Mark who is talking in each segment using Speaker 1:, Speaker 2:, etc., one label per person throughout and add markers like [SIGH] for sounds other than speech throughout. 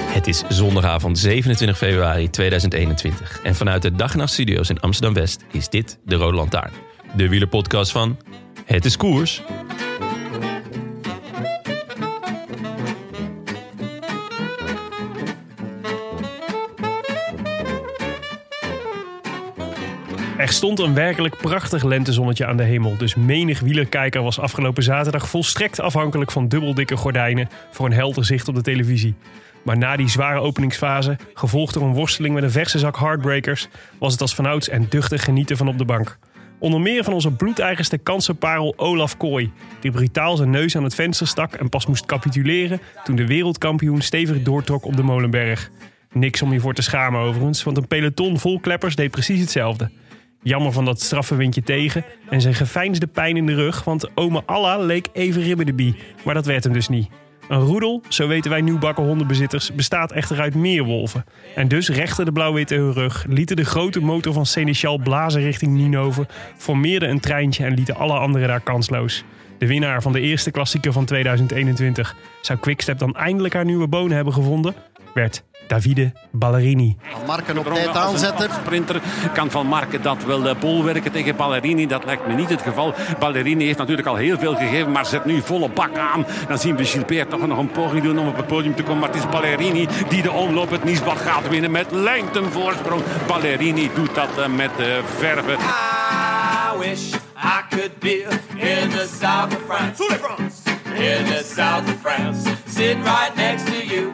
Speaker 1: Het is zondagavond 27 februari 2021. En vanuit de Dag en Nacht Studio's in Amsterdam-West is dit de Rode Lantaarn. De wielerpodcast van Het is Koers.
Speaker 2: Er stond een werkelijk prachtig lentezonnetje aan de hemel, dus menig wielerkijker was afgelopen zaterdag volstrekt afhankelijk van dubbeldikke gordijnen voor een helder zicht op de televisie. Maar na die zware openingsfase, gevolgd door een worsteling met een verse zak hardbreakers, was het als vanouds en duchtig genieten van op de bank. Onder meer van onze bloedeigenste kansenparel Olaf Kooi, die brutaal zijn neus aan het venster stak en pas moest capituleren toen de wereldkampioen stevig doortrok op de Molenberg. Niks om je voor te schamen overigens, want een peloton vol kleppers deed precies hetzelfde. Jammer van dat straffe windje tegen en zijn geveinsde pijn in de rug, want ome Alla leek even ribbedebie, maar dat werd hem dus niet. Een roedel, zo weten wij nieuwbakken hondenbezitters, bestaat echter uit meer wolven. En dus rechten de blauw-witte hun rug, lieten de grote motor van Seneschal blazen richting Ninove, formeerden een treintje en lieten alle anderen daar kansloos. De winnaar van de eerste klassieker van 2021. Zou Quickstep dan eindelijk haar nieuwe bonen hebben gevonden? Werd Davide Ballerini.
Speaker 3: Marken op tijd aanzetten.
Speaker 4: Sprinter kan van Marken dat wel eh, bolwerken tegen Ballerini. Dat lijkt me niet het geval. Ballerini heeft natuurlijk al heel veel gegeven, maar zet nu volle bak aan. Dan zien we Gilbert toch nog een poging doen om op het podium te komen. Maar het is Ballerini die de omloop het Niesbad gaat winnen met lengten voorsprong. Ballerini doet dat eh, met eh, verve.
Speaker 5: I wish I could be in the south of France. In the south of France. Sitting right next to you.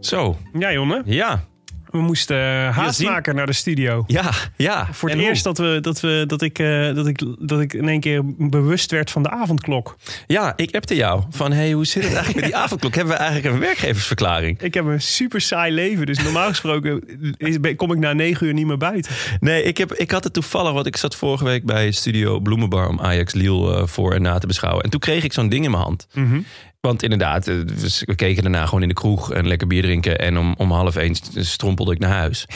Speaker 1: Zo,
Speaker 2: Ja, Jonne,
Speaker 1: ja,
Speaker 2: we moesten eh, haast
Speaker 1: zien-
Speaker 2: maken naar de studio.
Speaker 1: ja, ja.
Speaker 2: Voor
Speaker 1: En
Speaker 2: het
Speaker 1: hoe?
Speaker 2: eerst dat, we, dat, we, dat, ik, eh, dat, ik, dat ik in één keer bewust werd van de avondklok.
Speaker 1: Ja, ik appte jou van hey, hoe zit het eigenlijk
Speaker 2: [LAUGHS]
Speaker 1: met die avondklok? Hebben we eigenlijk een werkgeversverklaring?
Speaker 2: Ik heb een super saai leven, dus normaal [LAUGHS] gesproken is- ben- kom ik na negen uur niet meer buiten.
Speaker 1: Nee, ik, heb, ik had het toevallig, want ik zat vorige week bij Studio Bloemenbar om Ajax Liel eh, voor en na te beschouwen. En toen kreeg ik zo'n ding in mijn hand.
Speaker 2: Mhm.
Speaker 1: Want inderdaad, eh, we we keken daarna gewoon in de kroeg en lekker bier drinken. En om, om half één st- strompelde ik naar
Speaker 2: [LAUGHS]
Speaker 1: huis.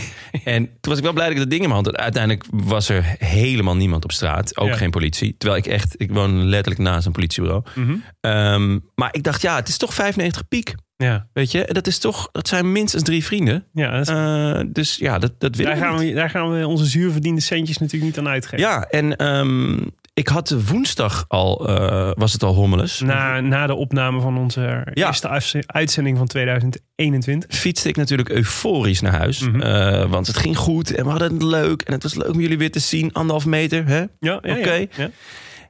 Speaker 1: en toen was ik wel blij dat ik dat ding in mijn hand had. Uiteindelijk was er helemaal niemand op straat. Ook
Speaker 2: Ja.
Speaker 1: geen politie. Terwijl ik echt, ik woon letterlijk naast een politiebureau.
Speaker 2: Mhm.
Speaker 1: Ehm, maar ik dacht, ja, het is toch 95 piek.
Speaker 2: Ja,
Speaker 1: Weet je, En dat, is toch, dat zijn minstens drie vrienden.
Speaker 2: ja dat is-
Speaker 1: Eh, dus ja, dat, dat wil
Speaker 2: daar,
Speaker 1: ik
Speaker 2: gaan
Speaker 1: niet.
Speaker 2: we, daar gaan we onze zuurverdiende centjes natuurlijk niet aan uitgeven.
Speaker 1: Ja, en ehm, ik had woensdag al, eh, was het al hommeles.
Speaker 2: Na, na de opname van onze
Speaker 1: Ja.
Speaker 2: eerste afze- uitzending van 2021.
Speaker 1: Fietste ik natuurlijk euforisch naar huis.
Speaker 2: Mhm.
Speaker 1: eh, want het ging goed en we hadden het leuk. En het was leuk om jullie weer te zien. Anderhalf meter. Hè?
Speaker 2: Ja, ja, ja,
Speaker 1: Oké.
Speaker 2: ja.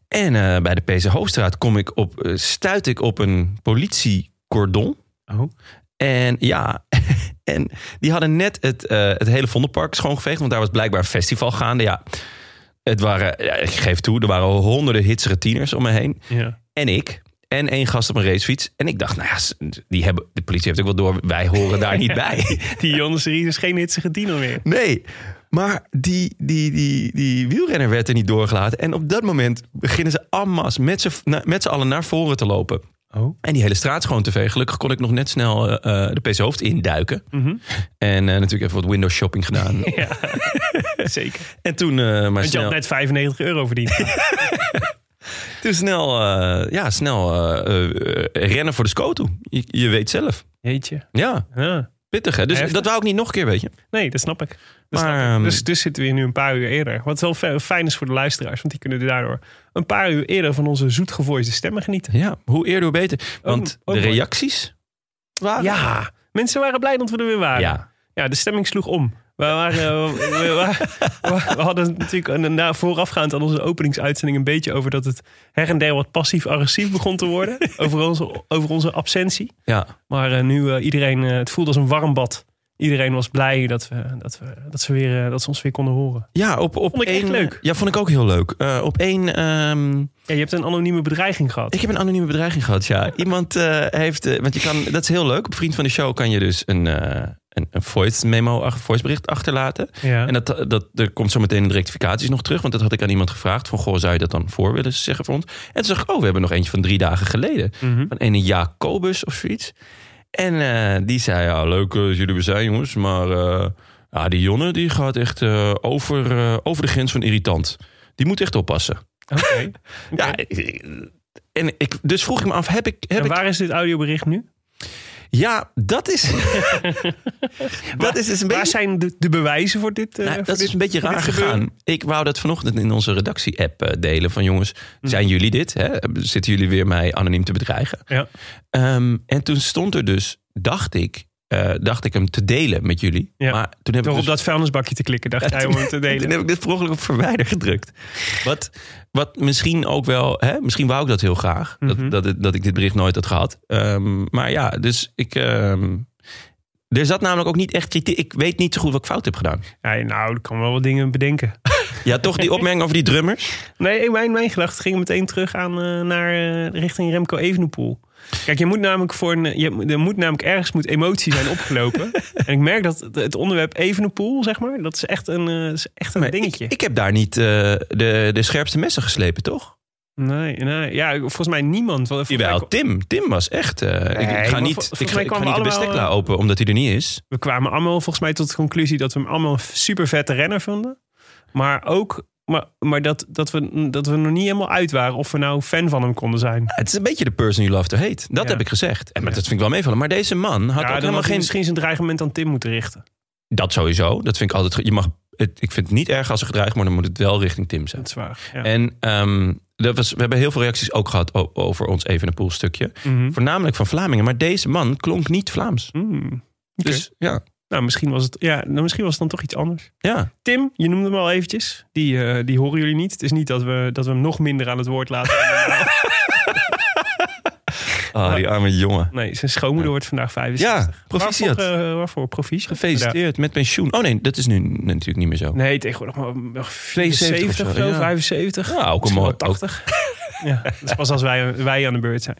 Speaker 1: En eh, bij de PC Hoofdstraat kom ik op, eh, stuit ik op een politiecordon.
Speaker 2: Oh.
Speaker 1: En ja, [LAUGHS] en die hadden net het, eh, het hele Vondelpark schoongeveegd. Want daar was blijkbaar een festival gaande. Ja, het waren, ja, ik geef toe, er waren honderden hitsere tieners om me heen.
Speaker 2: Ja.
Speaker 1: en ik. En één gast op een racefiets. En ik dacht, nou ja, s- die hebben, de politie heeft ook wel door. Wij horen daar
Speaker 2: [LAUGHS]
Speaker 1: niet bij.
Speaker 2: Die Jonas Ries is geen hitsige tiener
Speaker 1: [LAUGHS]
Speaker 2: meer.
Speaker 1: Nee, maar die, die, die, die wielrenner werd er niet doorgelaten. En op dat moment beginnen ze en masse met z'n na- met z'n allen naar voren te lopen.
Speaker 2: Oh.
Speaker 1: En die hele straat schoon te vegen. Gelukkig kon ik nog net snel eh, eh, de PC Hoofd induiken. En eh, natuurlijk even wat window shopping
Speaker 2: [LAUGHS]
Speaker 1: gedaan.
Speaker 2: Mhm. Ja, zeker.
Speaker 1: En toen eh, maar
Speaker 2: Want je had
Speaker 1: snel,
Speaker 2: net 95
Speaker 1: [LAUGHS]
Speaker 2: euro verdiend.
Speaker 1: toen snel, eh, ja, snel eh, eh, eh, rennen voor de scoto. Je, je weet zelf.
Speaker 2: Jeetje.
Speaker 1: Ja,
Speaker 2: Ja.
Speaker 1: pittig hè. Dus
Speaker 2: Heftig.
Speaker 1: dat wou ik niet nog een keer, weet je.
Speaker 2: Nee, dat snap ik.
Speaker 1: Maar,
Speaker 2: Dat snap ik.
Speaker 1: ehm,
Speaker 2: Dus, dus zitten we hier nu een paar uur eerder. Wat wel fe- fijn is voor de luisteraars, want die kunnen er daardoor een paar uur eerder van onze zoetgevoiste stemmen genieten.
Speaker 1: Ja, hoe eerder hoe beter. Want
Speaker 2: ook
Speaker 1: de
Speaker 2: mooi.
Speaker 1: reacties waren...
Speaker 2: Ja, mensen waren blij dat we er weer waren.
Speaker 1: Ah, Ja.
Speaker 2: Ja, de stemming sloeg om. We, waren, eh, we, we- we- we hadden natuurlijk een- na, voorafgaand aan onze openingsuitzending een beetje over dat het her en der wat passief-agressief begon te worden.
Speaker 1: [LAUGHS]
Speaker 2: over, onze, over onze absentie.
Speaker 1: Ja,
Speaker 2: Maar eh, nu eh, iedereen, eh, het voelde als een warm bad. Iedereen was blij dat, we, dat, we, dat, ze, weer, eh, dat ze ons weer konden horen.
Speaker 1: ja op, op
Speaker 2: Vond ik echt
Speaker 1: één-
Speaker 2: leuk.
Speaker 1: Ja, vond ik ook heel leuk. Eh, op één... ehm,
Speaker 2: Ja, je hebt een anonieme bedreiging gehad.
Speaker 1: Ik heb een anonieme bedreiging gehad,
Speaker 2: [LAUGHS]
Speaker 1: ja. Iemand eh, heeft... eh, want je kan... Dat is heel leuk. Op Vriend van de Show kan je dus een, eh, een, een voice memo, ach- voicebericht achterlaten.
Speaker 2: ja.
Speaker 1: En dat, eh, dat, er komt zo meteen in de rectificaties nog terug. Want dat had ik aan iemand gevraagd. Van, goh, zou je dat dan voor willen zeggen voor ons? En toen zag ik, oh, we hebben nog eentje van drie dagen geleden.
Speaker 2: Mhm.
Speaker 1: Van een Jacobus of zoiets. En eh, die zei, ja, leuk eh, dat jullie er zijn, jongens. Maar eh, ja, die Jonne, die gaat echt eh, over, eh, over de grens van irritant. Die moet echt oppassen.
Speaker 2: Oké.
Speaker 1: [LAUGHS] Ja, eh, en ik, dus vroeg ik me af, heb ik... Heb
Speaker 2: En
Speaker 1: ik
Speaker 2: waar is dit audiobericht nu?
Speaker 1: ja, dat
Speaker 2: [LAUGHS]
Speaker 1: is... dat is dus een beetje...
Speaker 2: Waar zijn de, de bewijzen voor dit? eh,
Speaker 1: Nou,
Speaker 2: voor
Speaker 1: dat
Speaker 2: dit-
Speaker 1: is een beetje
Speaker 2: voor dit
Speaker 1: raar
Speaker 2: gebeuren?
Speaker 1: gegaan. Ik wou dat vanochtend in onze redactie-app eh, delen. Van jongens,
Speaker 2: Hm.
Speaker 1: zijn jullie dit? Hè? Zitten jullie weer mij anoniem te bedreigen?
Speaker 2: Ja.
Speaker 1: Ehm, en toen stond er dus, dacht ik, eh, dacht ik hem te delen met jullie.
Speaker 2: Ja.
Speaker 1: Maar toen heb
Speaker 2: Door
Speaker 1: ik
Speaker 2: op
Speaker 1: dus,
Speaker 2: dat vuilnisbakje te klikken, dacht jij om
Speaker 1: [LAUGHS]
Speaker 2: hem te
Speaker 1: toen
Speaker 2: delen.
Speaker 1: heb ik dit per ongeluk op verwijder gedrukt. Wat, wat misschien ook wel, hè? misschien wou ik dat heel graag.
Speaker 2: Mhm.
Speaker 1: dat, dat, het- dat ik dit bericht nooit had gehad. Ehm, maar ja, dus ik... ehm, er zat namelijk ook niet echt kritiek. Ik weet niet zo goed wat ik fout heb gedaan.
Speaker 2: Ja, nou, ik kan wel wat dingen bedenken.
Speaker 1: Ja, toch die opmerking over die drummers.
Speaker 2: Nee, eh, mijn, mijn gedachten gingen meteen terug aan, eh, naar, eh, richting Remco Evenepoel. Kijk, je moet namelijk voor een, je, er moet namelijk ergens moet emotie zijn
Speaker 1: [LAUGHS]
Speaker 2: opgelopen. en ik merk dat het- het onderwerp Evenepoel, zeg maar, dat is echt een, eh, is echt een
Speaker 1: Maar
Speaker 2: dingetje.
Speaker 1: Ik, ik heb daar niet eh, de, de scherpste messen geslepen, toch?
Speaker 2: nee, nee, ja, volgens mij niemand. Want volgens mij-
Speaker 1: Jawel, Tim. Tim was echt... eh, ik,
Speaker 2: maar
Speaker 1: ik ga
Speaker 2: vol-
Speaker 1: niet,
Speaker 2: volgens
Speaker 1: ik ga,
Speaker 2: mij
Speaker 1: ik ga
Speaker 2: kwamen
Speaker 1: niet de
Speaker 2: we
Speaker 1: bestekla
Speaker 2: allemaal,
Speaker 1: open, omdat hij er niet is.
Speaker 2: we kwamen allemaal volgens mij tot de conclusie dat we hem allemaal een super vette renner vonden. Maar ook maar, maar dat, dat, we, dat we nog niet helemaal uit waren of we nou fan van hem konden zijn.
Speaker 1: Het is een beetje de person you love to hate. Dat
Speaker 2: Ja.
Speaker 1: heb ik gezegd. En maar
Speaker 2: Ja.
Speaker 1: dat vind ik wel meevallen. Maar deze man had
Speaker 2: ja,
Speaker 1: ook
Speaker 2: dan
Speaker 1: helemaal
Speaker 2: had hij
Speaker 1: geen...
Speaker 2: misschien zijn dreigement aan Tim moeten richten.
Speaker 1: Dat sowieso. Dat vind ik altijd... ge- Je mag, het, ik vind het niet erg als er gedreigd wordt, maar dan moet het wel richting Tim zijn.
Speaker 2: Dat is waar. Ja.
Speaker 1: En ehm, dat was, we hebben heel veel reacties ook gehad o- over ons Evenepoel stukje.
Speaker 2: Mhm.
Speaker 1: Voornamelijk van Vlamingen. Maar deze man klonk niet Vlaams.
Speaker 2: Hmm. Oké.
Speaker 1: Dus ja.
Speaker 2: Nou, misschien was, het, ja, nou, misschien was het dan toch iets anders.
Speaker 1: ja.
Speaker 2: Tim, je noemde hem al eventjes. Die, eh, die horen jullie niet. Het is niet dat we, dat we hem nog minder aan het woord
Speaker 1: [LAUGHS]
Speaker 2: laten.
Speaker 1: Ah, die arme jongen.
Speaker 2: Nee, zijn schoonmoeder wordt vandaag 65.
Speaker 1: Ja, proficiat.
Speaker 2: Waarvoor, eh, waarvoor? Proficiat.
Speaker 1: Gefeliciteerd met pensioen. Oh nee, dat is nu natuurlijk niet meer zo.
Speaker 2: Ja. Nee, tegenwoordig maar- maar
Speaker 1: 72
Speaker 2: 70
Speaker 1: of
Speaker 2: of
Speaker 1: zo,
Speaker 2: zo,
Speaker 1: ja.
Speaker 2: 75.
Speaker 1: Ja, ook een
Speaker 2: Misschien wel
Speaker 1: mooi- ook- [LAUGHS]
Speaker 2: 80. Ja, dat is pas als wij, wij aan de beurt zijn.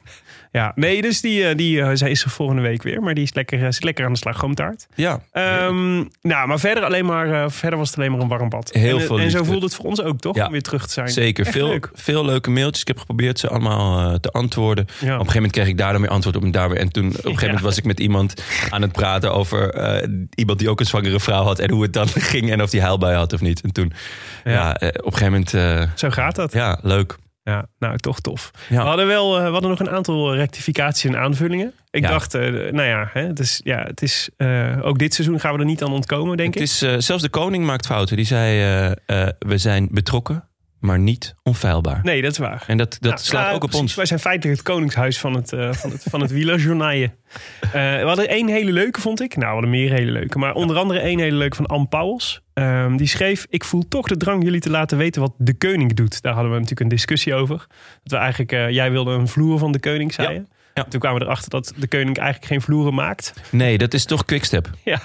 Speaker 2: Ja, nee, dus die, eh, die eh, zij is er volgende week weer. Maar die is lekker, eh, zit lekker aan de slag, groomtaart.
Speaker 1: Ja.
Speaker 2: Ehm, nou, maar verder, alleen maar, eh, verder was het alleen maar een warm bad.
Speaker 1: Heel
Speaker 2: en, eh,
Speaker 1: veel
Speaker 2: En zo
Speaker 1: liefde.
Speaker 2: voelde het voor ons ook, toch?
Speaker 1: Ja.
Speaker 2: Om weer terug te zijn.
Speaker 1: Zeker,
Speaker 2: Echt
Speaker 1: veel,
Speaker 2: leuk.
Speaker 1: veel leuke mailtjes. Ik heb geprobeerd ze allemaal eh, te antwoorden. Op een
Speaker 2: Ja.
Speaker 1: gegeven moment kreeg ik daar dan weer antwoord op en daar weer. En toen, op een gegeven moment was ik met iemand aan het praten over eh, iemand die ook een zwangere vrouw had. En hoe het dan [LAUGHS] ging en of die huil bij had of niet. En toen, ja,
Speaker 2: Ja.
Speaker 1: eh, op een gegeven moment, eh,
Speaker 2: Zo gaat dat. Ja.
Speaker 1: ja, leuk.
Speaker 2: nou, toch tof.
Speaker 1: Ja.
Speaker 2: We, hadden wel, eh, we hadden nog een aantal rectificaties en aanvullingen. Ik
Speaker 1: Ja.
Speaker 2: dacht, eh, nou ja, hè, het is, ja het is, eh, ook dit seizoen gaan we er niet aan ontkomen, denk
Speaker 1: Het
Speaker 2: ik.
Speaker 1: is, eh, zelfs de koning maakt fouten. Die zei, eh, eh, we zijn betrokken, maar niet onfeilbaar.
Speaker 2: Nee, dat is waar.
Speaker 1: En dat, dat
Speaker 2: Nou,
Speaker 1: slaat
Speaker 2: ja,
Speaker 1: ook op
Speaker 2: precies.
Speaker 1: ons.
Speaker 2: Wij zijn feitelijk het koningshuis van het, eh van het, van het wielerjournaille. Eh, we hadden één hele leuke, vond ik. Nou, we hadden meer hele leuke. Maar onder andere één hele leuke van Ann Pauwels. Ehm, die schreef, ik voel toch de drang jullie te laten weten wat de koning doet. Daar hadden we natuurlijk een discussie over. Dat we eigenlijk, eh, jij wilde een vloer van de koning, zei
Speaker 1: Ja.
Speaker 2: je.
Speaker 1: Ja.
Speaker 2: Toen kwamen we erachter dat de koning eigenlijk geen vloeren maakt.
Speaker 1: Nee, dat is toch quickstep.
Speaker 2: Ja,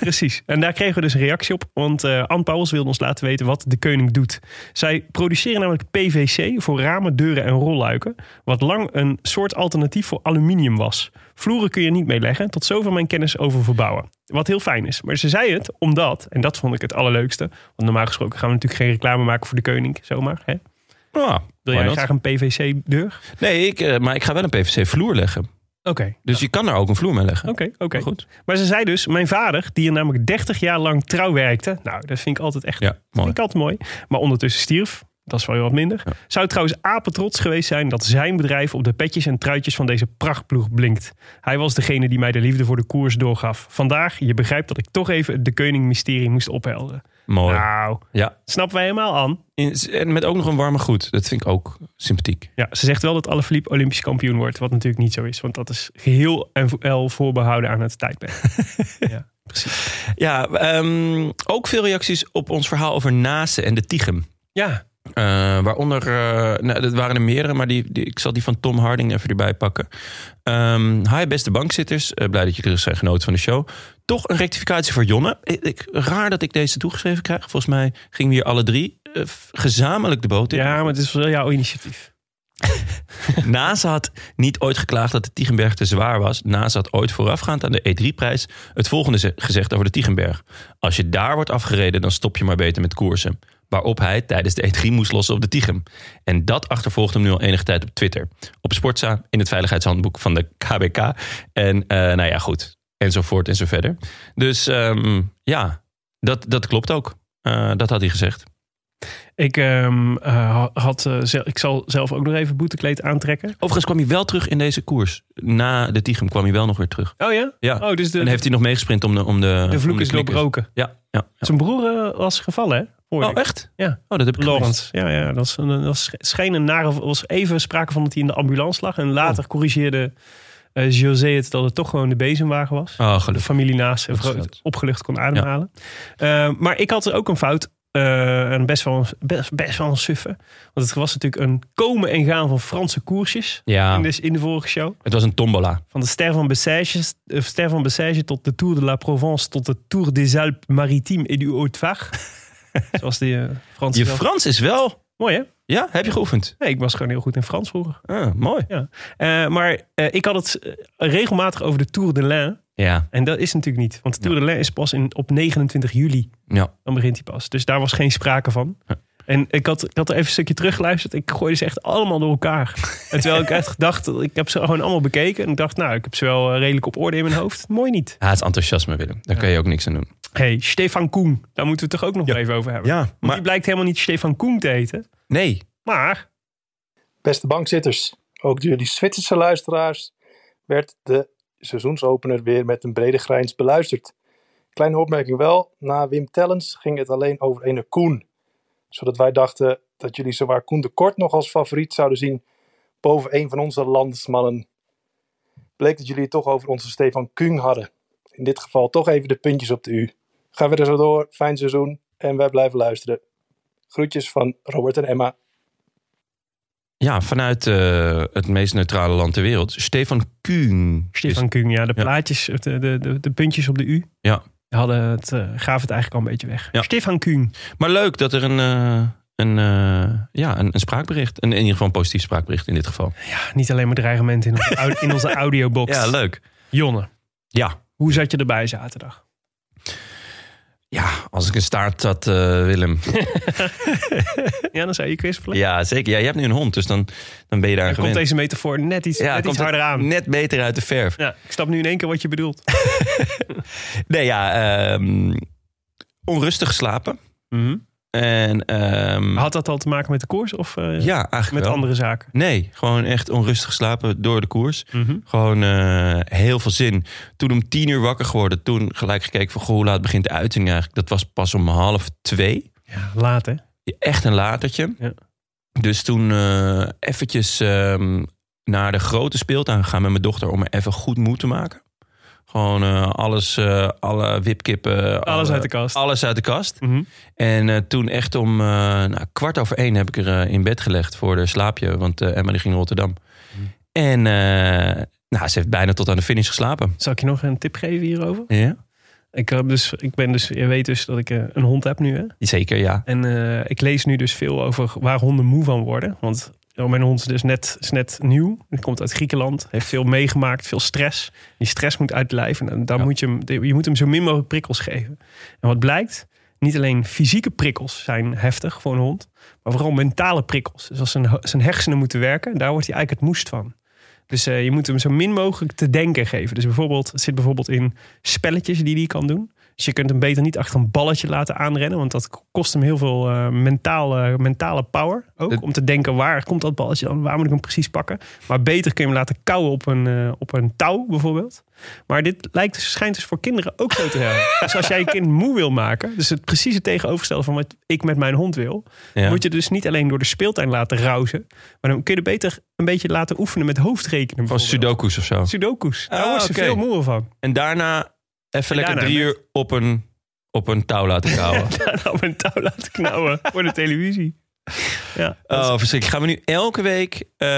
Speaker 2: precies. En daar kregen we dus een reactie op. Want eh Ann Pauwels wilde ons laten weten wat de Keuning doet. Zij produceren namelijk PVC voor ramen, deuren en rolluiken. Wat lang een soort alternatief voor aluminium was. Vloeren kun je niet mee leggen. Tot zover mijn kennis over verbouwen. Wat heel fijn is. Maar ze zei het omdat, en dat vond ik het allerleukste. Want normaal gesproken gaan we natuurlijk geen reclame maken voor de Keuning. Zomaar. Hè?
Speaker 1: Ja, why
Speaker 2: Wil jij
Speaker 1: not?
Speaker 2: graag een PVC-deur?
Speaker 1: Nee, ik, eh, maar ik ga wel een PVC-vloer leggen.
Speaker 2: Oké.
Speaker 1: Dus je kan daar ook een vloer mee leggen.
Speaker 2: Oké, oké.
Speaker 1: Maar Goed.
Speaker 2: Maar ze zei dus, mijn vader, die er namelijk 30 jaar lang trouw werkte. Nou, dat vind ik altijd echt
Speaker 1: Ja, mooi.
Speaker 2: Vind ik altijd mooi. Maar ondertussen stierf. Dat is wel heel wat minder. Zou trouwens apetrots geweest zijn dat zijn bedrijf op de petjes en truitjes van deze prachtploeg blinkt. Hij was degene die mij de liefde voor de koers doorgaf. Vandaag, je begrijpt dat ik toch even het de Keuning mysterie moest ophelderen.
Speaker 1: Mooi.
Speaker 2: Nou,
Speaker 1: Ja.
Speaker 2: snappen wij helemaal aan.
Speaker 1: In- En met ook nog een warme goed. Dat vind ik ook sympathiek.
Speaker 2: Ja, ze zegt wel dat Alaphilippe Olympisch kampioen wordt. Wat natuurlijk niet zo is, want dat is geheel en wel voorbehouden aan het tijdperk. ja, precies.
Speaker 1: Ja, ehm, ook veel reacties op ons verhaal over Nase en de Tichem.
Speaker 2: Ja,
Speaker 1: Eh, waaronder, eh, nou, dat waren er meerdere, maar die, die, ik zal die van Tom Harding even erbij pakken. Ehm, hi, beste bankzitters. Eh, blij dat jullie er zijn genoten van de show. Toch een rectificatie voor Jonne. Ik, ik- raar dat ik deze toegeschreven krijg. Volgens mij gingen we hier alle drie eh, f- gezamenlijk de boot in.
Speaker 2: ja maar het is wel jouw initiatief.
Speaker 1: NASA had niet ooit geklaagd dat de Tigenberg te zwaar was. NASA had ooit voorafgaand aan de E3-prijs het volgende ze- gezegd over de Tigenberg. Als je daar wordt afgereden, dan stop je maar beter met koersen. Waarop hij tijdens de E3 moest lossen op de Tichem. En dat achtervolgt hem nu al enige tijd op Twitter. Op Sportza, in het veiligheidshandboek van de KBK. En eh, nou ja, goed. Enzovoort en zo verder. Dus ehm, ja, dat, dat klopt ook. Eh, dat had hij gezegd.
Speaker 2: Ik, ehm, eh, had, eh, zel- ik zal zelf ook nog even boetekleed aantrekken.
Speaker 1: Overigens kwam hij wel terug in deze koers. Na de Tichem kwam hij wel nog weer terug.
Speaker 2: Oh ja?
Speaker 1: Ja.
Speaker 2: Oh, dus de,
Speaker 1: en heeft hij nog meegesprint om de om de,
Speaker 2: de
Speaker 1: om
Speaker 2: vloek
Speaker 1: de
Speaker 2: is
Speaker 1: knikkers.
Speaker 2: doorbroken.
Speaker 1: Ja, ja. ja.
Speaker 2: Zijn broer eh, was gevallen, hè? Hoorde ik.
Speaker 1: Oh, echt?
Speaker 2: Ja.
Speaker 1: Oh, dat heb ik gemist.
Speaker 2: Lawrence. Ja, ja, dat was, een, dat was scheen een nare... was even sprake van dat hij in de ambulance lag. En later corrigeerde eh, José het dat het toch gewoon de bezemwagen was.
Speaker 1: Oh,
Speaker 2: de
Speaker 1: gelukkig.
Speaker 2: familie naast en
Speaker 1: Dat
Speaker 2: vro-
Speaker 1: scheelt.
Speaker 2: opgelucht kon ademhalen. Eh, maar ik had ook een fout. eh, en best wel, een, best, best wel een suffe. Want het was natuurlijk een komen en gaan van Franse koersjes.
Speaker 1: Ja,
Speaker 2: In, de, in de vorige show.
Speaker 1: het was een tombola.
Speaker 2: Van de Ster van Bessèges, eh, Ster van Bessèges tot de Tour de la Provence. Tot de Tour des Alpes Maritimes et du
Speaker 1: [LAUGHS]
Speaker 2: Haut-Var. Zoals die eh Franse
Speaker 1: Je
Speaker 2: zelf-
Speaker 1: Frans is wel...
Speaker 2: Mooi hè?
Speaker 1: Ja, heb je geoefend?
Speaker 2: Nee, ik was gewoon heel goed in Frans vroeger.
Speaker 1: Ah, mooi.
Speaker 2: Eh, maar eh, ik had het eh, regelmatig over de Tour de Lin.
Speaker 1: Ja,
Speaker 2: En dat is natuurlijk niet. Want de Tour de Lin is pas in, op 29 juli.
Speaker 1: ja.
Speaker 2: Dan begint hij pas. Dus daar was geen sprake van.
Speaker 1: Ja.
Speaker 2: En ik had, ik had er even een stukje teruggeluisterd. Ik gooide ze echt allemaal door elkaar. en
Speaker 1: [LAUGHS]
Speaker 2: terwijl ik echt dacht, ik heb ze gewoon allemaal bekeken. En ik dacht, nou, ik heb ze wel eh, redelijk op orde in mijn hoofd. Mooi niet.
Speaker 1: Ja, het is enthousiasme, Willem. Daar kan je ook niks aan doen.
Speaker 2: hey, Stefan Koen. Daar moeten we het toch ook nog
Speaker 1: Ja.
Speaker 2: even over hebben.
Speaker 1: Ja,
Speaker 2: Maar...
Speaker 1: maar...
Speaker 2: Die blijkt helemaal niet Stefan Koen te heten.
Speaker 1: Nee.
Speaker 2: Maar
Speaker 6: Beste bankzitters, ook door jullie Zwitserse luisteraars werd de seizoensopener weer met een brede grijns beluisterd. Kleine opmerking wel, na Wim Tellens ging het alleen over ene Koen. Zodat wij dachten dat jullie zowaar Koen de Kort nog als favoriet zouden zien boven een van onze landsmannen. Bleek dat jullie het toch over onze Stefan Kung hadden. In dit geval toch even de puntjes op de U. Ga verder zo door, fijn seizoen en wij blijven luisteren. Groetjes van Robert en Emma.
Speaker 1: Ja, vanuit eh, het meest neutrale land ter wereld. Stefan Kuhn.
Speaker 2: Stefan Kung, ja, de
Speaker 1: Ja.
Speaker 2: plaatjes, de, de, de, de puntjes op de U.
Speaker 1: Ja.
Speaker 2: Die Hadden het, eh, gaven het eigenlijk al een beetje weg.
Speaker 1: Ja.
Speaker 2: Stefan Kung.
Speaker 1: Dus- maar leuk dat er een, eh, een, eh, ja, een, een spraakbericht... Een, in ieder geval een positief spraakbericht in dit geval.
Speaker 2: Ja, niet alleen maar dreigementen in onze, au- in onze
Speaker 1: [LAUGHS]
Speaker 2: audiobox.
Speaker 1: Ja, leuk.
Speaker 2: Jonne,
Speaker 1: Ja,
Speaker 2: hoe zat je erbij zaterdag?
Speaker 1: ja als ik een staart had, eh, Willem...
Speaker 2: Ja, dan zou je kwispelen.
Speaker 1: Ja, zeker. Ja, je hebt nu een hond, dus dan, dan ben je daar
Speaker 2: dan
Speaker 1: gewend.
Speaker 2: komt deze metafoor net iets, net iets
Speaker 1: het
Speaker 2: harder aan.
Speaker 1: Net beter uit de verf.
Speaker 2: Ja, ik snap nu in één keer wat je bedoelt.
Speaker 1: Nee, ja. ehm, onrustig slapen. Mhm. En, ehm,
Speaker 2: Had dat al te maken met de koers of eh,
Speaker 1: ja, eigenlijk
Speaker 2: met
Speaker 1: wel.
Speaker 2: andere zaken?
Speaker 1: Nee, gewoon echt onrustig slapen door de koers. Gewoon eh, heel veel zin. Toen om tien uur wakker geworden. Toen gelijk gekeken van, goh, hoe laat begint de uitzending eigenlijk? Dat was pas om half twee.
Speaker 2: Ja, laat hè?
Speaker 1: Echt een latertje.
Speaker 2: Ja.
Speaker 1: Dus toen eh, eventjes ehm, naar de grote speeltuin gegaan met mijn dochter... om er even goed moe te maken. Gewoon eh, alles, eh, alle wipkippen.
Speaker 2: Alles
Speaker 1: alle-
Speaker 2: uit de kast.
Speaker 1: Alles uit de kast.
Speaker 2: Mhm.
Speaker 1: En eh, toen echt om eh, nou, kwart over één heb ik er eh, in bed gelegd voor de slaapje. Want eh, Emma die ging naar Rotterdam.
Speaker 2: Hmm.
Speaker 1: En eh, nou, ze heeft bijna tot aan de finish geslapen.
Speaker 2: Zal ik je nog een tip geven hierover?
Speaker 1: Ja?
Speaker 2: Ik, heb dus, ik ben dus, je weet dus dat ik eh, een hond heb nu hè?
Speaker 1: Zeker, ja.
Speaker 2: En eh, ik lees nu dus veel over waar honden moe van worden. Want ja, mijn hond is dus net, is net nieuw. Hij komt uit Griekenland. Heeft veel meegemaakt, veel stress. Die stress moet uit het lijf. En dan- dan moet je, hem, je moet hem zo min mogelijk prikkels geven. En wat blijkt, niet alleen fysieke prikkels zijn heftig voor een hond. Maar vooral mentale prikkels. Dus als zijn, ho- zijn hersenen moeten werken, daar wordt hij eigenlijk het moest van. Dus eh, je moet hem zo min mogelijk te denken geven. Dus bijvoorbeeld, het zit bijvoorbeeld in spelletjes die hij kan doen. Dus je kunt hem beter niet achter een balletje laten aanrennen. Want dat kost hem heel veel eh, mentale, mentale power. Ook
Speaker 1: Het-
Speaker 2: om te denken, waar komt dat balletje dan? Waar moet ik hem precies pakken? Maar beter kun je hem laten kauwen op een, eh, op een touw bijvoorbeeld. Maar dit lijkt, schijnt dus voor kinderen ook zo
Speaker 1: [LAUGHS]
Speaker 2: te zijn. dus als jij je kind moe wil maken. Dus het precieze tegenovergestelde van wat ik met mijn hond wil.
Speaker 1: ja.
Speaker 2: Moet je dus niet alleen door de speeltuin laten rauzen. Maar dan kun je er beter een beetje laten oefenen met hoofdrekenen.
Speaker 1: Van
Speaker 2: bijvoorbeeld.
Speaker 1: sudoku's of zo.
Speaker 2: Sudoku's. Daar
Speaker 1: Ah,
Speaker 2: wordt ze
Speaker 1: oké.
Speaker 2: veel moe van.
Speaker 1: En daarna Even
Speaker 2: En
Speaker 1: lekker
Speaker 2: daarna
Speaker 1: drie
Speaker 2: met-
Speaker 1: uur op een, op een touw laten
Speaker 2: [LAUGHS]
Speaker 1: kouwen.
Speaker 2: Daarna op een Nou, touw laten knauwen voor de televisie. Ja, dat is
Speaker 1: oh, verschrikkelijk. Gaan we nu elke week eh,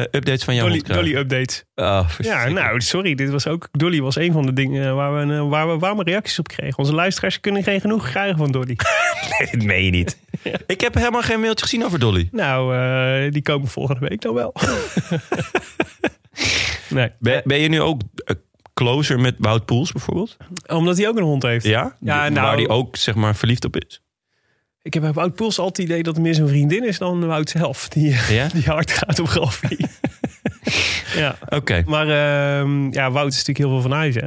Speaker 1: updates van jou
Speaker 2: Dolly,
Speaker 1: ontkrijgen?
Speaker 2: Dolly updates.
Speaker 1: Oh,
Speaker 2: Ja,
Speaker 1: verschrikkelijk.
Speaker 2: nou, sorry. Dit was ook, Dolly was een van de dingen waar we, eh, waar we warme reacties op kregen. Onze luisteraars kunnen geen genoeg krijgen van [LAUGHS] Dolly.
Speaker 1: Dit meen je niet. [LAUGHS] Ik heb helemaal geen mailtje gezien over Dolly.
Speaker 2: Nou, eh, die komen volgende week dan [LAUGHS] wel. nee,
Speaker 1: Ben, ben je nu ook eh, closer met Wout Poels bijvoorbeeld?
Speaker 2: omdat hij ook een hond heeft.
Speaker 1: Ja?
Speaker 2: Ja,
Speaker 1: Die-
Speaker 2: nou-
Speaker 1: Waar die ook zeg maar verliefd op is?
Speaker 2: Ik heb bij Wout Poels altijd het idee dat het meer zijn vriendin is dan Wout zelf. Die, eh,
Speaker 1: Ja?
Speaker 2: die hard gaat op [LAUGHS] Ralfie. ja,
Speaker 1: Oké,
Speaker 2: maar ehm, ja, Wout is natuurlijk heel veel van huis, hè?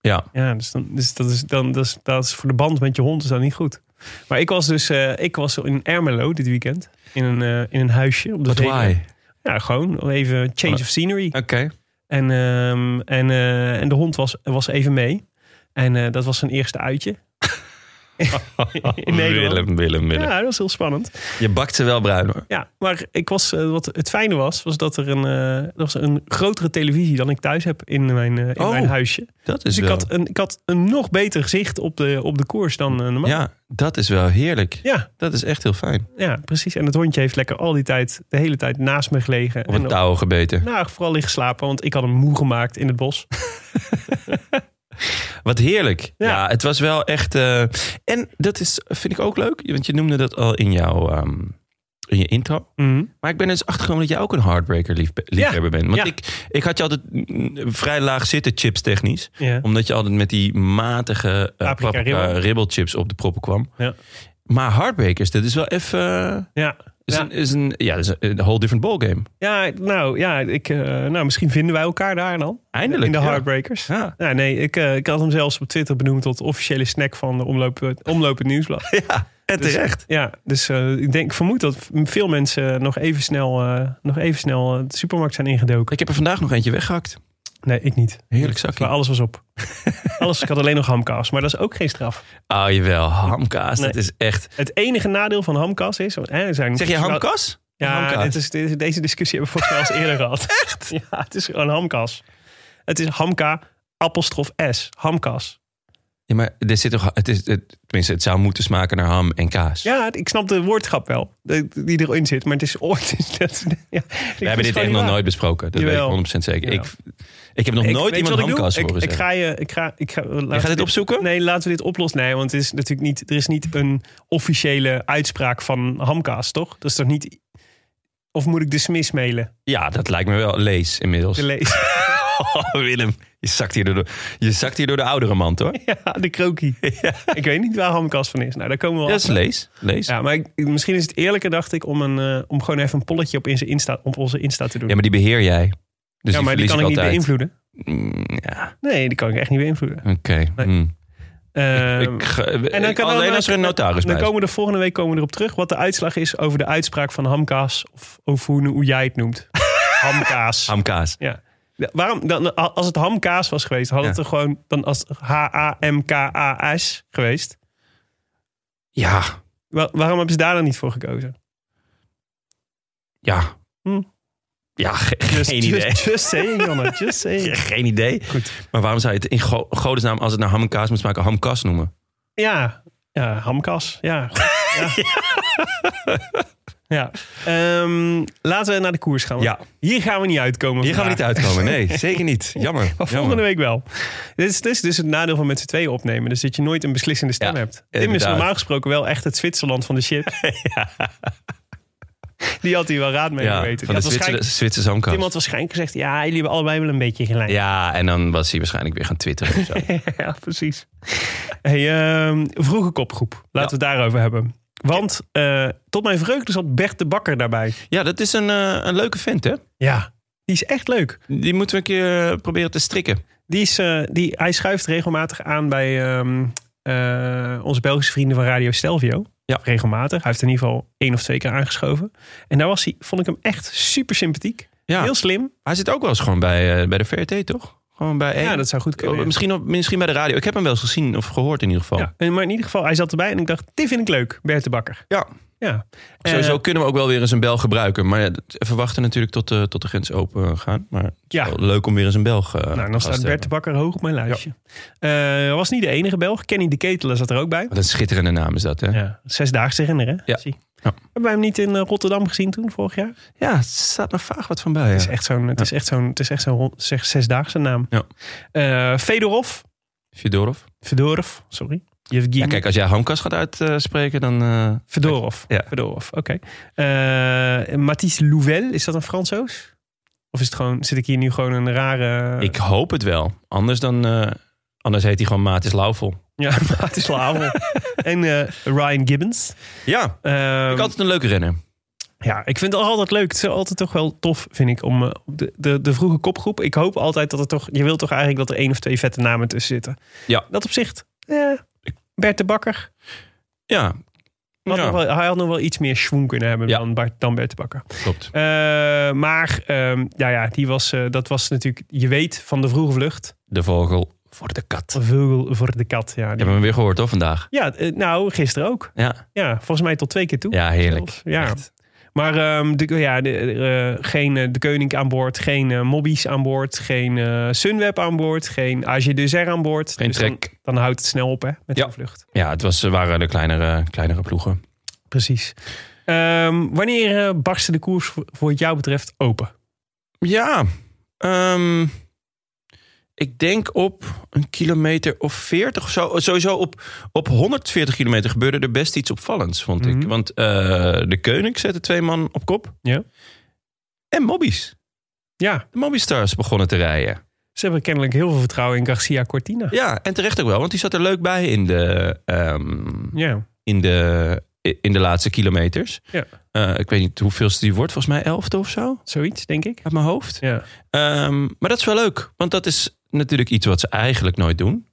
Speaker 1: ja.
Speaker 2: Ja, dus, dan, dus dat, is, dan, dat, is, dat is voor de band met je hond is dat niet goed. Maar ik was dus eh, ik was in Ermelo dit weekend. In een, eh, in een huisje. Op de
Speaker 1: But
Speaker 2: Veluwe.
Speaker 1: why?
Speaker 2: Ja, gewoon even change of scenery.
Speaker 1: Oké.
Speaker 2: En, ehm, en, eh, en de hond was, was even mee. En eh, dat was zijn eerste uitje. [LAUGHS] in Nederland.
Speaker 1: Willem, Willem, Willem.
Speaker 2: Ja, dat was heel spannend.
Speaker 1: Je bakt ze wel bruin hoor.
Speaker 2: Ja, maar ik was, eh, wat het fijne was, was dat er een, eh, er was een grotere televisie dan ik thuis heb in mijn, eh, in
Speaker 1: Oh,
Speaker 2: mijn huisje.
Speaker 1: Dat is
Speaker 2: Dus ik
Speaker 1: wel...
Speaker 2: had, een, ik had een nog beter gezicht op de, op de koers dan eh, normaal.
Speaker 1: Ja, dat is wel heerlijk.
Speaker 2: Ja,
Speaker 1: Dat is echt heel fijn.
Speaker 2: ja, precies. En het hondje heeft lekker al die tijd, de hele tijd naast me gelegen.
Speaker 1: Op een
Speaker 2: en
Speaker 1: touw gebeten.
Speaker 2: Nou, vooral liggen slapen, want ik had hem moe gemaakt in het
Speaker 1: [LAUGHS]
Speaker 2: bos.
Speaker 1: Wat heerlijk. Ja,
Speaker 2: Ja.
Speaker 1: het was wel echt... eh, en dat is, vind ik ook leuk. Want je noemde dat al in jouw... ehm, in je intro. Maar ik ben dus achtergekomen dat jij ook een heartbreaker lief, liefhebber bent. Want
Speaker 2: ja.
Speaker 1: ik, ik had je altijd mm, vrij laag zitten chips technisch.
Speaker 2: Ja.
Speaker 1: Omdat je altijd met die matige uh,
Speaker 2: Paprika ribbel.
Speaker 1: chips op de proppen kwam.
Speaker 2: Ja.
Speaker 1: Maar heartbreakers, dat is wel even... eh,
Speaker 2: Ja.
Speaker 1: is
Speaker 2: Ja.
Speaker 1: een, is een, ja, dat is een, een whole different ballgame.
Speaker 2: Ja, nou, ja, ik, eh, nou, misschien vinden wij elkaar daar dan.
Speaker 1: Eindelijk,
Speaker 2: In de
Speaker 1: ja.
Speaker 2: Heartbreakers.
Speaker 1: Ja.
Speaker 2: Nou, nee, ik, eh, ik had hem zelfs op Twitter benoemd tot officiële snack van de Omloop,
Speaker 1: [LAUGHS]
Speaker 2: Omlopend Nieuwsblad. Dus,
Speaker 1: En terecht.
Speaker 2: ja, dus eh, ik denk, ik vermoed dat veel mensen nog even snel, eh, nog even snel eh, de supermarkt zijn ingedoken.
Speaker 1: Ik heb er vandaag nog eentje weggehakt.
Speaker 2: Nee, ik niet.
Speaker 1: Heerlijk
Speaker 2: Maar
Speaker 1: zakje.
Speaker 2: alles was
Speaker 1: [LAUGHS]
Speaker 2: op. alles, ik had alleen nog hamkaas, maar dat is ook geen straf.
Speaker 1: Oh, jawel. Hamkaas, dat
Speaker 2: Nee.
Speaker 1: is echt...
Speaker 2: Het enige nadeel van hamkaas is... Hè, er zijn
Speaker 1: Zeg je hamkas?
Speaker 2: Ja,
Speaker 1: Hamkaas.
Speaker 2: dit is, dit is- deze discussie hebben we
Speaker 1: [LAUGHS]
Speaker 2: volgens mij al eens eerder gehad. Echt? [LAUGHS] Ja, het is gewoon hamkas. Het is hamka, apostrof S, hamkas.
Speaker 1: Ja, maar er zit toch... Het is, het, tenminste, het zou moeten smaken naar ham en kaas.
Speaker 2: Ja, het- ik snap de woordgrap wel, de- die erin zit. Maar het is ooit... [LAUGHS] Dat, ja,
Speaker 1: We hebben dit echt nog nooit besproken. Dat
Speaker 2: Jawel.
Speaker 1: weet ik 100% zeker.
Speaker 2: Jawel.
Speaker 1: Ik, ik heb nog nooit iemand hamkas
Speaker 2: ik,
Speaker 1: horen
Speaker 2: ik
Speaker 1: zeggen.
Speaker 2: ga je... Ik ga, ik ga, laten we
Speaker 1: dit
Speaker 2: dit-
Speaker 1: opzoeken?
Speaker 2: Nee, laten we dit oplossen. Nee, want het is natuurlijk niet, er is niet een officiële uitspraak van hamkaas, toch? Dat is toch niet... Of moet ik de smis mailen?
Speaker 1: Ja, dat lijkt me wel. Lees inmiddels.
Speaker 2: De [LAUGHS]
Speaker 1: [LAUGHS]
Speaker 2: lees.
Speaker 1: Oh, Willem, je zakt, hier door de, je zakt hier door de oudere man, hoor.
Speaker 2: Ja, de krokie. Ik weet niet waar hamkas van is. Nou, daar komen we wel
Speaker 1: Dat is lees. lees. Ja.
Speaker 2: Ja, maar ik- misschien is het eerlijker, dacht ik, om, een, eh, om gewoon even een polletje op, in zijn Insta, op onze Insta te doen. Ja,
Speaker 1: maar die beheer jij. Dus
Speaker 2: maar, die kan ik niet
Speaker 1: verlies ik
Speaker 2: beïnvloeden.
Speaker 1: altijd. Mm, Ja,
Speaker 2: Nee, die kan ik echt niet beïnvloeden.
Speaker 1: oké. mm.
Speaker 2: Ehm,
Speaker 1: Ik ga- ik-
Speaker 2: kan-
Speaker 1: Eh, alleen
Speaker 2: dan-
Speaker 1: als er een notaris bij
Speaker 2: Dan
Speaker 1: is.
Speaker 2: komen we er volgende week komen we erop terug wat de uitslag is over de uitspraak van hamkaas. Of, of hoe, hoe jij het noemt.
Speaker 1: [LAUGHS]
Speaker 2: hamkaas.
Speaker 1: Hamkaas.
Speaker 2: ja. Ja, Waarom, dan, eh, als het hamkaas was geweest, had het
Speaker 1: Ja.
Speaker 2: er gewoon dan als H-A-M-K-A-S geweest.
Speaker 1: Ja,
Speaker 2: Wa- waarom hebben ze daar dan niet voor gekozen?
Speaker 1: ja.
Speaker 2: Hm.
Speaker 1: Ja, [LAUGHS] ge- [LAUGHS]
Speaker 2: Just,
Speaker 1: geen idee.
Speaker 2: Just, just saying, Jonne. Just
Speaker 1: [LAUGHS]
Speaker 2: saying.
Speaker 1: Geen idee. Maar waarom zou je het in go- godesnaam, als het naar ham en kaas moet smaken, hamkas noemen?
Speaker 2: Ja, ja hamkas.
Speaker 1: [LAUGHS]
Speaker 2: Ja. goed. ja. ja. Ehm, laten we naar de koers gaan.
Speaker 1: Ja.
Speaker 2: Hier gaan we niet uitkomen.
Speaker 1: Hier gaan we
Speaker 2: vandaag.
Speaker 1: niet uitkomen.
Speaker 2: [LAUGHS]
Speaker 1: Nee, zeker niet. Jammer.
Speaker 2: Maar [LAUGHS] volgende week wel. Dit is, dit is dus het nadeel van met z'n tweeën opnemen. Dus dat je nooit een beslissende stem
Speaker 1: Ja,
Speaker 2: hebt. Tim is
Speaker 1: inderdaad.
Speaker 2: normaal gesproken wel echt het Zwitserland van de
Speaker 1: [LAUGHS]
Speaker 2: shit. [LAUGHS] Die had hij wel raad mee
Speaker 1: Ja,
Speaker 2: geweten.
Speaker 1: van de
Speaker 2: Die had
Speaker 1: Zwitser,
Speaker 2: waarschijnlijk-
Speaker 1: Zwitserse hamkas.
Speaker 2: Tim had waarschijnlijk gezegd... ja, jullie hebben allebei wel een beetje gelijk.
Speaker 1: Ja, en dan was hij waarschijnlijk weer gaan twitteren of zo.
Speaker 2: [LAUGHS] ja, precies. Hey, ehm, vroege kopgroep. Laten we het daarover hebben. Want eh, tot mijn vreugde zat Bert de Bakker daarbij.
Speaker 1: Ja, dat is een, eh, een leuke vent, hè?
Speaker 2: Ja. Die is echt leuk.
Speaker 1: Die moeten we een keer eh, proberen te strikken.
Speaker 2: Die is, eh, die, hij schuift regelmatig aan bij ehm, eh, onze Belgische vrienden van Radio Stelvio.
Speaker 1: Ja.
Speaker 2: Regelmatig. Hij heeft in ieder geval één of twee keer aangeschoven. En daar was hij, vond ik hem echt super sympathiek.
Speaker 1: Ja.
Speaker 2: Heel slim.
Speaker 1: Hij zit ook wel eens gewoon bij, eh, bij de VRT, toch? Gewoon bij één.
Speaker 2: Ja, dat zou goed kunnen.
Speaker 1: Oh, misschien, op, misschien bij de radio. Ik heb hem wel eens gezien of gehoord in ieder geval.
Speaker 2: Ja, en- maar in ieder geval, hij zat erbij en ik dacht, dit vind ik leuk, Bert de Bakker.
Speaker 1: Ja.
Speaker 2: Ja.
Speaker 1: Sowieso
Speaker 2: Eh,
Speaker 1: kunnen we ook wel weer eens een bel gebruiken. Maar ja, dat- even wachten natuurlijk tot de, tot de grens open eh, gaan. Maar het is
Speaker 2: Ja.
Speaker 1: wel leuk om weer eens een Belg eh,
Speaker 2: nou, dan
Speaker 1: gast te
Speaker 2: staat Bert de
Speaker 1: hebben.
Speaker 2: Bakker hoog op mijn lijstje. Eh was niet de enige Belg. Kenny de Ketelen zat er ook bij.
Speaker 1: Wat een schitterende naam is dat, hè? Ja,
Speaker 2: Ja, zesdaagse renner, hè?
Speaker 1: Ja.
Speaker 2: Zie.
Speaker 1: Ja.
Speaker 2: Hebben wij hem niet in eh, Rotterdam gezien toen, vorig jaar?
Speaker 1: er staat nog vaag wat van bij.
Speaker 2: Het
Speaker 1: ja.
Speaker 2: is echt zo'n, het is echt zo'n, het is echt zo'n rond- zeg- zesdaagse naam.
Speaker 1: Ja.
Speaker 2: Eh, Fedorov,
Speaker 1: Fedorov.
Speaker 2: Fedorov, sorry. Yevgeny
Speaker 1: Ja, kijk, als jij Hamkas gaat uitspreken, dan... eh,
Speaker 2: Fedorov.
Speaker 1: Ja.
Speaker 2: Fedorov, oké. Eh, Mathies Louvel, is dat een Fransoos? Of is het gewoon, zit ik hier nu gewoon een rare...
Speaker 1: ik hoop het wel. Anders dan... eh, anders heet hij gewoon Matis Lauvel.
Speaker 2: Ja, [LAUGHS] Mathies Lavel. en eh, Ryan Gibbons.
Speaker 1: Ja,
Speaker 2: Ehm,
Speaker 1: ik altijd een leuke renner.
Speaker 2: Ja, ik vind het altijd leuk. Het is altijd toch wel tof, vind ik, om eh, de, de, de vroege kopgroep. Ik hoop altijd dat er toch... Je wilt toch eigenlijk dat er één of twee vette namen tussen zitten.
Speaker 1: Ja.
Speaker 2: Dat opzicht. eh, Bert de Bakker.
Speaker 1: Ja,
Speaker 2: Had
Speaker 1: Ja.
Speaker 2: nog wel- hij had nog wel iets meer schwung kunnen hebben
Speaker 1: Ja.
Speaker 2: dan, Bart, dan Bert de Bakker.
Speaker 1: klopt.
Speaker 2: Eh, maar ehm, ja, ja, die was, eh, dat was natuurlijk... Je weet van de vroege vlucht.
Speaker 1: De vogel voor de kat.
Speaker 2: Een vogel voor de kat. Ja, die-
Speaker 1: Hebben we hem weer gehoord, hoor, vandaag.
Speaker 2: ja eh, nou, gisteren ook.
Speaker 1: Ja,
Speaker 2: Ja, volgens mij tot twee keer toe.
Speaker 1: ja heerlijk.
Speaker 2: Zelfs, Ja.
Speaker 1: Echt.
Speaker 2: Maar ehm, de, ja, de, eh, geen eh, De Koning aan boord, geen eh Mobbies aan boord, geen eh, Sunweb aan boord, geen AG Deser aan boord. Dus
Speaker 1: Geen
Speaker 2: dan-
Speaker 1: trek.
Speaker 2: Dan, houdt het snel op hè, met
Speaker 1: Ja.
Speaker 2: zo'n vlucht.
Speaker 1: Ja, het was, waren de kleinere, kleinere ploegen.
Speaker 2: Precies. Ehm, wanneer eh, barstte de koers voor, voor wat jou betreft open?
Speaker 1: Ja, ehm, ik denk op een kilometer of 40 of zo. Sowieso op, op 140 kilometer gebeurde er best iets opvallends, vond
Speaker 2: Mhm.
Speaker 1: ik. Want eh, de Koning zette twee man op kop.
Speaker 2: Ja.
Speaker 1: En mobbies.
Speaker 2: Ja,
Speaker 1: De Mobbystars begonnen te rijden.
Speaker 2: ze hebben kennelijk heel veel vertrouwen in Garcia Cortina.
Speaker 1: Ja, en terecht ook wel, want die zat er leuk bij in de, ehm,
Speaker 2: Ja,
Speaker 1: in de, in de laatste kilometers.
Speaker 2: Ja.
Speaker 1: Eh, ik weet niet hoeveelste die wordt, volgens mij elfde of zo,
Speaker 2: zoiets denk ik.
Speaker 1: uit mijn hoofd.
Speaker 2: Ja.
Speaker 1: Ehm, maar dat is wel leuk, want dat is natuurlijk iets wat ze eigenlijk nooit doen.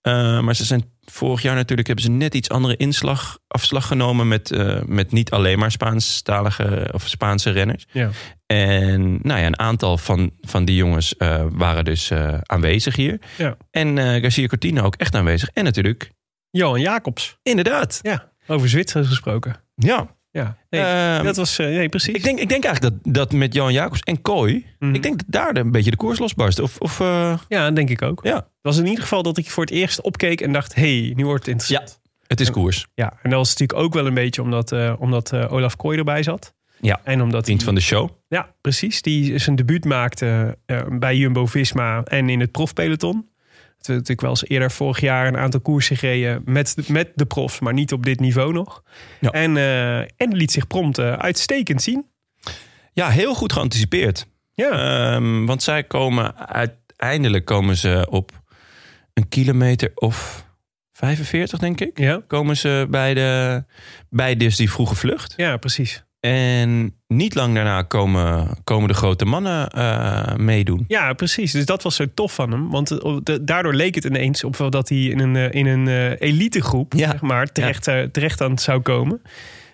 Speaker 1: Eh, maar ze zijn vorig jaar natuurlijk hebben ze net iets andere inslag, afslag genomen met, eh, met niet alleen maar Spaanstalige of Spaanse renners.
Speaker 2: Ja.
Speaker 1: En nou ja, een aantal van, van die jongens eh, waren dus eh, aanwezig hier.
Speaker 2: Ja.
Speaker 1: En eh, Garcia Cortina ook echt aanwezig. En natuurlijk,
Speaker 2: Johan Jacobs,
Speaker 1: inderdaad.
Speaker 2: over Zwitsers gesproken.
Speaker 1: Ja.
Speaker 2: Ja, nee,
Speaker 1: Ehm,
Speaker 2: dat was, eh, nee precies.
Speaker 1: ik, denk, ik denk eigenlijk dat, dat met Johan Jacobs en Kooi,
Speaker 2: Mhm.
Speaker 1: ik denk dat daar de- een beetje de koers losbarst. Of, of eh,
Speaker 2: Ja, denk ik ook.
Speaker 1: Ja.
Speaker 2: Het was in ieder geval dat ik voor het eerst opkeek en dacht, hey, nu wordt het interessant.
Speaker 1: het is koers.
Speaker 2: Ja, en dat was natuurlijk ook wel een beetje omdat, eh, omdat eh, Olaf Kooi erbij zat.
Speaker 1: Ja.
Speaker 2: En omdat
Speaker 1: Vriend van de show.
Speaker 2: Ja, precies. Die zijn debuut maakte eh, bij Jumbo-Visma en in het profpeloton. Het werd natuurlijk wel eens eerder vorig jaar een aantal koersen gereden met, de- met de profs, maar niet op dit niveau nog.
Speaker 1: Ja.
Speaker 2: En, eh, en liet zich prompt eh, uitstekend zien.
Speaker 1: Ja, heel goed geanticipeerd.
Speaker 2: Ja,
Speaker 1: Ehm, want zij komen uiteindelijk komen ze op een kilometer of 45, denk ik.
Speaker 2: ja.
Speaker 1: Komen ze bij, de, bij dus die vroege vlucht.
Speaker 2: ja precies.
Speaker 1: En niet lang daarna komen, komen de grote mannen eh, meedoen.
Speaker 2: [LAUGHS] Ja, precies. Dus dat was zo tof van hem. Want eh, de- daardoor leek het ineens op wel dat hij in een, eh, in een eh, elitegroep
Speaker 1: Ja.
Speaker 2: zeg maar, terecht, eh, terecht aan het zou komen.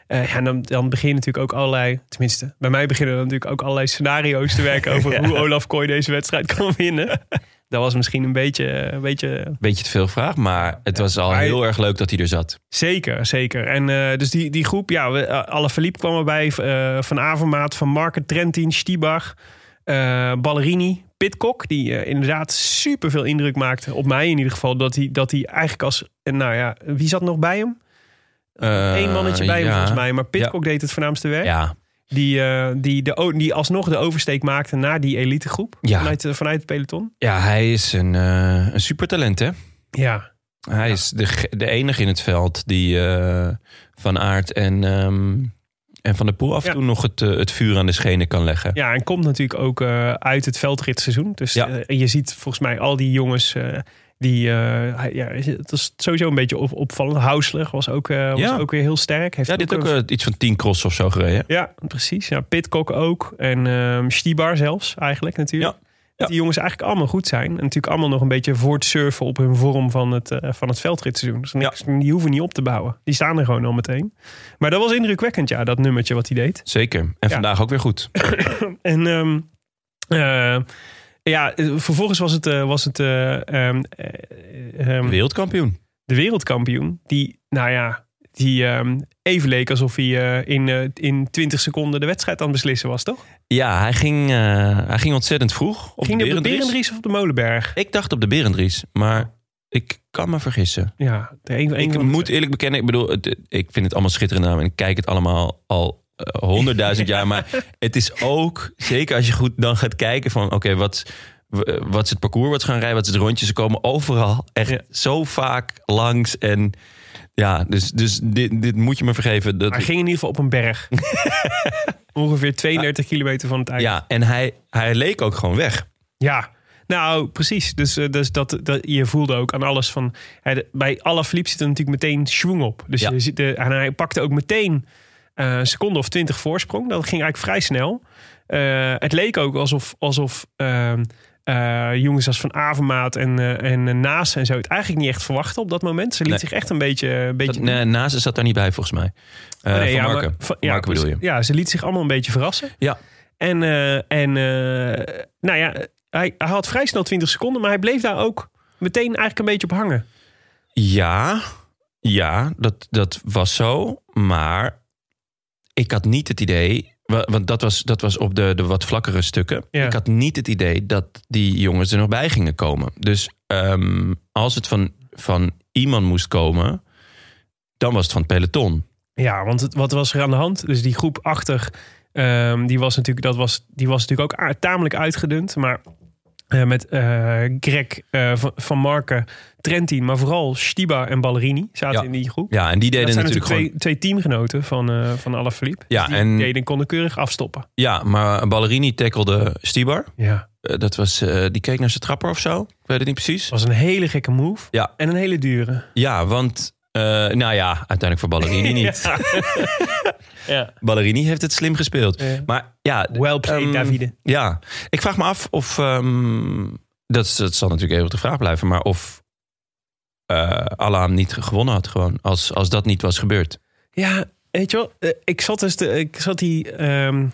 Speaker 2: Eh, ja, en dan, dan beginnen natuurlijk ook allerlei, tenminste, bij mij beginnen dan natuurlijk ook allerlei scenario's te
Speaker 1: [LAUGHS]
Speaker 2: werken over hoe Olaf Kooi deze wedstrijd [LAUGHS] kan winnen. Dat was misschien een beetje, eh, een beetje
Speaker 1: Beetje te veel vraag, maar het was al
Speaker 2: Maar-
Speaker 1: heel erg leuk dat hij er zat.
Speaker 2: Zeker, zeker. En eh, dus die, die groep, ja, we- eh, Alaphilippe kwam erbij. eh, van Avermaat, Van Marken, Trentin, Stiebach, eh, Ballerini, Pitcock. Die eh, inderdaad super veel indruk maakte. Op mij in ieder geval. Dat hij, dat hij eigenlijk als, en nou ja, wie zat nog bij hem?
Speaker 1: Eén
Speaker 2: Eén mannetje bij hem volgens mij. Maar Pitcock deed het voornaamste werk.
Speaker 1: Eh, Ja,
Speaker 2: Die, eh, die, de, o- die alsnog de oversteek maakte naar die elitegroep.
Speaker 1: Ja.
Speaker 2: Vanuit, eh, vanuit het peloton.
Speaker 1: ja hij is een, eh, een supertalent, hè?
Speaker 2: Ja,
Speaker 1: Hij is de, ge- de enige in het veld die eh, van Aert en, ehm, en van de Poel af en
Speaker 2: Ja.
Speaker 1: toe nog het, eh, het vuur aan de schenen kan leggen.
Speaker 2: Ja, en komt natuurlijk ook eh, uit het veldritseizoen. Dus
Speaker 1: Ja.
Speaker 2: eh, je ziet volgens mij al die jongens eh, die... eh, hij- ja, het is sowieso een beetje op, opvallend. Hausler was ook, eh, was
Speaker 1: Ja.
Speaker 2: ook weer heel sterk. Heeft
Speaker 1: Ja, dit ook eh, iets van 10 cross of zo gereden.
Speaker 2: ja, precies. Ja, Pitcock ook. En ehm Stibar zelfs eigenlijk natuurlijk.
Speaker 1: Ja.
Speaker 2: Dat Die jongens eigenlijk allemaal goed zijn. En natuurlijk allemaal nog een beetje voor het surfen op hun vorm van het, eh, van het veldritseizoen. Dus niks, die hoeven niet op te bouwen. Die staan er gewoon al meteen. Maar dat was indrukwekkend, ja, dat nummertje wat hij deed.
Speaker 1: Zeker. En vandaag ook weer goed.
Speaker 2: En ehm, eh, ja, eh, vervolgens was het, eh, was het eh, ehm, eh, ehm,
Speaker 1: Wereldkampioen.
Speaker 2: de wereldkampioen. Die, nou ja, die ehm, even leek alsof hij eh, in, eh, in 20 seconden de wedstrijd aan het beslissen was, toch?
Speaker 1: Ja, hij ging, eh, hij ging ontzettend vroeg. Op
Speaker 2: Ging
Speaker 1: de
Speaker 2: hij op de
Speaker 1: Berendries.
Speaker 2: Berendries of op de Molenberg?
Speaker 1: Ik dacht op de Berendries, maar ik kan me vergissen.
Speaker 2: Ja, de een, een
Speaker 1: ik
Speaker 2: van de
Speaker 1: moet eerlijk bekennen, ik bedoel, het- ik vind het allemaal schitterend naam en ik kijk het allemaal al eh, honderdduizend jaar.
Speaker 2: [LAUGHS]
Speaker 1: Maar het is ook, zeker als je goed dan gaat kijken van, oké, wat, w- wat is het parcours wat ze gaan rijden, wat is het rondje, ze komen overal echt
Speaker 2: Ja.
Speaker 1: zo vaak langs en ja, dus, dus dit, dit moet je me vergeven. Dat,
Speaker 2: Hij ging in ieder geval op een
Speaker 1: [LAUGHS]
Speaker 2: berg. Ongeveer 32 kilometer van het eind.
Speaker 1: ja, en hij, hij leek ook gewoon weg.
Speaker 2: Ja, nou precies. Dus, eh, dus dat, dat, je voelde ook aan alles van... hè, de- bij Alaphilippe zit er natuurlijk meteen schwung op. Dus
Speaker 1: Ja.
Speaker 2: je ziet de, en hij pakte ook meteen eh, een seconde of twintig voorsprong. Dat ging eigenlijk vrij snel. Eh, het leek ook alsof, alsof ehm, eh, jongens als Van Avermaat en, eh, en eh, Naas en zo... het eigenlijk niet echt verwachten op dat moment. Ze liet
Speaker 1: Nee.
Speaker 2: zich echt een beetje... eh, Een
Speaker 1: Dat,
Speaker 2: beetje Oh,
Speaker 1: nee, Naast zat daar niet bij volgens mij. Eh
Speaker 2: Nee,
Speaker 1: van
Speaker 2: ja, maar-
Speaker 1: Marken.
Speaker 2: van-
Speaker 1: Van
Speaker 2: ja,
Speaker 1: Marken bedoel je.
Speaker 2: precies. Ja, ze liet zich allemaal een beetje verrassen.
Speaker 1: Ja,
Speaker 2: En, eh, en eh, nou ja, hij, hij had vrij snel 20 seconden, maar hij bleef daar ook meteen eigenlijk een beetje op hangen.
Speaker 1: Ja, ja dat, dat was zo. Maar ik had niet het idee. wa- Want dat was, dat was op de, de wat vlakkere stukken.
Speaker 2: Ja.
Speaker 1: Ik had niet het idee dat die jongens er nog bij gingen komen. Dus ehm, als het van, van iemand moest komen, dan was het van het peloton.
Speaker 2: Ja, want het- wat was er aan de hand? Dus die groep achter, ehm, die, was natuurlijk, dat was, die was natuurlijk ook a- tamelijk uitgedund. Maar eh, met eh, Greg eh, van, van Marken, Trentin, maar vooral Stiba en Ballerini zaten
Speaker 1: Ja.
Speaker 2: in die groep.
Speaker 1: Ja, en die deden
Speaker 2: dat zijn
Speaker 1: natuurlijk
Speaker 2: natuurlijk
Speaker 1: gewoon.
Speaker 2: twee, twee teamgenoten van, eh van Alaphilippe.
Speaker 1: Ja,
Speaker 2: die
Speaker 1: en-
Speaker 2: deden konden keurig afstoppen.
Speaker 1: Ja, maar Ballerini tackelde Stibar.
Speaker 2: Ja,
Speaker 1: Eh, dat was, eh, die keek naar zijn trapper of zo. Ik weet het niet precies.
Speaker 2: het was een hele gekke move.
Speaker 1: Ja.
Speaker 2: En een hele dure.
Speaker 1: Ja, want. eh, nou [LAUGHS] ja, uiteindelijk voor
Speaker 2: [LAUGHS]
Speaker 1: Ballerini niet.
Speaker 2: Ja.
Speaker 1: Ballerini heeft het slim gespeeld.
Speaker 2: Ja.
Speaker 1: Maar ja,
Speaker 2: Well played,
Speaker 1: ehm,
Speaker 2: Davide.
Speaker 1: Ja, ik vraag me af of. ehm, dat, is- dat zal natuurlijk eeuwig de vraag blijven. Maar of. eh Alain niet gewonnen had, gewoon. Als, als dat niet was gebeurd.
Speaker 2: Ja, weet je wel, eh, ik zat dus, de, ik zat die, ehm,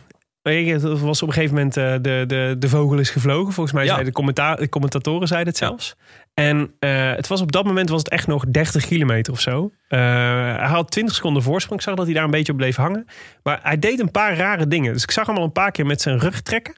Speaker 2: weet je, het was op een gegeven moment eh, de, de, de vogel is gevlogen. Volgens mij
Speaker 1: Ja.
Speaker 2: zeiden de, commenta- de commentatoren zeiden het zelfs. En eh, het was op dat moment was het echt nog 30 kilometer of zo. Eh, hij had 20 seconden voorsprong. Ik zag dat hij daar een beetje op bleef hangen. Maar hij deed een paar rare dingen. Dus ik zag hem al een paar keer met zijn rug trekken.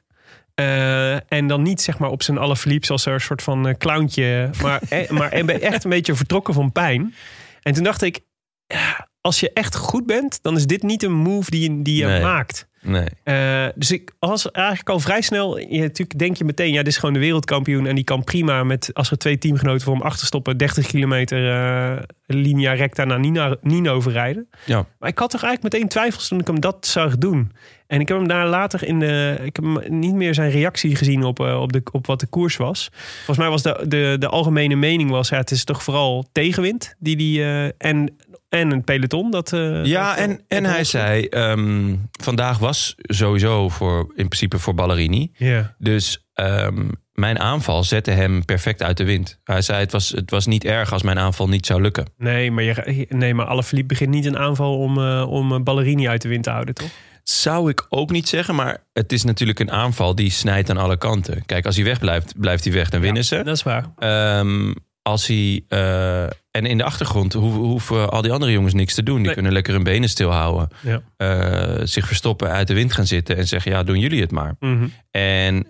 Speaker 2: Eh, en dan niet zeg maar op zijn allerverliepst als een soort van eh, clowntje. Maar, eh, maar en ben echt een beetje vertrokken van pijn. En toen dacht ik, ja, als je echt goed bent, dan is dit niet een move die je, die je
Speaker 1: Nee.
Speaker 2: maakt.
Speaker 1: Nee.
Speaker 2: Eh, dus ik was eigenlijk al vrij snel. Je, natuurlijk denk je meteen, ja, dit is gewoon de wereldkampioen. En die kan prima met, als er twee teamgenoten voor hem achterstoppen, 30 kilometer eh linea recta naar Nina, Nino verrijden.
Speaker 1: Ja.
Speaker 2: Maar ik had toch eigenlijk meteen twijfels toen ik hem dat zag doen. En ik heb hem daar later in de. Ik heb hem niet meer zijn reactie gezien op, eh, op, de, op wat de koers was. Volgens mij was de, de, de algemene mening was, ja, het is toch vooral tegenwind die, die eh, en, en een peloton. Dat, eh,
Speaker 1: Ja,
Speaker 2: dat-
Speaker 1: en,
Speaker 2: dat-
Speaker 1: en hij zei. ehm, vandaag was sowieso voor, in principe voor Ballerini.
Speaker 2: Ja.
Speaker 1: Dus ehm, mijn aanval zette hem perfect uit de wind. Hij zei: het was, het was niet erg als mijn aanval niet zou lukken.
Speaker 2: Nee, maar, je, nee, maar Alaphilippe begint niet een aanval om, eh, om eh, Ballerini uit de wind te houden, toch?
Speaker 1: Zou ik ook niet zeggen, maar het is natuurlijk een aanval die snijdt aan alle kanten. Kijk, als hij weg blijft, blijft hij weg, dan winnen ze.
Speaker 2: Dat is waar.
Speaker 1: Ehm, als hij, eh, en in de achtergrond hoe- hoeven al die andere jongens niks te doen. Die
Speaker 2: Nee.
Speaker 1: kunnen lekker hun benen stilhouden,
Speaker 2: Ja.
Speaker 1: eh, zich verstoppen, uit de wind gaan zitten en zeggen: Ja, doen jullie het maar.
Speaker 2: Mhm.
Speaker 1: En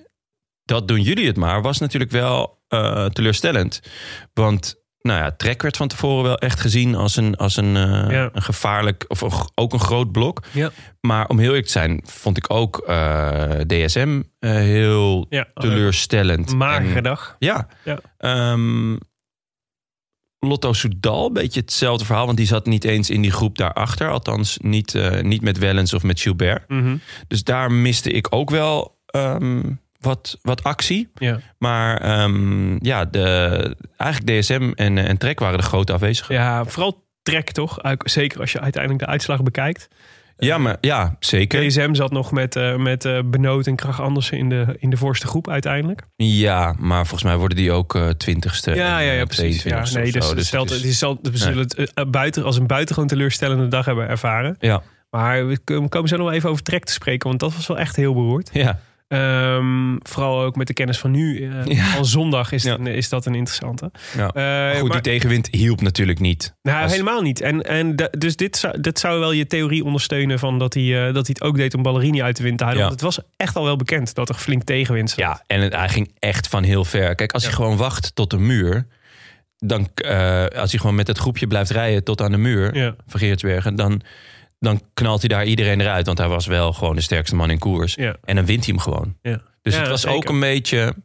Speaker 1: dat doen jullie het maar was natuurlijk wel eh, teleurstellend. Want nou ja, Trek werd van tevoren wel echt gezien als een, als een, eh,
Speaker 2: Ja.
Speaker 1: een gevaarlijk, of een g- ook een groot blok.
Speaker 2: Ja.
Speaker 1: Maar om heel eerlijk te zijn, vond ik ook eh, DSM eh, heel
Speaker 2: ja.
Speaker 1: teleurstellend.
Speaker 2: Magere
Speaker 1: En-
Speaker 2: dag.
Speaker 1: ja.
Speaker 2: Ja.
Speaker 1: Ehm, Lotto Soudal, een beetje hetzelfde verhaal. Want die zat niet eens in die groep daarachter. Althans, niet, eh, niet met Wellens of met Gilbert.
Speaker 2: Mhm.
Speaker 1: Dus daar miste ik ook wel ehm, wat, wat actie.
Speaker 2: Ja.
Speaker 1: Maar ehm, ja, de, eigenlijk DSM en, eh, en Trek waren de grote afwezigen.
Speaker 2: ja, vooral trek toch? Uit- Zeker als je uiteindelijk de uitslag bekijkt.
Speaker 1: Ja, maar, ja zeker.
Speaker 2: DSM zat nog met, eh, met eh, Benoot en Krach Andersen in de, in de voorste groep uiteindelijk.
Speaker 1: Ja, maar volgens mij worden die ook eh, twintigste.
Speaker 2: Ja,
Speaker 1: en,
Speaker 2: ja, ja
Speaker 1: eh,
Speaker 2: precies. Ja,
Speaker 1: 22ste of
Speaker 2: nee, dus,
Speaker 1: zo. Dus
Speaker 2: het
Speaker 1: het
Speaker 2: stelt,
Speaker 1: is-
Speaker 2: het is zal- we zullen het eh, buiten, als een buitengewoon teleurstellende dag hebben ervaren.
Speaker 1: Ja,
Speaker 2: Maar we komen zo nog wel even over trek te spreken, want dat was wel echt heel beroerd.
Speaker 1: ja.
Speaker 2: Ehm, vooral ook met de kennis van nu. eh,
Speaker 1: Ja.
Speaker 2: Al zondag is,
Speaker 1: Ja.
Speaker 2: het een- is dat een interessante.
Speaker 1: Ja.
Speaker 2: Eh,
Speaker 1: Goed,
Speaker 2: maar-
Speaker 1: die tegenwind hielp natuurlijk niet.
Speaker 2: Nou,
Speaker 1: Als-
Speaker 2: helemaal niet. En, en da- dus dit zou, dit zou wel je theorie ondersteunen van dat hij, eh, dat hij het ook deed om Ballerini uit de wind te houden.
Speaker 1: Ja.
Speaker 2: Want het was echt al wel bekend dat er flink tegenwind zat.
Speaker 1: Ja, en het- hij ging echt van heel ver. Kijk, als hij gewoon wacht tot de muur... Dan, eh, als hij gewoon met dat groepje blijft rijden tot aan de muur
Speaker 2: Ja.
Speaker 1: van Geertsbergen... Dan, dan knalt hij daar iedereen eruit. Want hij was wel gewoon de sterkste man in koers.
Speaker 2: Ja.
Speaker 1: En dan wint hij hem gewoon.
Speaker 2: Ja.
Speaker 1: Dus
Speaker 2: Ja,
Speaker 1: het was
Speaker 2: zeker.
Speaker 1: ook een beetje...
Speaker 2: Nou,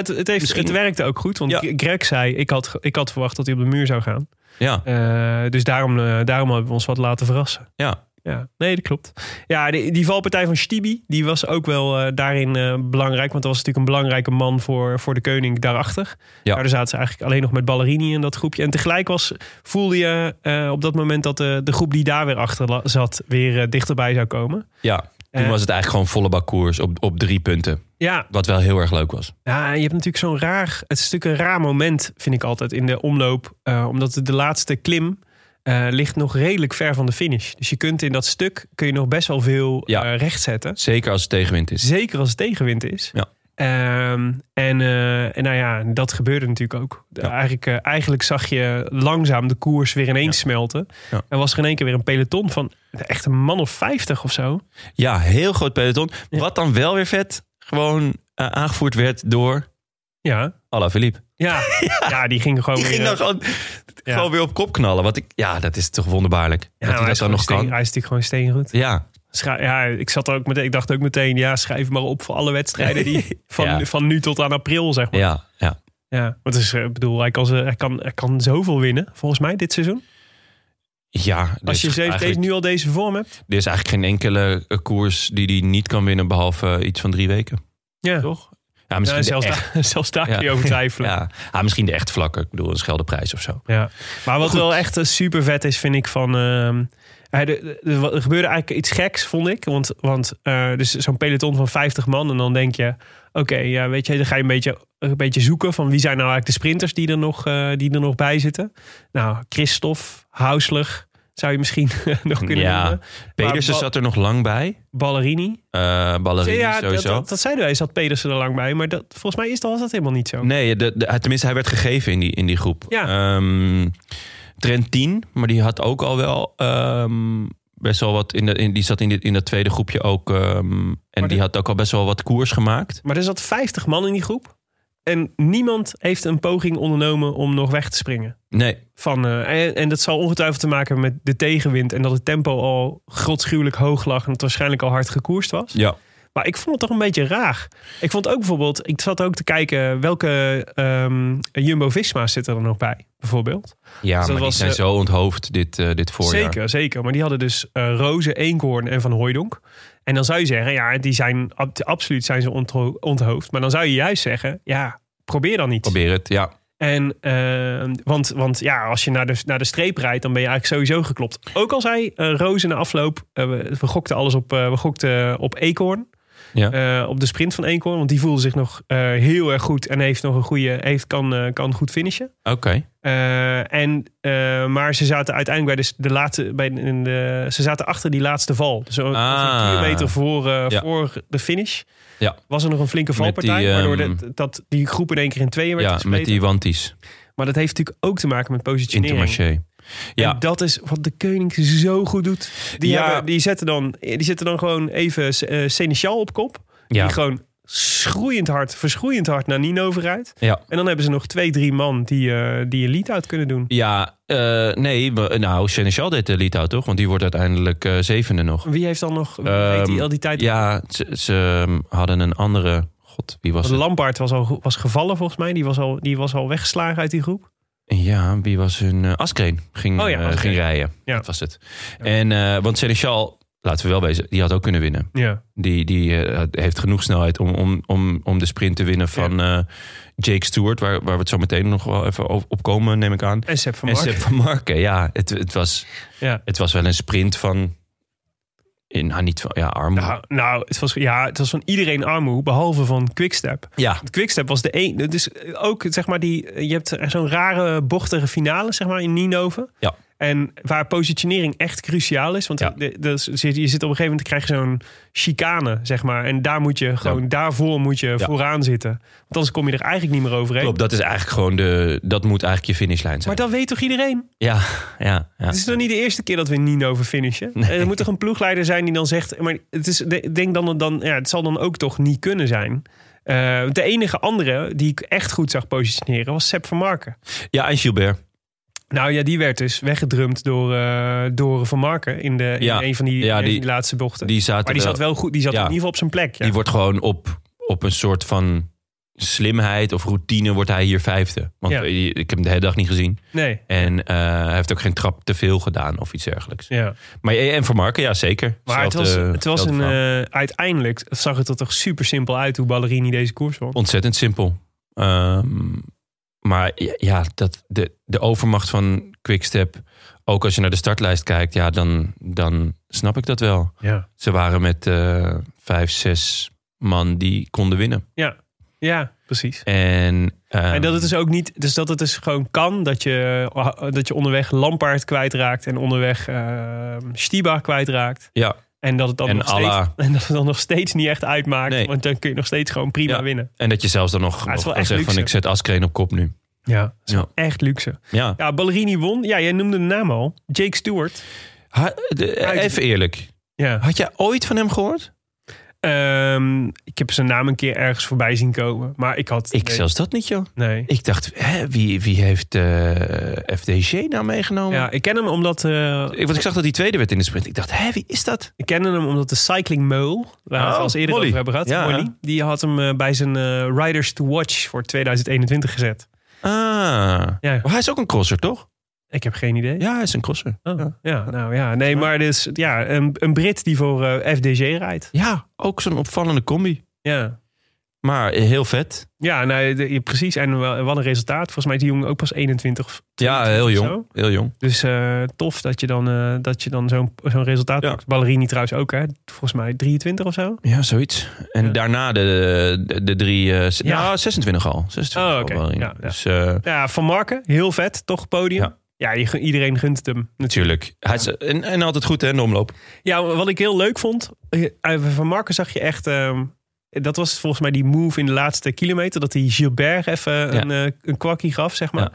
Speaker 2: het, het, heeft,
Speaker 1: Misschien-
Speaker 2: het werkte ook goed, want
Speaker 1: Ja.
Speaker 2: Greg zei: ik had, ge- ik had verwacht dat hij op de muur zou gaan.
Speaker 1: Ja,
Speaker 2: Eh, dus daarom, eh, daarom hebben we ons wat laten verrassen.
Speaker 1: ja.
Speaker 2: Ja, nee, dat klopt. Ja, die, die valpartij van Stibi, die was ook wel eh, daarin eh, belangrijk. Want dat was natuurlijk een belangrijke man voor, voor de koning daarachter.
Speaker 1: Ja.
Speaker 2: Ja. Daar zaten ze eigenlijk alleen nog met Ballerini in dat groepje. En tegelijk was, voelde je eh, op dat moment dat de, de groep die daar weer achter la- zat... weer eh, dichterbij zou komen.
Speaker 1: ja. Toen
Speaker 2: Eh.
Speaker 1: was het eigenlijk gewoon volle bak koers op, op drie punten.
Speaker 2: Ja,
Speaker 1: Wat wel heel erg leuk was.
Speaker 2: Ja, en je hebt natuurlijk zo'n raar. Het is natuurlijk een raar moment, vind ik altijd, in de omloop. eh, omdat de laatste klim eh, ligt nog redelijk ver van de finish. Dus je kunt in dat stuk kun je nog best wel veel
Speaker 1: Ja.
Speaker 2: eh, recht zetten.
Speaker 1: Zeker als het tegenwind is.
Speaker 2: Zeker als het tegenwind is.
Speaker 1: Ja.
Speaker 2: Ehm, en, eh, en nou ja, dat gebeurde natuurlijk ook. De-
Speaker 1: Ja.
Speaker 2: Eigenlijk, eh, eigenlijk zag je langzaam de koers weer ineens smelten.
Speaker 1: Ja.
Speaker 2: En was er in één keer weer een peloton van echt een man of 50 of zo.
Speaker 1: Ja, heel groot peloton. Wat dan wel weer vet, gewoon eh, aangevoerd werd door
Speaker 2: Ja,
Speaker 1: Alaphilippe. [LAUGHS]
Speaker 2: ja. Oh, ja. die ging gewoon
Speaker 1: Die
Speaker 2: weer,
Speaker 1: ging dan
Speaker 2: eh,
Speaker 1: gewoon,
Speaker 2: ja.
Speaker 1: gewoon weer op kop knallen. Wat ik, ja, dat is toch wonderbaarlijk.
Speaker 2: Ja,
Speaker 1: dat
Speaker 2: maar
Speaker 1: hij
Speaker 2: hij
Speaker 1: dat
Speaker 2: is
Speaker 1: dan nog
Speaker 2: gewoon
Speaker 1: kan.
Speaker 2: steen- Hij is natuurlijk gewoon steengoed.
Speaker 1: Ja,
Speaker 2: Schra- ja, ik, zat er ook meteen, ik dacht ook meteen, ja, schrijf maar op voor alle wedstrijden die van,
Speaker 1: [LAUGHS] Ja.
Speaker 2: van nu tot aan april, zeg maar. Ja.
Speaker 1: ja, ja.
Speaker 2: Want dus, eh, ik bedoel, hij kan, ze- hij, kan, hij kan zoveel winnen, volgens mij, dit seizoen.
Speaker 1: Ja, er
Speaker 2: Als
Speaker 1: is
Speaker 2: je ze-
Speaker 1: eigenlijk-
Speaker 2: deze, nu al deze vorm hebt.
Speaker 1: Er is eigenlijk geen enkele eh, koers die hij niet kan winnen, behalve eh, iets van drie weken.
Speaker 2: Ja,
Speaker 1: Toch? Ja,
Speaker 2: Ja,
Speaker 1: misschien de
Speaker 2: zelfs,
Speaker 1: echt-
Speaker 2: daar- [LAUGHS] zelfs daar kun je over twijfelen. Ja.
Speaker 1: [LAUGHS] Ja. Ah, misschien de echt vlakke. Ik bedoel, een Scheldeprijs of zo.
Speaker 2: Maar wat
Speaker 1: Goed.
Speaker 2: wel echt eh, super vet is, vind ik van... ehm, hij- de- de- er gebeurde eigenlijk iets geks, vond ik. Want, want eh, dus zo'n peloton van 50 man. En dan denk je, oké, ja, weet je, dan ga je een beetje, een beetje zoeken van wie zijn nou eigenlijk de sprinters die er nog, eh, die er nog bij zitten. Nou, Christophe, Hausler zou je misschien [LAUGHS] nog kunnen
Speaker 1: Ja.
Speaker 2: noemen.
Speaker 1: Pedersen
Speaker 2: Maar Ba-
Speaker 1: zat er nog lang bij.
Speaker 2: Ballerini.
Speaker 1: Eh Ballerini
Speaker 2: ja, dat,
Speaker 1: sowieso.
Speaker 2: dat, dat zeiden wij, zat Pedersen er lang bij. Maar dat, volgens mij is dat, was dat helemaal niet zo.
Speaker 1: Nee, de, de- tenminste, hij werd gegeven in die, in die groep.
Speaker 2: Ja.
Speaker 1: Ehm, Trentin, maar die had ook al wel ehm, best wel wat. In de, in, die zat in, dit in dat tweede groepje ook. ehm, en die
Speaker 2: dit-
Speaker 1: had ook al best wel wat koers gemaakt.
Speaker 2: Maar er zat 50 man in die groep. En niemand heeft een poging ondernomen om nog weg te springen.
Speaker 1: Nee,
Speaker 2: Van, eh, en, en dat zal ongetwijfeld te maken hebben met de tegenwind. En dat het tempo al grotschuwelijk hoog lag. En het waarschijnlijk al hard gekoerst was.
Speaker 1: ja.
Speaker 2: Maar ik vond het toch een beetje raar. Ik vond ook bijvoorbeeld, ik zat ook te kijken welke ehm, Jumbo-Visma's zitten er nog bij. Bijvoorbeeld.
Speaker 1: Ja, maar die
Speaker 2: was,
Speaker 1: zijn
Speaker 2: eh,
Speaker 1: zo onthoofd dit, eh, dit voorjaar.
Speaker 2: Zeker, zeker. Maar die hadden dus eh Roze, Eenkhoorn en Van Hooijdonk. En dan zou je zeggen, ja, die zijn ab- absoluut zijn ze ontho- onthoofd. Maar dan zou je juist zeggen, ja, probeer dan niet.
Speaker 1: Probeer het, ja.
Speaker 2: En, eh, want, want ja, als je naar de, naar de streep rijdt, dan ben je eigenlijk sowieso geklopt. Ook al zei eh Roos in de afloop, eh, we, we gokten alles op, eh, we gokten op Eekhoorn.
Speaker 1: Ja.
Speaker 2: Eh, op de sprint van Eekhoorn, want die voelde zich nog eh, heel erg goed en heeft nog een goede, heeft, kan, eh, kan goed finishen.
Speaker 1: Oké.
Speaker 2: Eh, en, eh, maar ze zaten uiteindelijk bij de, de laatste, bij de, in de- ze zaten achter die laatste val. Dus een,
Speaker 1: Ah.
Speaker 2: een kilometer voor, eh,
Speaker 1: Ja.
Speaker 2: voor de finish
Speaker 1: Ja.
Speaker 2: was er nog een flinke
Speaker 1: Met
Speaker 2: valpartij.
Speaker 1: die,
Speaker 2: waardoor
Speaker 1: ehm,
Speaker 2: dat- dat die groep in één keer in tweeën werd
Speaker 1: Ja,
Speaker 2: gespleten.
Speaker 1: met die wanties.
Speaker 2: Maar dat heeft natuurlijk ook te maken met positionering.
Speaker 1: Intermarché.
Speaker 2: En
Speaker 1: Ja,
Speaker 2: dat is wat de koning zo goed doet. Die,
Speaker 1: Ja.
Speaker 2: hebben, die, zetten, dan, die zetten dan gewoon even eh Seneschal op kop.
Speaker 1: ja,
Speaker 2: Die gewoon schroeiend hard, verschroeiend hard naar Nino vooruit.
Speaker 1: ja.
Speaker 2: En dan hebben ze nog twee, drie man die, eh die een lead out kunnen doen.
Speaker 1: Ja, eh, nee, we- nou, Seneschal deed de lead-out, toch? Want die wordt uiteindelijk eh, zevende nog.
Speaker 2: Wie heeft dan nog wie
Speaker 1: Ehm,
Speaker 2: heet die al die tijd?
Speaker 1: Ja, ze, ze ehm, hadden een andere. God, wie was
Speaker 2: Want
Speaker 1: het?
Speaker 2: Lampaard was al was gevallen volgens mij. Die was, al, die was al weggeslagen uit die groep.
Speaker 1: Ja, wie was hun. eh, Askreen ging,
Speaker 2: Oh ja,
Speaker 1: eh,
Speaker 2: Askreen.
Speaker 1: ging rijden.
Speaker 2: Ja.
Speaker 1: Dat was het. En, eh, want Seneschal, laten we wel wezen, die had ook kunnen winnen.
Speaker 2: Ja.
Speaker 1: Die, die eh, heeft genoeg snelheid om, om, om, om de sprint te winnen van eh, Jake Stewart. Waar, waar we het zo meteen nog wel even op op komen, neem ik aan.
Speaker 2: En Sepp van
Speaker 1: En
Speaker 2: Mark.
Speaker 1: Sepp van Marken, ja. Het, het, was,
Speaker 2: Ja.
Speaker 1: het was wel een sprint van. In, nou, niet van. Ja, arm.
Speaker 2: Nou, nou het, was, ja, het was van iedereen armoe, behalve van Quickstep.
Speaker 1: ja.
Speaker 2: Het Quickstep was de een. Dus ook zeg maar die. Je hebt zo'n rare bochtige finale, zeg maar, in Ninove.
Speaker 1: Ja.
Speaker 2: En En waar positionering echt cruciaal is. Want
Speaker 1: Ja.
Speaker 2: de- de- je zit op een gegeven moment krijg je zo'n chicane, zeg maar. En daar moet je gewoon, daarvoor moet je
Speaker 1: Ja.
Speaker 2: vooraan zitten. Want anders kom je er eigenlijk niet meer overheen.
Speaker 1: Klopt, dat is eigenlijk gewoon de. Dat moet eigenlijk je finishlijn
Speaker 2: Maar
Speaker 1: zijn.
Speaker 2: dat Dus- weet toch iedereen?
Speaker 1: Ja, ja, ja.
Speaker 2: Het is nog niet de eerste keer dat we Nino finishen. Er moet toch een ploegleider zijn die dan zegt... Maar het, is, de- ik denk dan, dan, ja, het zal dan ook toch niet kunnen zijn. Eh, de enige andere die ik echt goed zag positioneren was Sepp van Marken.
Speaker 1: Ja, en Gilbert.
Speaker 2: Nou ja, die werd dus weggedrumd door, eh, door Van Marken in, de, in
Speaker 1: Ja,
Speaker 2: een van die,
Speaker 1: ja,
Speaker 2: een van
Speaker 1: die-
Speaker 2: die laatste bochten.
Speaker 1: Die zaten
Speaker 2: maar die
Speaker 1: wel-
Speaker 2: zat wel goed, die zat
Speaker 1: Ja.
Speaker 2: in ieder geval op zijn plek. Ja.
Speaker 1: Die wordt gewoon op, op een soort van slimheid of routine wordt hij hier vijfde. Want
Speaker 2: Ja.
Speaker 1: eh, ik heb hem de hele dag niet gezien.
Speaker 2: Nee,
Speaker 1: En eh, hij heeft ook geen trap te veel gedaan of iets dergelijks.
Speaker 2: ja.
Speaker 1: Maar eh, en voor Marken, ja zeker.
Speaker 2: Maar het was,
Speaker 1: Zelfde-
Speaker 2: het was een,
Speaker 1: zelfde verhaal.
Speaker 2: eh, uiteindelijk zag het er toch super simpel uit hoe Ballerini deze koers won.
Speaker 1: Ontzettend simpel. Ehm, maar ja, ja, dat, de, de overmacht van Quickstep... ook als je naar de startlijst kijkt, ja, dan, dan snap ik dat wel.
Speaker 2: Ja.
Speaker 1: Ze waren met eh, vijf, zes man die konden winnen.
Speaker 2: ja, precies.
Speaker 1: En, ehm,
Speaker 2: En dat het dus ook niet, dus dat het dus gewoon kan dat je, eh, dat je onderweg Lampaard kwijtraakt en onderweg ehm Stiba kwijtraakt.
Speaker 1: Ja,
Speaker 2: En dat het dan
Speaker 1: En
Speaker 2: nog steeds,
Speaker 1: Allah.
Speaker 2: [LAUGHS] en dat het dan nog steeds niet echt uitmaakt,
Speaker 1: Nee.
Speaker 2: want dan kun je nog steeds gewoon prima
Speaker 1: Ja.
Speaker 2: winnen.
Speaker 1: en dat je zelfs dan nog,
Speaker 2: het is
Speaker 1: nog
Speaker 2: wel
Speaker 1: kan
Speaker 2: echt
Speaker 1: zeggen van...
Speaker 2: luxe.
Speaker 1: ik zet Askreen op kop nu.
Speaker 2: Ja,
Speaker 1: Ja.
Speaker 2: echt luxe.
Speaker 1: ja.
Speaker 2: Ja, Ballerini won. Ja, jij noemde de naam al. Jake Stewart.
Speaker 1: Ha- de-
Speaker 2: Uit-
Speaker 1: even eerlijk.
Speaker 2: Ja.
Speaker 1: Had jij ooit van hem gehoord?
Speaker 2: Ehm, ik heb zijn naam een keer ergens voorbij zien komen, maar ik had
Speaker 1: Ik
Speaker 2: nee,
Speaker 1: zelfs dat niet, joh.
Speaker 2: nee.
Speaker 1: Ik dacht, hè, wie, wie heeft eh, FDG nou meegenomen?
Speaker 2: Ja, ik ken hem omdat eh,
Speaker 1: Ik, want ik zag dat hij tweede werd in de sprint. Ik dacht, hè, wie is dat?
Speaker 2: Ik kende hem omdat de Cycling Mole, waar we het
Speaker 1: Oh,
Speaker 2: al eens eerder
Speaker 1: Molly.
Speaker 2: over hebben gehad,
Speaker 1: Ja.
Speaker 2: Molly, die had hem eh, bij zijn eh, Riders to Watch voor 2021 gezet.
Speaker 1: Ah,
Speaker 2: Ja,
Speaker 1: Maar hij is ook een crosser, toch?
Speaker 2: ik heb geen idee.
Speaker 1: Ja, hij is een crosser.
Speaker 2: Oh, ja. nou ja, nee, maar dus ja, een, een Brit die voor eh, FDG rijdt.
Speaker 1: Ja, ook zo'n opvallende combi.
Speaker 2: Ja,
Speaker 1: Maar heel vet.
Speaker 2: ja nou, de- ja, precies. En wel- wat een resultaat. Volgens mij is die jongen ook pas 21. of-
Speaker 1: Ja, heel
Speaker 2: Zo.
Speaker 1: jong. Heel jong.
Speaker 2: Dus eh, tof dat je dan, eh, dat je dan zo'n zo'n resultaat
Speaker 1: Ja.
Speaker 2: pakt. Ballerini trouwens ook, hè? Volgens mij 23 of zo.
Speaker 1: Ja, zoiets. En
Speaker 2: Ja.
Speaker 1: daarna de, de, de drie... eh, s-
Speaker 2: Ja.
Speaker 1: Nou, 26 al. 26
Speaker 2: Oh,
Speaker 1: al
Speaker 2: oké.
Speaker 1: wel in.
Speaker 2: Ja, ja.
Speaker 1: Dus eh,
Speaker 2: Ja, Van Marken, heel vet. Toch podium. Ja,
Speaker 1: Ja.
Speaker 2: je gun- iedereen gunt het hem natuurlijk.
Speaker 1: natuurlijk. Hij is, en, en altijd goed, hè, in de omloop.
Speaker 2: Ja, wat ik heel leuk vond. eh, Van Marken zag je echt. ehm, dat was volgens mij die move in de laatste kilometer. Dat hij Gilbert even een, eh, een kwakkie gaf, zeg maar.
Speaker 1: Ja.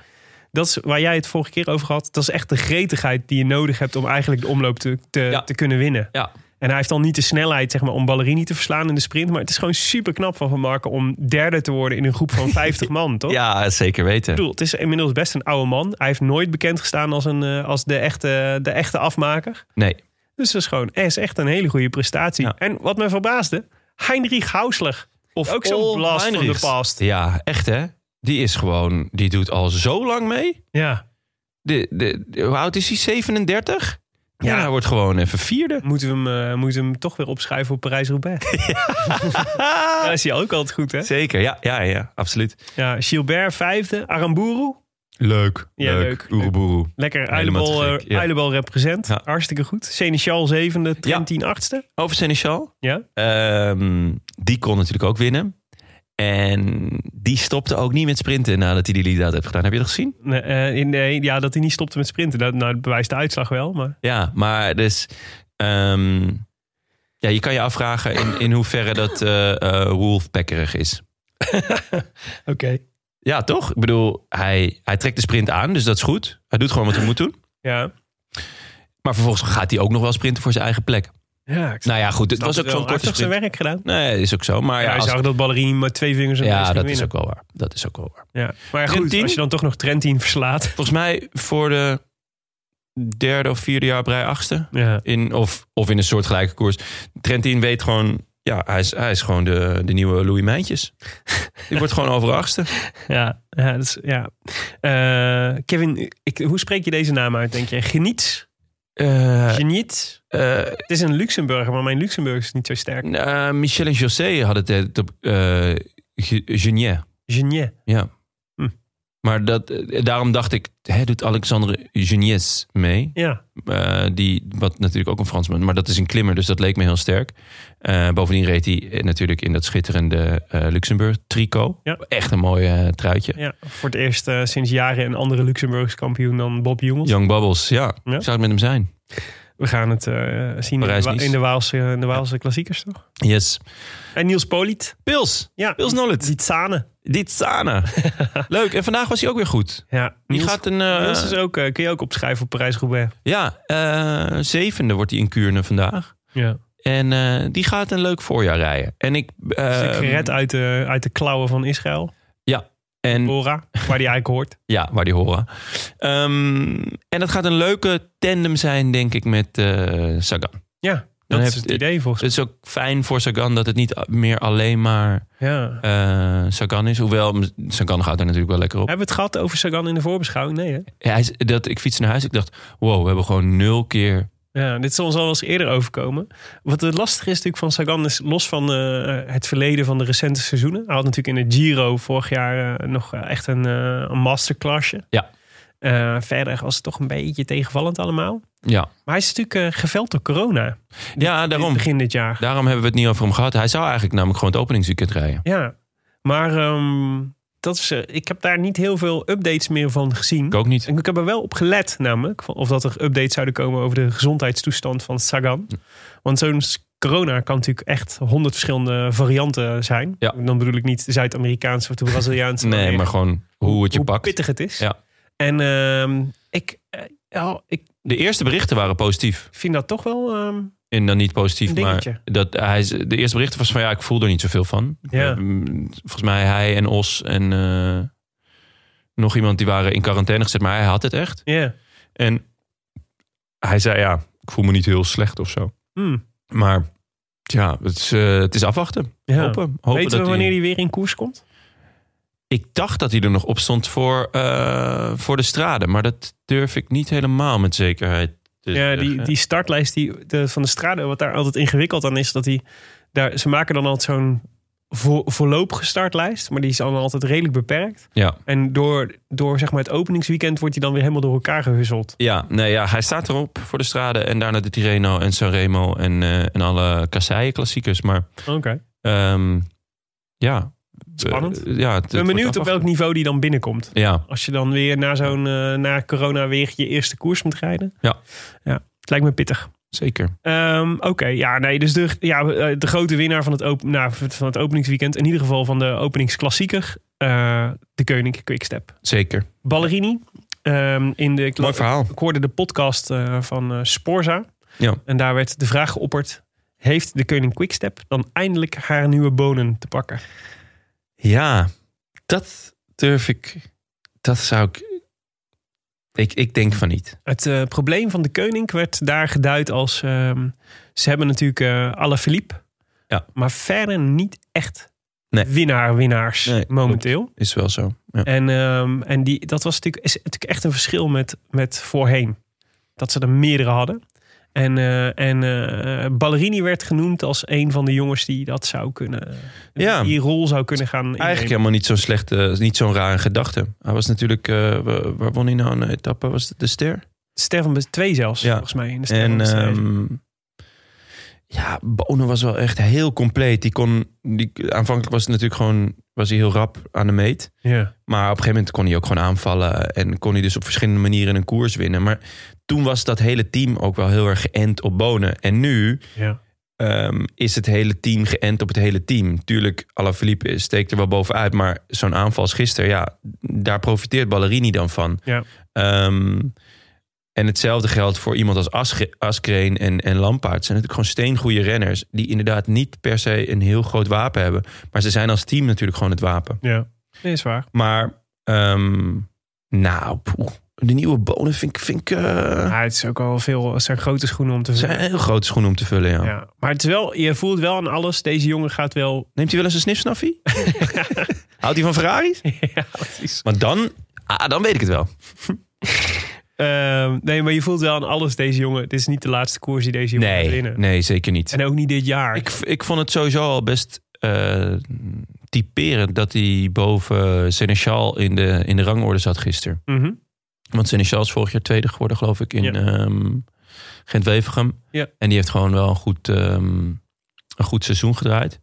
Speaker 2: Dat is waar jij het vorige keer over had. Dat is echt de gretigheid die je nodig hebt om eigenlijk de omloop te, te,
Speaker 1: Ja.
Speaker 2: te kunnen winnen.
Speaker 1: Ja.
Speaker 2: En hij heeft dan niet de snelheid zeg maar, om Ballerini te verslaan in de sprint. Maar het is gewoon super knap van Van Marken om derde te worden in een groep
Speaker 1: [LAUGHS]
Speaker 2: van 50 man, toch?
Speaker 1: Ja, zeker weten.
Speaker 2: Ik bedoel, het is inmiddels best een oude man. Hij heeft nooit bekend gestaan als, een, eh, als de, echte, de echte afmaker.
Speaker 1: Nee.
Speaker 2: Dus dat is gewoon is echt een hele goede prestatie.
Speaker 1: Ja.
Speaker 2: En wat me verbaasde, Heinrich Hausler.
Speaker 1: Of
Speaker 2: Ook zo'n
Speaker 1: Ol
Speaker 2: blast van de
Speaker 1: Heinrichs.
Speaker 2: past.
Speaker 1: Ja, echt hè. Die is gewoon, die doet al zo lang mee.
Speaker 2: Ja.
Speaker 1: De, de, de- hoe oud is hij? 37? Ja,
Speaker 2: Ja.
Speaker 1: hij wordt gewoon even [LAUGHS] vierde.
Speaker 2: Moeten we hem, eh, moeten we hem toch weer opschrijven voor [LAUGHS] Parijs-Roubaix? Daar is hij ook altijd goed, hè?
Speaker 1: Zeker, Ah, ja, ja, ja, absoluut.
Speaker 2: Ja, Gilbert vijfde, Aramburu.
Speaker 1: Leuk,
Speaker 2: Ja, leuk.
Speaker 1: leuk. Oeroeboeroe.
Speaker 2: Lekker
Speaker 1: Helemaal te
Speaker 2: Uilenbal eh,
Speaker 1: gek, ja.
Speaker 2: Uilenbal represent.
Speaker 1: Ja.
Speaker 2: Hartstikke goed. Seneschal zevende, Trentin achtste.
Speaker 1: Over Seneschal.
Speaker 2: Ja.
Speaker 1: Ehm, die kon natuurlijk ook winnen. En die stopte ook niet met sprinten nadat hij die lead-out heeft gedaan. Heb je dat gezien?
Speaker 2: Nee, eh, nee, ja, dat hij niet stopte met sprinten. Dat, nou, dat bewijst de uitslag wel, maar...
Speaker 1: Ja, maar dus... ehm, ja, je kan je afvragen in, in hoeverre dat eh eh, wolfpackerig is.
Speaker 2: Oké.
Speaker 1: Ja, toch? Ik bedoel, hij, hij trekt de sprint aan, dus dat is goed. Hij doet gewoon wat hij moet doen.
Speaker 2: Ja.
Speaker 1: Maar vervolgens gaat hij ook nog wel sprinten voor zijn eigen plek.
Speaker 2: ja ik snap
Speaker 1: Nou ja, goed, het
Speaker 2: het
Speaker 1: was ook
Speaker 2: wel.
Speaker 1: zo'n
Speaker 2: Hij heeft
Speaker 1: korte
Speaker 2: toch zijn
Speaker 1: sprint.
Speaker 2: werk gedaan?
Speaker 1: Nee, is ook zo. Maar
Speaker 2: Ja,
Speaker 1: ja,
Speaker 2: hij dus
Speaker 1: als-
Speaker 2: zag dat Ballerini met twee vingers en
Speaker 1: ja,
Speaker 2: neus
Speaker 1: dat
Speaker 2: ging
Speaker 1: is
Speaker 2: winnen.
Speaker 1: ook wel waar. Dat is ook wel waar.
Speaker 2: Ja. Maar ja, goed,
Speaker 1: Trentin?
Speaker 2: als je dan toch nog Trentin verslaat.
Speaker 1: Volgens mij voor de derde of vierde jaar op rij achtste.
Speaker 2: Ja.
Speaker 1: In, of, of in een soort gelijke koers. Trentin weet gewoon... Ja, hij is, hij is gewoon de, de nieuwe Louis Mijntjes. Die wordt gewoon over
Speaker 2: [LAUGHS]
Speaker 1: achtste.
Speaker 2: Ja, ja, dat is, ja. Eh, Kevin, ik, hoe spreek je deze naam uit, denk je? Geniet?
Speaker 1: Eh,
Speaker 2: Geniet?
Speaker 1: eh,
Speaker 2: Het is een Luxemburger, maar mijn Luxemburg is niet zo sterk.
Speaker 1: eh, Michel en José hadden het eh, op... eh, Ge- Genier.
Speaker 2: Geniet.
Speaker 1: Ja.
Speaker 2: Hm.
Speaker 1: Maar dat, eh, daarom dacht ik, hè, doet Alexandre Genies mee?
Speaker 2: Ja.
Speaker 1: Eh, die, wat natuurlijk ook een Fransman, maar dat is een klimmer, dus dat leek me heel sterk. Eh, bovendien reed hij eh, natuurlijk in dat schitterende Luxemburg-tricot.
Speaker 2: Ja.
Speaker 1: Echt een mooi eh, truitje.
Speaker 2: ja. Voor het eerst eh, sinds jaren een andere Luxemburgs kampioen dan Bob Jongels.
Speaker 1: Young Bubbles, ja.
Speaker 2: Ja.
Speaker 1: Ik zou het met hem zijn.
Speaker 2: We gaan het eh, zien in de, Wa-
Speaker 1: Parijs-Nice.
Speaker 2: in de Waalse, in de Waalse klassiekers, toch?
Speaker 1: Yes.
Speaker 2: En Niels Poliet.
Speaker 1: Pils.
Speaker 2: Ja.
Speaker 1: Pils Nollet.
Speaker 2: Zitsane.
Speaker 1: Dit Sana. [LAUGHS] Leuk. En vandaag was hij ook weer goed.
Speaker 2: Ja.
Speaker 1: Die
Speaker 2: Niels,
Speaker 1: gaat een... eh,
Speaker 2: Niels is ook, eh, kun je ook opschrijven op Parijs-Roubaix.
Speaker 1: Ja, eh, zevende wordt hij in Kuurne vandaag.
Speaker 2: Ja.
Speaker 1: En eh, die gaat een leuk voorjaar rijden. En ik... eh,
Speaker 2: Is gered uit de, uit de klauwen van Israël.
Speaker 1: en,
Speaker 2: Bora, waar die eigenlijk hoort.
Speaker 1: ja, waar die horen. Ehm, en dat gaat een leuke tandem zijn, denk ik, met eh, Sagan.
Speaker 2: Ja, dat
Speaker 1: Dan
Speaker 2: is
Speaker 1: heb-
Speaker 2: het idee volgens
Speaker 1: Het is ook fijn voor Sagan dat het niet a- meer alleen maar
Speaker 2: mij. Ja.
Speaker 1: eh, Sagan is. Hoewel, m- Sagan gaat er natuurlijk wel lekker op.
Speaker 2: Hebben we het gehad over Sagan in de voorbeschouwing? Nee, hè?
Speaker 1: Ja, hij is- dat, ik fiets naar huis, ik dacht, wow, we hebben gewoon nul keer
Speaker 2: Ja, dit is ons al eens eerder overkomen. Wat het lastige is natuurlijk van Sagan is los van eh, het verleden van de recente seizoenen. Hij had natuurlijk in de Giro vorig jaar eh, nog eh, echt een, eh, een masterclassje.
Speaker 1: Ja.
Speaker 2: Eh, verder was het toch een beetje tegenvallend allemaal.
Speaker 1: Ja,
Speaker 2: Maar hij is natuurlijk eh, geveld door corona.
Speaker 1: ja
Speaker 2: Daarom.
Speaker 1: daarom.
Speaker 2: Begin dit jaar.
Speaker 1: Daarom hebben we het niet over hem gehad. Hij zou eigenlijk namelijk gewoon het openingsweekend rijden.
Speaker 2: Ja, maar ehm, dat is, eh, ik heb daar niet heel veel updates meer van gezien.
Speaker 1: Ik ook niet.
Speaker 2: En ik heb er wel op gelet namelijk, van of dat er updates zouden komen over de gezondheidstoestand van Sagan. Want zo'n s- corona kan natuurlijk echt honderd verschillende varianten zijn.
Speaker 1: Ja.
Speaker 2: Dan bedoel ik niet de Zuid-Amerikaanse of de Braziliaanse.
Speaker 1: Nee, maar gewoon hoe het je
Speaker 2: hoe
Speaker 1: pakt.
Speaker 2: pittig het is.
Speaker 1: Ja.
Speaker 2: En ehm, ik, eh, ja, ik
Speaker 1: De eerste berichten waren positief.
Speaker 2: vind dat toch wel... ehm,
Speaker 1: En dan niet positief,
Speaker 2: Een
Speaker 1: maar
Speaker 2: dingetje.
Speaker 1: dat hij, de eerste berichten was van ja, ik voel er niet zoveel van.
Speaker 2: Ja.
Speaker 1: Eh, Volgens mij hij en Os en eh, nog iemand die waren in quarantaine gezet, maar hij had het echt.
Speaker 2: Ja.
Speaker 1: En hij zei ja, ik voel me niet heel slecht of zo.
Speaker 2: Hmm.
Speaker 1: Maar ja, het is, eh, het is afwachten.
Speaker 2: Ja.
Speaker 1: Hopen. hopen
Speaker 2: Weten
Speaker 1: dat
Speaker 2: we
Speaker 1: hij-
Speaker 2: wanneer hij weer in koers komt?
Speaker 1: Ik dacht dat hij er nog op stond voor, eh, voor de straden. Maar dat durf ik niet helemaal met zekerheid te
Speaker 2: Ja, die,
Speaker 1: zeggen.
Speaker 2: die startlijst die, de, van de Strade, wat daar altijd ingewikkeld aan is, dat die, daar, ze maken dan altijd zo'n vo- voorlopige startlijst, maar die is dan altijd redelijk beperkt.
Speaker 1: Ja.
Speaker 2: En door, door zeg maar het openingsweekend wordt die dan weer helemaal door elkaar gehuzzeld.
Speaker 1: Ja, nee, ja, hij staat erop voor de straden. En daarna de Tirreno en Sanremo en, eh, en alle kasseien klassiekers. Maar
Speaker 2: Oké.
Speaker 1: ehm, ja.
Speaker 2: Spannend.
Speaker 1: Eh, ja, het- het
Speaker 2: Ik ben
Speaker 1: wordt
Speaker 2: benieuwd op
Speaker 1: afwachten.
Speaker 2: welk niveau die dan binnenkomt.
Speaker 1: Ja,
Speaker 2: Als je dan weer na, zo'n, eh, na corona weer je eerste koers moet rijden.
Speaker 1: Ja.
Speaker 2: ja het lijkt me pittig.
Speaker 1: zeker.
Speaker 2: Ehm, Oké, ja, nee, dus de, ja, eh, de grote winnaar van het, op, nou, van het openingsweekend, in ieder geval van de openingsklassieker, eh, de Koning Quickstep.
Speaker 1: Zeker.
Speaker 2: Ballerini. Ehm, in de, ik,
Speaker 1: Mooi verhaal.
Speaker 2: ik hoorde de podcast eh, van eh, Sporza.
Speaker 1: Ja.
Speaker 2: En daar werd de vraag geopperd: Heeft de Koning Quickstep dan eindelijk haar nieuwe bonen te pakken?
Speaker 1: Ja, dat durf ik. Dat zou ik. Ik, ik denk van niet.
Speaker 2: Het eh, probleem van de Koning werd daar geduid als: ehm, Ze hebben natuurlijk eh alle Philippe,
Speaker 1: Ja.
Speaker 2: maar verder niet echt
Speaker 1: Nee.
Speaker 2: winnaar-winnaars
Speaker 1: Nee,
Speaker 2: momenteel.
Speaker 1: Is wel zo. Ja.
Speaker 2: En, ehm, en die, dat was natuurlijk, is natuurlijk echt een verschil met, met voorheen. Dat ze er meerdere hadden. En, eh, en eh, Ballerini werd genoemd als een van de jongens die dat zou kunnen.
Speaker 1: Ja.
Speaker 2: Die rol zou kunnen gaan. Innemen.
Speaker 1: Eigenlijk helemaal niet zo'n slechte, niet zo'n rare gedachte. Hij was natuurlijk, eh, wa- waar won hij nou een etappe? Was het de Ster?
Speaker 2: Ster van de twee zelfs,
Speaker 1: Ja.
Speaker 2: volgens mij. In de Ster van
Speaker 1: en
Speaker 2: de Twee.
Speaker 1: ehm, ja, Bonen was wel echt heel compleet. Die kon, die, aanvankelijk was het natuurlijk gewoon, was hij heel rap aan de meet.
Speaker 2: ja.
Speaker 1: Maar op een gegeven moment kon hij ook gewoon aanvallen. En kon hij dus op verschillende manieren een koers winnen. Maar toen was dat hele team ook wel heel erg geënt op Bonen. En nu
Speaker 2: Ja.
Speaker 1: ehm, is het hele team geënt op het hele team. Tuurlijk, Alaphilippe steekt er wel bovenuit. Maar zo'n aanval als gisteren, ja, daar profiteert Ballerini dan van.
Speaker 2: Ja.
Speaker 1: Ehm, en hetzelfde geldt voor iemand als Asge- Askreen en, en Lampaard. zijn natuurlijk gewoon steengoede renners. Die inderdaad niet per se een heel groot wapen hebben. Maar ze zijn als team natuurlijk gewoon het wapen.
Speaker 2: ja. Nee, is waar.
Speaker 1: Maar, ehm, nou, poeh, de nieuwe bonen vind ik... Vind ik eh,
Speaker 2: Ja, het is ook al veel. Het zijn grote schoenen om te vullen.
Speaker 1: zijn heel grote schoenen om te vullen, ja.
Speaker 2: Ja. Maar het is wel, je voelt wel aan alles. Deze jongen gaat wel.
Speaker 1: Neemt hij wel eens een
Speaker 2: [LAUGHS]
Speaker 1: snifsnaffie? Houdt hij van Ferraris?
Speaker 2: ja, precies.
Speaker 1: Maar dan, ah, dan weet ik het wel.
Speaker 2: Ehm, nee, maar je voelt wel aan alles. Deze jongen. Dit is niet de laatste koers die deze jongen gaat
Speaker 1: Nee,
Speaker 2: winnen.
Speaker 1: nee zeker niet.
Speaker 2: En ook niet dit jaar.
Speaker 1: Ik, ik vond het sowieso al best eh, typerend dat hij boven Seneschal in de, in de rangorde zat gisteren.
Speaker 2: Mhm.
Speaker 1: Want Seneschal is vorig jaar tweede geworden, geloof ik, in
Speaker 2: Ja.
Speaker 1: ehm, Gent-Wevergem.
Speaker 2: Ja.
Speaker 1: En die heeft gewoon wel een goed, ehm, een goed seizoen gedraaid.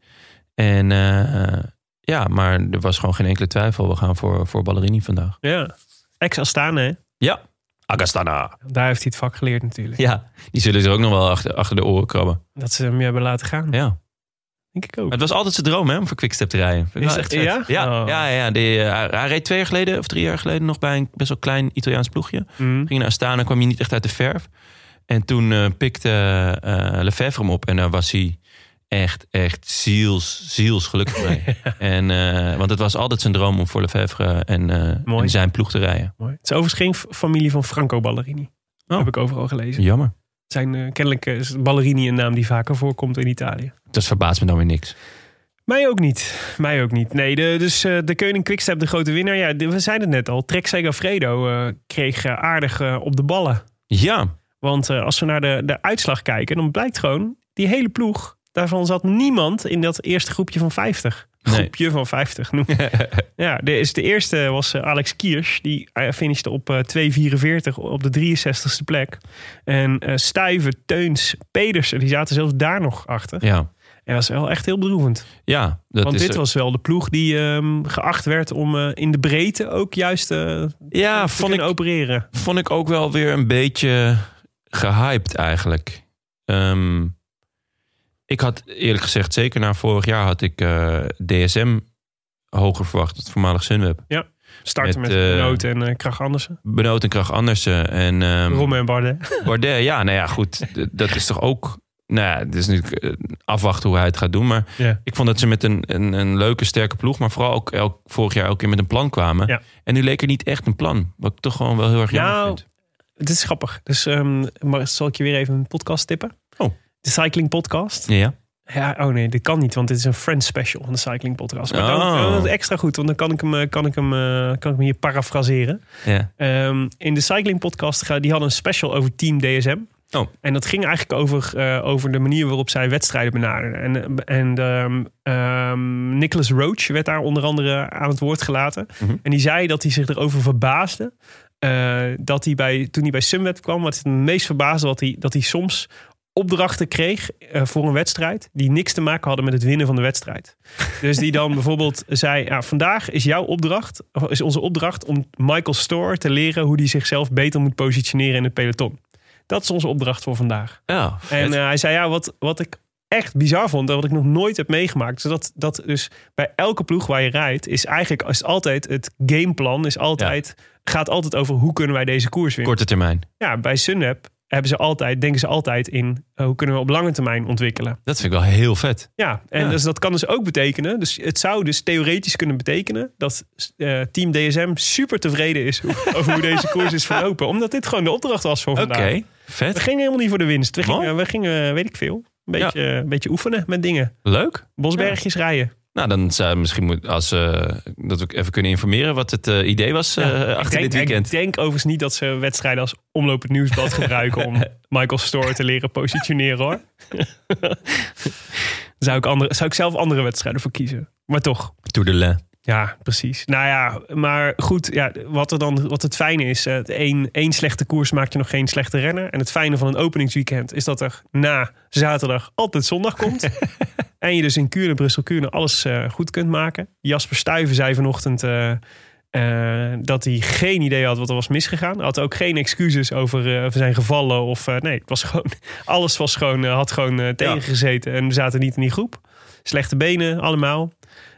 Speaker 1: En eh, ja, maar er was gewoon geen enkele twijfel. We gaan voor, voor Ballerini vandaag.
Speaker 2: Ja. Ex-Astana, hè?
Speaker 1: Ja, Agastana.
Speaker 2: Daar heeft hij het vak geleerd natuurlijk.
Speaker 1: Ja, die zullen ze ook nog wel achter, achter de oren krabben.
Speaker 2: Dat ze hem hebben laten gaan.
Speaker 1: Ja.
Speaker 2: Denk ik ook.
Speaker 1: Maar het was altijd zijn droom hè, om voor Quickstep te rijden. Vind ik
Speaker 2: Is
Speaker 1: wel
Speaker 2: het-
Speaker 1: vet.
Speaker 2: ja?
Speaker 1: Ja,
Speaker 2: Oh.
Speaker 1: ja, ja. Die, eh, hij, hij reed twee jaar geleden of drie jaar geleden nog bij een best wel klein Italiaans ploegje.
Speaker 2: Mhm.
Speaker 1: Ging naar Astana, kwam hij niet echt uit de verf. En toen eh, pikte eh Lefebvre hem op en daar was hij echt, echt ziels, ziels gelukkig [LAUGHS] mee. en, eh, want het was altijd zijn droom om voor Lefebvre en, eh,
Speaker 2: Mooi.
Speaker 1: en zijn ploeg te rijden.
Speaker 2: Mooi. Het is overigens geen f- familie van Franco Ballerini.
Speaker 1: Oh.
Speaker 2: Heb ik overal gelezen.
Speaker 1: Jammer.
Speaker 2: Het Zijn, eh, kennelijk eh, is Ballerini een naam die vaker voorkomt in Italië.
Speaker 1: Dat verbaast me dan weer niks.
Speaker 2: Mij ook niet. Mij ook niet. Nee, de, dus eh, de Koning Quickstep, de grote winnaar. Ja, de- we zeiden het net al. Trek Segafredo eh, kreeg eh, aardig eh, op de ballen.
Speaker 1: Ja,
Speaker 2: Want eh, als we naar de, de uitslag kijken, dan blijkt gewoon... die hele ploeg, daarvan zat niemand in dat eerste groepje van 50.
Speaker 1: Nee.
Speaker 2: Groepje van 50. Noem.
Speaker 1: [LAUGHS]
Speaker 2: ja, de, is de eerste was eh, Alex Kiers. Die eh, finishte op eh, 2,44 op de 63ste plek. En eh Stuyven, Teuns, Pedersen, die zaten zelfs daar nog achter.
Speaker 1: ja.
Speaker 2: En dat is wel echt heel bedroevend.
Speaker 1: ja dat
Speaker 2: Want
Speaker 1: is
Speaker 2: dit was wel de ploeg die ehm, geacht werd om eh, in de breedte ook juist eh,
Speaker 1: ja,
Speaker 2: te
Speaker 1: Ah, vond ik
Speaker 2: kunnen opereren.
Speaker 1: vond ik ook wel weer een beetje gehyped eigenlijk. Ehm, ik had eerlijk gezegd, zeker na vorig jaar had ik eh, DSM hoger verwacht. Het voormalig Sunweb.
Speaker 2: Starten met,
Speaker 1: Met,
Speaker 2: met
Speaker 1: eh,
Speaker 2: Benoot en eh Krach Andersen.
Speaker 1: Benoot en Krach Andersen en ehm,
Speaker 2: Romme en Bardet.
Speaker 1: Bardet. Ja, nou ja, goed. d- Dat is toch ook... Nou ja, het is nu eh, afwachten hoe hij het gaat doen. Maar
Speaker 2: Ja.
Speaker 1: ik vond dat ze met een, een, een leuke, sterke ploeg... maar vooral ook elk, vorig jaar elke keer met een plan kwamen.
Speaker 2: Ja.
Speaker 1: En nu leek er niet echt een plan. Wat ik toch gewoon wel heel erg jammer
Speaker 2: Nou,
Speaker 1: vind.
Speaker 2: Het is grappig. Dus ehm, maar zal ik je weer even een podcast tippen?
Speaker 1: Oh.
Speaker 2: De Cycling Podcast.
Speaker 1: Ja,
Speaker 2: Ja, oh nee, dit kan niet, want dit is een Friends special van de Cycling Podcast. Maar dan,
Speaker 1: Oh.
Speaker 2: dan is het extra goed, want dan kan ik hem, eh, kan ik hem, eh, kan ik hem hier parafraseren.
Speaker 1: ja.
Speaker 2: Ehm, in de Cycling Podcast ga- die hadden een special over Team DSM.
Speaker 1: Oh.
Speaker 2: En dat ging eigenlijk over, eh, over de manier waarop zij wedstrijden benaderden. En, eh, en ehm, ehm, Nicholas Roach werd daar onder andere aan het woord gelaten.
Speaker 1: Mhm.
Speaker 2: En die zei dat hij zich erover verbaasde. eh, dat hij bij, toen hij bij Sunweb kwam, wat het meest verbaasde wat hij, dat hij soms opdrachten kreeg eh, voor een wedstrijd die niks te maken hadden met het winnen van de wedstrijd. Dus die dan bijvoorbeeld zei: ja, vandaag is jouw opdracht, of is onze opdracht om Michael Store te leren hoe hij zichzelf beter moet positioneren in het peloton. Dat is onze opdracht voor vandaag.
Speaker 1: ja
Speaker 2: En
Speaker 1: vet.
Speaker 2: eh, hij zei: ja, wat, wat ik echt bizar vond en wat ik nog nooit heb meegemaakt, is dat, dat dus bij elke ploeg waar je rijdt is eigenlijk is altijd het gameplan is altijd gaat altijd over hoe kunnen wij deze koers winnen.
Speaker 1: Korte termijn.
Speaker 2: Ja, bij Sunweb hebben ze altijd, denken ze altijd in eh, hoe kunnen we op lange termijn ontwikkelen.
Speaker 1: Dat vind ik wel heel vet.
Speaker 2: Ja, en
Speaker 1: Ja.
Speaker 2: Dus dat kan dus ook betekenen. Dus het zou dus theoretisch kunnen betekenen dat eh, Team DSM super tevreden is [LAUGHS] over hoe deze koers is verlopen. Omdat dit gewoon de opdracht was voor
Speaker 1: Oké,
Speaker 2: vandaag. We
Speaker 1: vet.
Speaker 2: gingen helemaal niet voor de winst. We
Speaker 1: Mooi.
Speaker 2: gingen, we gingen eh, weet ik veel, een beetje, een beetje oefenen met dingen.
Speaker 1: Leuk.
Speaker 2: Bosbergjes rijden.
Speaker 1: Nou, dan zou misschien moet, als, eh, dat we even kunnen informeren wat het eh, idee was eh,
Speaker 2: Ja,
Speaker 1: achter
Speaker 2: ik denk,
Speaker 1: dit weekend.
Speaker 2: Ik denk overigens niet dat ze wedstrijden als omlopend nieuwsblad
Speaker 1: [LAUGHS]
Speaker 2: gebruiken om Michael Store te leren positioneren hoor. zou, ik andere, zou ik zelf andere wedstrijden voor kiezen. Maar toch,
Speaker 1: Toedelen.
Speaker 2: ja, precies. Nou ja, maar goed, ja, wat, er dan, wat het fijne is, eh, het één, één slechte koers maakt je nog geen slechte renner. En het fijne van een openingsweekend is dat er na zaterdag altijd zondag
Speaker 1: [LAUGHS]
Speaker 2: komt. en je dus in Kuurne, Brussel, Kuurne alles eh, goed kunt maken. Jasper Stuyven zei vanochtend eh, eh, dat hij geen idee had wat er was misgegaan. Hij had ook geen excuses over, eh, over zijn gevallen. Of, eh, nee, het was gewoon, [LAUGHS] alles was gewoon, eh, had gewoon eh, tegengezeten en we zaten niet in die groep. Slechte benen, allemaal.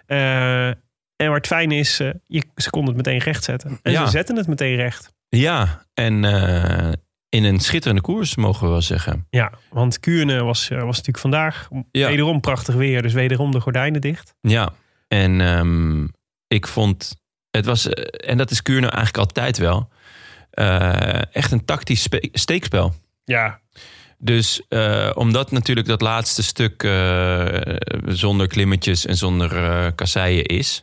Speaker 2: Eh, en waar het fijn is, eh, je, ze konden het meteen recht zetten. En
Speaker 1: Ja.
Speaker 2: ze zetten het meteen recht.
Speaker 1: Ja, en eh, in een schitterende koers mogen we wel zeggen.
Speaker 2: Ja, want Kuurne was, eh, was natuurlijk vandaag
Speaker 1: Ja.
Speaker 2: wederom prachtig weer. Dus wederom de gordijnen dicht.
Speaker 1: Ja, en ehm, ik vond, het was, eh, en dat is Kuurne eigenlijk altijd wel, eh, echt een tactisch spe- steekspel.
Speaker 2: Ja,
Speaker 1: Dus eh, omdat natuurlijk dat laatste stuk eh, zonder klimmetjes en zonder eh, kasseien is.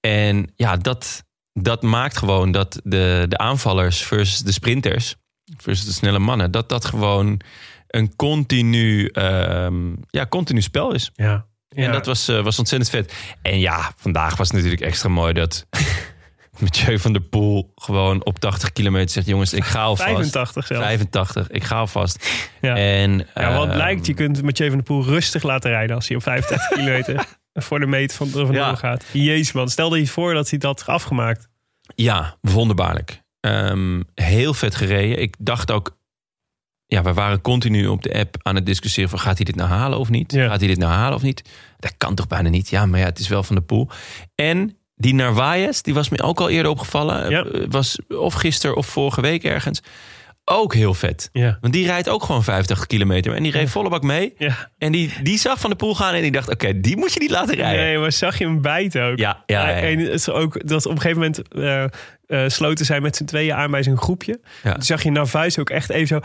Speaker 1: En ja, dat, dat maakt gewoon dat de, de aanvallers versus de sprinters, versus de snelle mannen, dat dat gewoon een continu, ehm, ja, continu spel is.
Speaker 2: ja. Ja.
Speaker 1: En dat was, eh, was ontzettend vet. En ja, vandaag was het natuurlijk extra mooi dat [LAUGHS] Mathieu van der Poel gewoon op 80 kilometer zegt: jongens, ik ga alvast.
Speaker 2: 85 zelfs.
Speaker 1: 85, ik ga alvast.
Speaker 2: [LAUGHS] Ja.
Speaker 1: En,
Speaker 2: Ja, want
Speaker 1: ehm,
Speaker 2: het lijkt, je kunt Mathieu van der Poel rustig laten rijden als hij op
Speaker 1: [LAUGHS]
Speaker 2: 35 kilometer voor de meet van er vandoor
Speaker 1: Ja.
Speaker 2: gaat. Jezus man, stel je voor dat hij dat had afgemaakt.
Speaker 1: Ja, wonderbaarlijk. Ehm, heel vet gereden. Ik dacht ook, ja, we waren continu op de app aan het discussiëren van gaat hij dit nou halen of niet?
Speaker 2: Ja.
Speaker 1: Gaat hij dit nou halen of niet? Dat kan toch bijna niet? Ja, maar ja, het is wel van de pool. En die Narvaez, die was me ook al eerder opgevallen.
Speaker 2: Ja.
Speaker 1: Eh, Was of gisteren of vorige week ergens. Ook heel vet.
Speaker 2: Ja.
Speaker 1: Want die rijdt ook gewoon 50 kilometer. En die reed volle bak mee.
Speaker 2: Ja.
Speaker 1: En die, die zag van de pool gaan en die dacht... Oké, die moet je niet laten rijden.
Speaker 2: Nee, maar zag je hem bijten ook?
Speaker 1: Ja, ja, ja.
Speaker 2: En het is ook dat op een gegeven moment eh, eh, sloten zij met z'n tweeën aan bij zijn groepje.
Speaker 1: Ja.
Speaker 2: Toen zag je Narvaez ook echt even zo,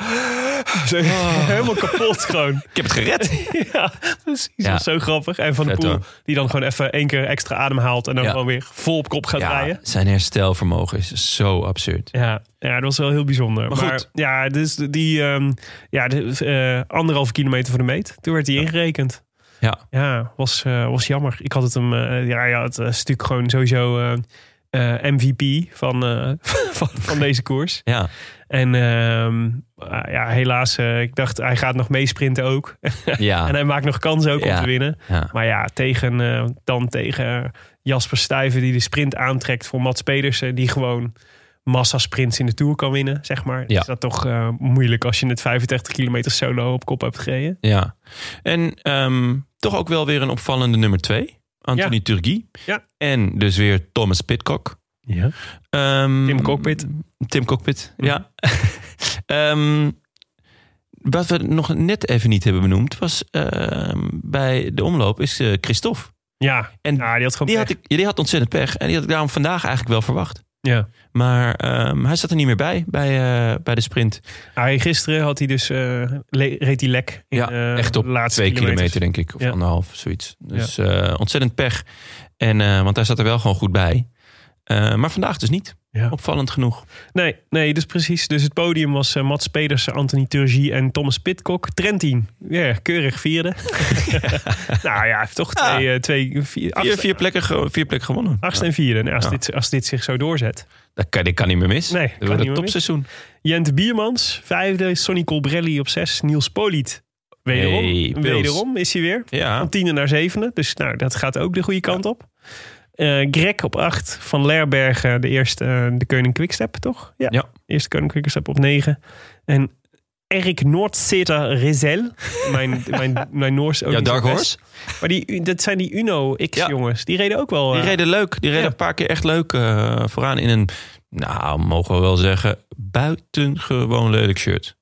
Speaker 2: [GASPS] zo [LAUGHS] helemaal kapot gewoon.
Speaker 1: Ik heb het gered.
Speaker 2: ja, precies.
Speaker 1: [LAUGHS] Ja.
Speaker 2: Dat is zo grappig. En Van de
Speaker 1: Vet,
Speaker 2: Poel
Speaker 1: hoor.
Speaker 2: die dan gewoon even één keer extra adem haalt en dan
Speaker 1: Ja.
Speaker 2: gewoon weer vol op kop gaat rijden.
Speaker 1: zijn herstelvermogen is zo absurd.
Speaker 2: Ja, ja, dat was wel heel bijzonder. Maar,
Speaker 1: Maar goed.
Speaker 2: ja, dus die ehm, ja, de, eh, anderhalve kilometer voor de meet, toen werd hij ingerekend.
Speaker 1: Ja.
Speaker 2: Ja, was, eh, was jammer. Ik had het hem, eh, ja, ja, het is natuurlijk gewoon sowieso eh, eh, MVP van, eh, [LAUGHS] van, van deze koers.
Speaker 1: Ja.
Speaker 2: En ehm, ah, ja, helaas, eh, ik dacht hij gaat nog meesprinten ook.
Speaker 1: Ja.
Speaker 2: En hij maakt nog kans ook om
Speaker 1: Ah. Ja.
Speaker 2: te winnen.
Speaker 1: ja.
Speaker 2: Maar ja, tegen, eh, dan tegen Jasper Stuyven die de sprint aantrekt voor Mats Pedersen. Die gewoon massasprints in de Tour kan winnen, zeg maar.
Speaker 1: Ja.
Speaker 2: Is dat toch eh, moeilijk als je het 35 kilometer solo op kop hebt gereden?
Speaker 1: ja. En ehm, toch ook wel weer een opvallende nummer twee. Anthony
Speaker 2: Ja.
Speaker 1: Turgis.
Speaker 2: Ja.
Speaker 1: En dus weer Thomas Pitcock.
Speaker 2: Ja.
Speaker 1: Ehm,
Speaker 2: Tim Cockpit.
Speaker 1: Tim Cockpit, ja. [LAUGHS] Ehm, wat we nog net even niet hebben benoemd... was ehm, bij de omloop is eh, Christophe.
Speaker 2: Ja,
Speaker 1: En
Speaker 2: ja, die had gewoon
Speaker 1: Die had,
Speaker 2: pech.
Speaker 1: ik, ja, die had ontzettend pech. En die had ik daarom vandaag eigenlijk wel verwacht.
Speaker 2: Ja.
Speaker 1: Maar ehm, hij zat er niet meer bij, bij, eh, bij de sprint.
Speaker 2: Hij- gisteren had hij dus, eh, le- reed hij lek. In,
Speaker 1: Ja,
Speaker 2: eh,
Speaker 1: echt op
Speaker 2: de laatste
Speaker 1: Twee
Speaker 2: kilometers.
Speaker 1: kilometer, denk ik. Of
Speaker 2: Ja.
Speaker 1: anderhalf, zoiets. Dus eh, ontzettend pech. En, eh, want hij zat er wel gewoon goed bij. Eh, maar vandaag dus niet.
Speaker 2: Ja.
Speaker 1: Opvallend genoeg.
Speaker 2: Nee, nee, dus precies. Dus het podium was eh, Mats Pedersen, Anthony Turgie en Thomas Pitcock. Trentin, ja, keurig
Speaker 1: [LAUGHS]
Speaker 2: vierde. [LAUGHS] nou ja, hij heeft toch twee, eh, twee vier,
Speaker 1: Vier,
Speaker 2: acht-
Speaker 1: vier, plekken, ge- vier plekken gewonnen.
Speaker 2: Achtste en vierde. Nou, als,
Speaker 1: Ja.
Speaker 2: dit, als dit zich zo doorzet.
Speaker 1: Dat kan, dit kan niet meer mis.
Speaker 2: Nee,
Speaker 1: Dat
Speaker 2: kan
Speaker 1: wordt
Speaker 2: niet
Speaker 1: een
Speaker 2: meer mis.
Speaker 1: topseizoen.
Speaker 2: Jent Biermans, vijfde. Sonny Colbrelli op zes. Niels Poliet. Wederom,
Speaker 1: Hey, Pils.
Speaker 2: wederom is hij weer.
Speaker 1: Ja.
Speaker 2: Van tiende naar zevende. Dus nou, dat gaat ook de goede kant op. Eh, Greg op acht. Van Lerbergen, de eerste, eh, de koning Quickstep, toch?
Speaker 1: Ja.
Speaker 2: Eerste koning Quickstep op negen. En Erik Noordzeter
Speaker 1: [LAUGHS]
Speaker 2: Rezel. Mijn, mijn, mijn Noors ook
Speaker 1: Ja,
Speaker 2: niet zo
Speaker 1: Dark
Speaker 2: best.
Speaker 1: Horse.
Speaker 2: Maar die, dat zijn die
Speaker 1: Ja.
Speaker 2: Uno-X-jongens. Die reden ook wel...
Speaker 1: Die
Speaker 2: eh,
Speaker 1: reden leuk. Die reden
Speaker 2: ja.
Speaker 1: een paar keer echt leuk eh, vooraan in een... Nou, mogen we wel zeggen... buitengewoon lelijk shirt.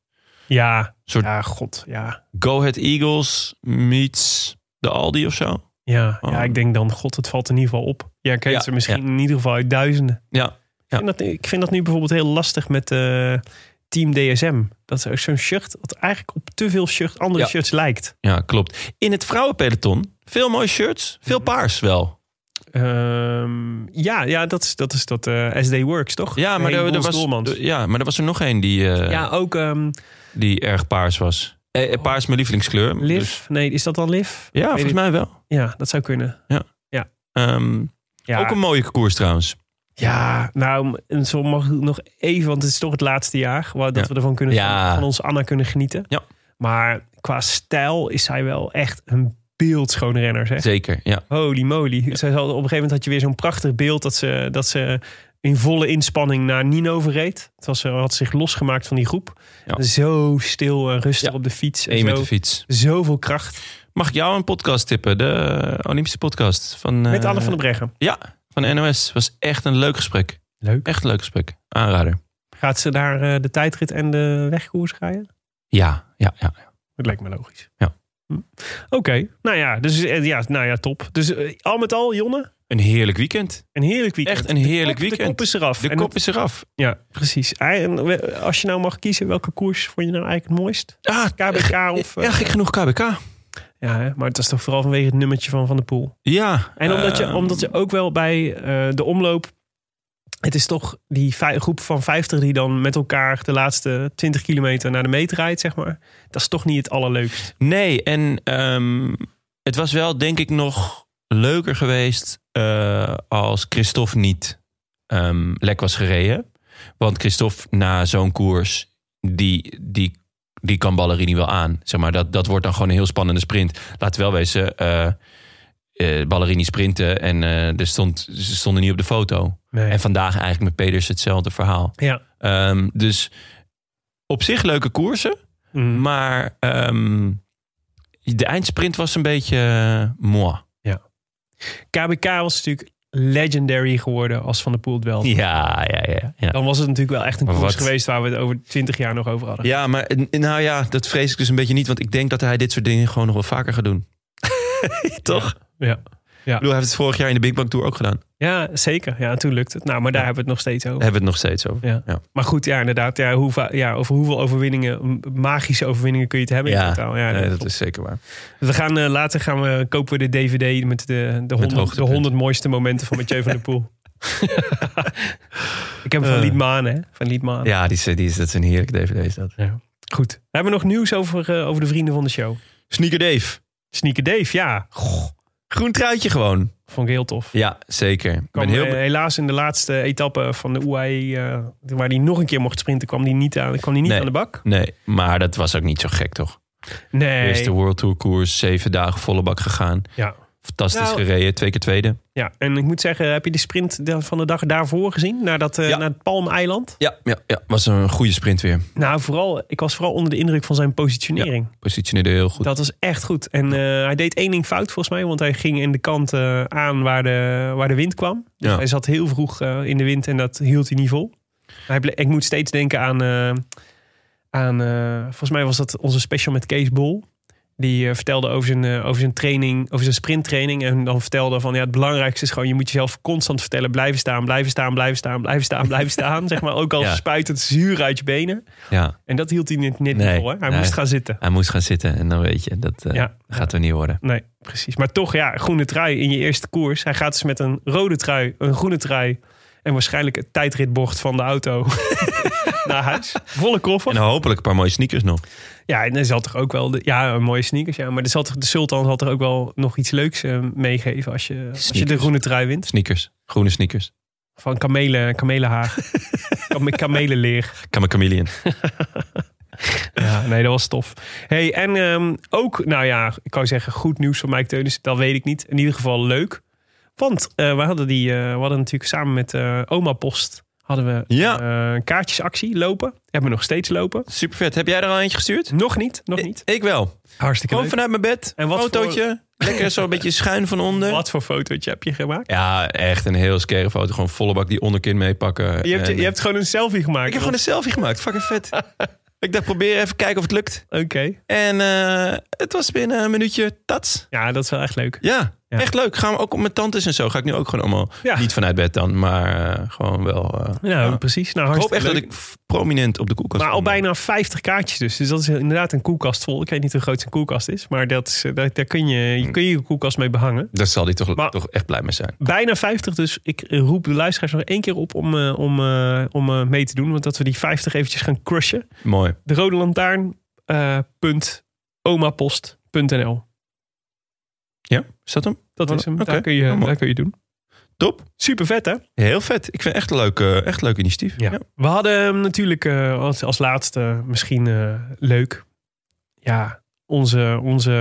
Speaker 2: ja,
Speaker 1: soort-
Speaker 2: ja, god, ja.
Speaker 1: Go Ahead Eagles meets de Aldi of zo.
Speaker 2: Ja,
Speaker 1: Oh.
Speaker 2: ja, ik denk dan, god, het valt in ieder geval op. Ja, ik kent
Speaker 1: Ja,
Speaker 2: ze misschien in ieder geval uit duizenden.
Speaker 1: Ja.
Speaker 2: Ik, vind dat, ik vind dat nu bijvoorbeeld heel lastig met eh, Team DSM. Dat is ook zo'n shirt dat eigenlijk op te veel shirt, andere
Speaker 1: Ja.
Speaker 2: shirts lijkt.
Speaker 1: Ja, klopt. Mhm. In het vrouwenpeloton veel mooie shirts. Veel paars wel.
Speaker 2: Ehm, ja, ja, dat is dat, is dat eh, SD Works, toch?
Speaker 1: Ja, maar,
Speaker 2: Hey,
Speaker 1: er, er
Speaker 2: Bons
Speaker 1: was,
Speaker 2: Doelmans.
Speaker 1: ja, maar er was er nog één die, eh,
Speaker 2: ja, ook ehm,
Speaker 1: die erg paars was. Eh, eh, paars is mijn lievelingskleur.
Speaker 2: Liv.
Speaker 1: dus-
Speaker 2: Nee, is dat dan Liv?
Speaker 1: ja,
Speaker 2: Weet
Speaker 1: volgens
Speaker 2: ik-
Speaker 1: mij wel.
Speaker 2: Ja, dat zou kunnen.
Speaker 1: Ehm,
Speaker 2: Ja.
Speaker 1: Ook een mooie koers trouwens.
Speaker 2: Ja, nou, en zo mag ik nog even, want het is toch het laatste jaar waar, dat
Speaker 1: Ja.
Speaker 2: we ervan kunnen
Speaker 1: Ja.
Speaker 2: van, ons Anna kunnen genieten.
Speaker 1: Ja.
Speaker 2: Maar qua stijl is zij wel echt een beeldschoon renner, zeg.
Speaker 1: Zeker, ja.
Speaker 2: Holy moly. Zij zal, op een gegeven moment had je weer zo'n prachtig beeld dat ze, dat ze in volle inspanning naar Nino verreed. Het was, ze had zich losgemaakt van die groep.
Speaker 1: Ja.
Speaker 2: En Zo stil en rustig
Speaker 1: Ja.
Speaker 2: op de fiets. En
Speaker 1: Eén met de
Speaker 2: zo,
Speaker 1: Eh. fiets.
Speaker 2: zoveel kracht.
Speaker 1: Mag ik jou een podcast tippen? De eh, Olympische podcast. Van, eh,
Speaker 2: Met Anne van den Breggen.
Speaker 1: Ja, van NOS. Was echt een leuk gesprek.
Speaker 2: Leuk.
Speaker 1: Echt een leuk gesprek. Aanrader.
Speaker 2: Gaat ze daar eh, de tijdrit en de wegkoers rijden?
Speaker 1: Ja, ja, ja.
Speaker 2: Dat lijkt me logisch.
Speaker 1: Ja.
Speaker 2: Hm. Oké, nou ja, dus eh, ja, nou ja, top. Dus eh, al met al, Jonne,
Speaker 1: Een heerlijk weekend.
Speaker 2: een heerlijk weekend.
Speaker 1: Echt een heerlijk
Speaker 2: de kop,
Speaker 1: weekend.
Speaker 2: De kop is eraf.
Speaker 1: De
Speaker 2: En
Speaker 1: kop
Speaker 2: dat-
Speaker 1: is eraf.
Speaker 2: ja, precies. En we- als je nou mag kiezen, welke koers vond je nou eigenlijk het mooist?
Speaker 1: Ah,
Speaker 2: KBK of... eh,
Speaker 1: Ja, gek genoeg KBK.
Speaker 2: ja, hè, maar het is toch vooral vanwege het nummertje van Van de Poel.
Speaker 1: Ja.
Speaker 2: En omdat,
Speaker 1: eh,
Speaker 2: je, omdat je ook wel bij eh, de omloop... Het is toch die vij- groep van 50 die dan met elkaar de laatste 20 kilometer naar de meet rijdt, zeg maar. Dat is toch niet het allerleukst.
Speaker 1: Nee, en ehm, Het was wel, denk ik, nog leuker geweest eh, als Christophe niet ehm, lek was gereden. Want Christophe na zo'n koers, die, die, die kan Ballerini wel aan. Zeg maar, dat, dat wordt dan gewoon een heel spannende sprint. Laat wel wezen, eh, eh, Ballerini sprinten en eh, er stond, ze stonden niet op de foto.
Speaker 2: Nee.
Speaker 1: En vandaag eigenlijk met Peders hetzelfde verhaal.
Speaker 2: Ja.
Speaker 1: Ehm, dus op zich leuke koersen.
Speaker 2: Mm.
Speaker 1: Maar ehm, de eindsprint was een beetje eh, moi.
Speaker 2: KBK was natuurlijk legendary geworden als Van der Poel het wel.
Speaker 1: Ja, ja, ja. Ja,
Speaker 2: Dan was het natuurlijk wel echt een
Speaker 1: Maar
Speaker 2: koers
Speaker 1: wat-
Speaker 2: geweest waar we het over 20 jaar nog over hadden.
Speaker 1: ja maar eh, nou ja, dat vrees ik dus een beetje niet. Want ik denk dat hij dit soort dingen gewoon nog wel vaker gaat
Speaker 2: [LAUGHS]
Speaker 1: doen. Toch? Ik
Speaker 2: Ja, Oh.
Speaker 1: bedoel, hij heeft het vorig jaar in de Big Bang Tour ook gedaan. Daar
Speaker 2: ja zeker. Ja, toen lukt het. Nou, maar daar hebben we het nog steeds over.
Speaker 1: hebben we het nog steeds over.
Speaker 2: Ja.
Speaker 1: Ja.
Speaker 2: Maar goed, ja, inderdaad. Ja, hoe va- ja, over hoeveel overwinningen, m- magische overwinningen kun je het hebben in totaal? Ja,
Speaker 1: nee,
Speaker 2: dat
Speaker 1: dat
Speaker 2: klopt.
Speaker 1: is zeker waar.
Speaker 2: We gaan eh, later gaan we, kopen we de DVD met de, de, 100, de
Speaker 1: hoogtepunten.
Speaker 2: 100 mooiste momenten van Mathieu van der
Speaker 1: [LAUGHS]
Speaker 2: Poel. Ik heb hem van
Speaker 1: Eh.
Speaker 2: Liedmaan, hè? Van Liedmaan.
Speaker 1: Ja, die, is- die, is- dat is een heerlijke DVD is dat.
Speaker 2: Goed. We hebben nog nieuws over, eh, over de vrienden van de show.
Speaker 1: Sneaker Dave.
Speaker 2: Sneaker Dave, ja. Goh,
Speaker 1: Groen truitje gewoon.
Speaker 2: vond ik heel tof.
Speaker 1: Ja, zeker. Ik
Speaker 2: Kwam,
Speaker 1: ben heel...
Speaker 2: eh,
Speaker 1: be-
Speaker 2: helaas in de laatste etappe van de UAE, eh, waar hij nog een keer mocht sprinten, kwam hij niet aan, kwam die niet
Speaker 1: Nee.
Speaker 2: aan de bak.
Speaker 1: Nee, maar dat was ook niet zo gek, toch?
Speaker 2: Nee.
Speaker 1: Eerste World Tour koers, zeven dagen volle bak gegaan.
Speaker 2: Ja.
Speaker 1: Fantastisch
Speaker 2: Nou-
Speaker 1: gereden, twee keer tweede.
Speaker 2: Ja, en ik moet zeggen, heb je de sprint da- van de dag daarvoor gezien? Naar, dat, eh,
Speaker 1: Ja.
Speaker 2: naar het Palmeiland?
Speaker 1: Ja, ja, ja, was een goede sprint weer.
Speaker 2: Nou, vooral, ik was vooral onder de indruk van zijn positionering.
Speaker 1: Positioneerde heel goed.
Speaker 2: Dat was echt goed. En eh, hij deed één ding fout volgens mij, want hij ging in de kant eh, aan waar de, waar de wind kwam. Dus
Speaker 1: Ja.
Speaker 2: hij zat heel vroeg eh, in de wind en dat hield hij niet vol. Hij ble- ik moet steeds denken aan, eh, aan eh, volgens mij was dat onze special met Kees Bol. Die eh, vertelde over zijn, eh, over zijn training, over zijn sprinttraining. En dan vertelde van ja, het belangrijkste is gewoon, je moet jezelf constant vertellen: blijven staan, blijven staan, blijven staan, blijven staan, [LAUGHS] blijven staan. zeg maar ook al
Speaker 1: Ja.
Speaker 2: spuit het zuur uit je benen.
Speaker 1: Ja,
Speaker 2: En dat hield hij net, net
Speaker 1: Nee,
Speaker 2: niet vol. Hè? Hij
Speaker 1: nee.
Speaker 2: moest gaan zitten.
Speaker 1: hij moest gaan zitten en dan weet je, dat eh,
Speaker 2: Ja.
Speaker 1: gaat er niet worden.
Speaker 2: Nee, precies. Maar toch, ja, groene trui in je eerste koers. Hij gaat dus met een rode trui, een groene trui en waarschijnlijk het tijdritbocht van de auto [LAUGHS] naar huis. Volle koffer.
Speaker 1: En hopelijk een paar mooie sneakers nog.
Speaker 2: Ja, en er zal toch ook wel, de, ja, een mooie sneakers. Ja, maar er zal toch, de Sultan zal toch ook wel nog iets leuks eh, meegeven als je, als je de
Speaker 1: Sneakers.
Speaker 2: groene trui wint.
Speaker 1: Sneakers, groene sneakers.
Speaker 2: Van
Speaker 1: [LAUGHS]
Speaker 2: kamelen, kamelenhaar. Kam- Kamelenleer.
Speaker 1: Kan mijn chameleon.
Speaker 2: [LAUGHS] Ja, nee, dat was tof. Hey, en ehm, ook, nou ja, ik kan zeggen goed nieuws van Mike Teunis. Dat weet ik niet. In ieder geval leuk. Want eh, we, hadden die, eh, we hadden natuurlijk samen met eh, Oma Post hadden we
Speaker 1: Ja.
Speaker 2: eh, een kaartjesactie lopen. Hebben we nog steeds lopen.
Speaker 1: Super vet. Heb jij er al eentje gestuurd?
Speaker 2: Nog niet, nog niet.
Speaker 1: Ik, ik wel.
Speaker 2: Eh, Hartstikke
Speaker 1: Gewoon
Speaker 2: leuk.
Speaker 1: vanuit mijn bed.
Speaker 2: En
Speaker 1: Een
Speaker 2: wat
Speaker 1: fotootje. Lekker zo een beetje schuin van onder.
Speaker 2: Wat voor fotootje heb je gemaakt?
Speaker 1: Ja, echt een heel scare foto. Gewoon volle bak die onderkin meepakken.
Speaker 2: Je hebt,
Speaker 1: En-
Speaker 2: je hebt gewoon een selfie gemaakt.
Speaker 1: Ik heb gewoon een selfie gemaakt. Fucking
Speaker 2: [LAUGHS]
Speaker 1: vet. ik dacht, probeer even kijken of het lukt.
Speaker 2: Oké.
Speaker 1: En eh, het was binnen een minuutje tats.
Speaker 2: Ja, dat is wel echt leuk.
Speaker 1: Ja,
Speaker 2: Ja.
Speaker 1: echt leuk. Gaan we ook op mijn tantes en zo. Ga ik nu ook gewoon allemaal.
Speaker 2: Ja.
Speaker 1: Niet vanuit bed dan, maar eh, gewoon wel. eh,
Speaker 2: Nou,
Speaker 1: ja.
Speaker 2: precies. Nou,
Speaker 1: Ik hoop echt
Speaker 2: hartstikke
Speaker 1: dat
Speaker 2: leuk.
Speaker 1: ik f- prominent op de koelkast.
Speaker 2: Maar al
Speaker 1: kom.
Speaker 2: bijna 50 kaartjes dus. Dus dat is inderdaad een koelkast vol. Ik weet niet hoe groot zijn koelkast is. Maar dat is, eh, daar, daar kun je
Speaker 1: Hm.
Speaker 2: je, kun je, je koelkast mee behangen.
Speaker 1: Daar zal hij toch,
Speaker 2: Maar-
Speaker 1: toch echt blij mee zijn.
Speaker 2: Bijna 50 dus. Ik eh, roep de luisteraars nog één keer op om, eh, om, eh, om eh, mee te doen. Want dat we die 50 eventjes gaan crushen.
Speaker 1: Mooi.
Speaker 2: De Rode Lantaarn. eh, punt omapost.nl.
Speaker 1: Ja, is dat hem?
Speaker 2: Dat is hem.
Speaker 1: Oké.
Speaker 2: Daar, kun je,
Speaker 1: Ja, mooi.
Speaker 2: daar kun je doen.
Speaker 1: Top.
Speaker 2: Super vet hè?
Speaker 1: Heel vet. Ik vind het echt een leuk, eh, echt leuk initiatief.
Speaker 2: Ja. We hadden hem natuurlijk eh, als, als laatste misschien eh, leuk. Ja, onze, onze.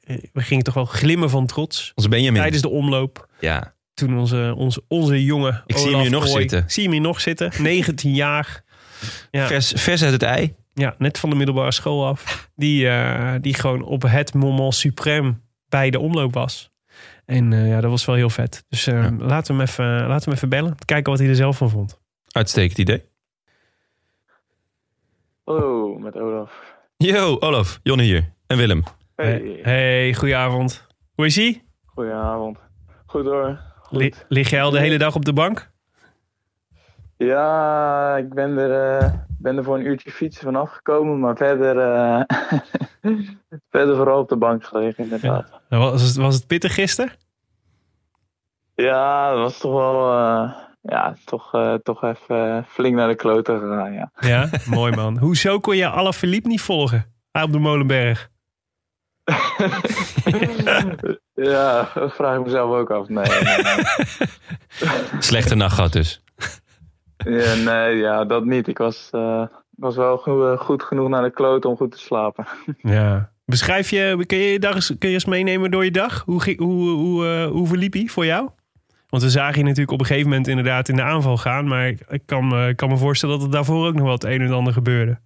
Speaker 2: eh, We gingen toch wel glimmen van trots.
Speaker 1: Onze Benjamin.
Speaker 2: Tijdens de omloop.
Speaker 1: Ja.
Speaker 2: Toen onze, onze, onze jongen.
Speaker 1: Ik zie hem hier nog
Speaker 2: Kooi-
Speaker 1: zitten.
Speaker 2: Zie hem hier nog zitten. 19 jaar. Ja.
Speaker 1: Vers, vers uit het ei.
Speaker 2: Ja, net van de middelbare school af. Die, eh, die gewoon op het moment suprême bij de omloop was. En eh, ja, dat was wel heel vet. Dus eh,
Speaker 1: Ja.
Speaker 2: laten, we hem even, laten we hem even bellen. Kijken wat hij er zelf van vond.
Speaker 1: Uitstekend idee.
Speaker 7: Hallo, Oh, met Olaf.
Speaker 1: Yo, Olaf, Jonne hier. En Willem.
Speaker 7: Hey,
Speaker 2: hey goedenavond. Hoe is ie?
Speaker 7: goedenavond. Goed hoor. Goed.
Speaker 2: Li- Lig jij al de hele dag op de bank?
Speaker 7: Ja, ik ben er, eh, ben er voor een uurtje fietsen van afgekomen, maar verder, eh, [LAUGHS] verder vooral op de bank gelegen inderdaad. Ja,
Speaker 2: Nou, Was het, was het pittig gisteren?
Speaker 7: dat was toch wel, eh, ja, toch, eh, toch even eh, flink naar de kloten gegaan, ja.
Speaker 2: Ja, [LAUGHS] Ah, mooi man. Hoezo kon je Alaphilippe niet volgen? Hij op de Molenberg.
Speaker 7: ja, dat vraag ik mezelf ook af. Nee, nee, nee.
Speaker 1: Slechte nacht gehad dus.
Speaker 7: [LAUGHS]
Speaker 1: [LAUGHS]
Speaker 7: Ja, nee, ja, dat niet. Ik was, eh, was wel goe- goed genoeg naar de kloot om goed te slapen.
Speaker 2: Ja. Beschrijf je, kun je, je dag eens, kun je eens meenemen door je dag? Hoe, ging- hoe, hoe, eh, hoe verliep hij voor jou? Want we zagen je natuurlijk op een gegeven moment inderdaad in de aanval gaan. Maar ik- ik kan, me- ik kan me voorstellen dat er daarvoor ook nog wel het een en ander gebeurde.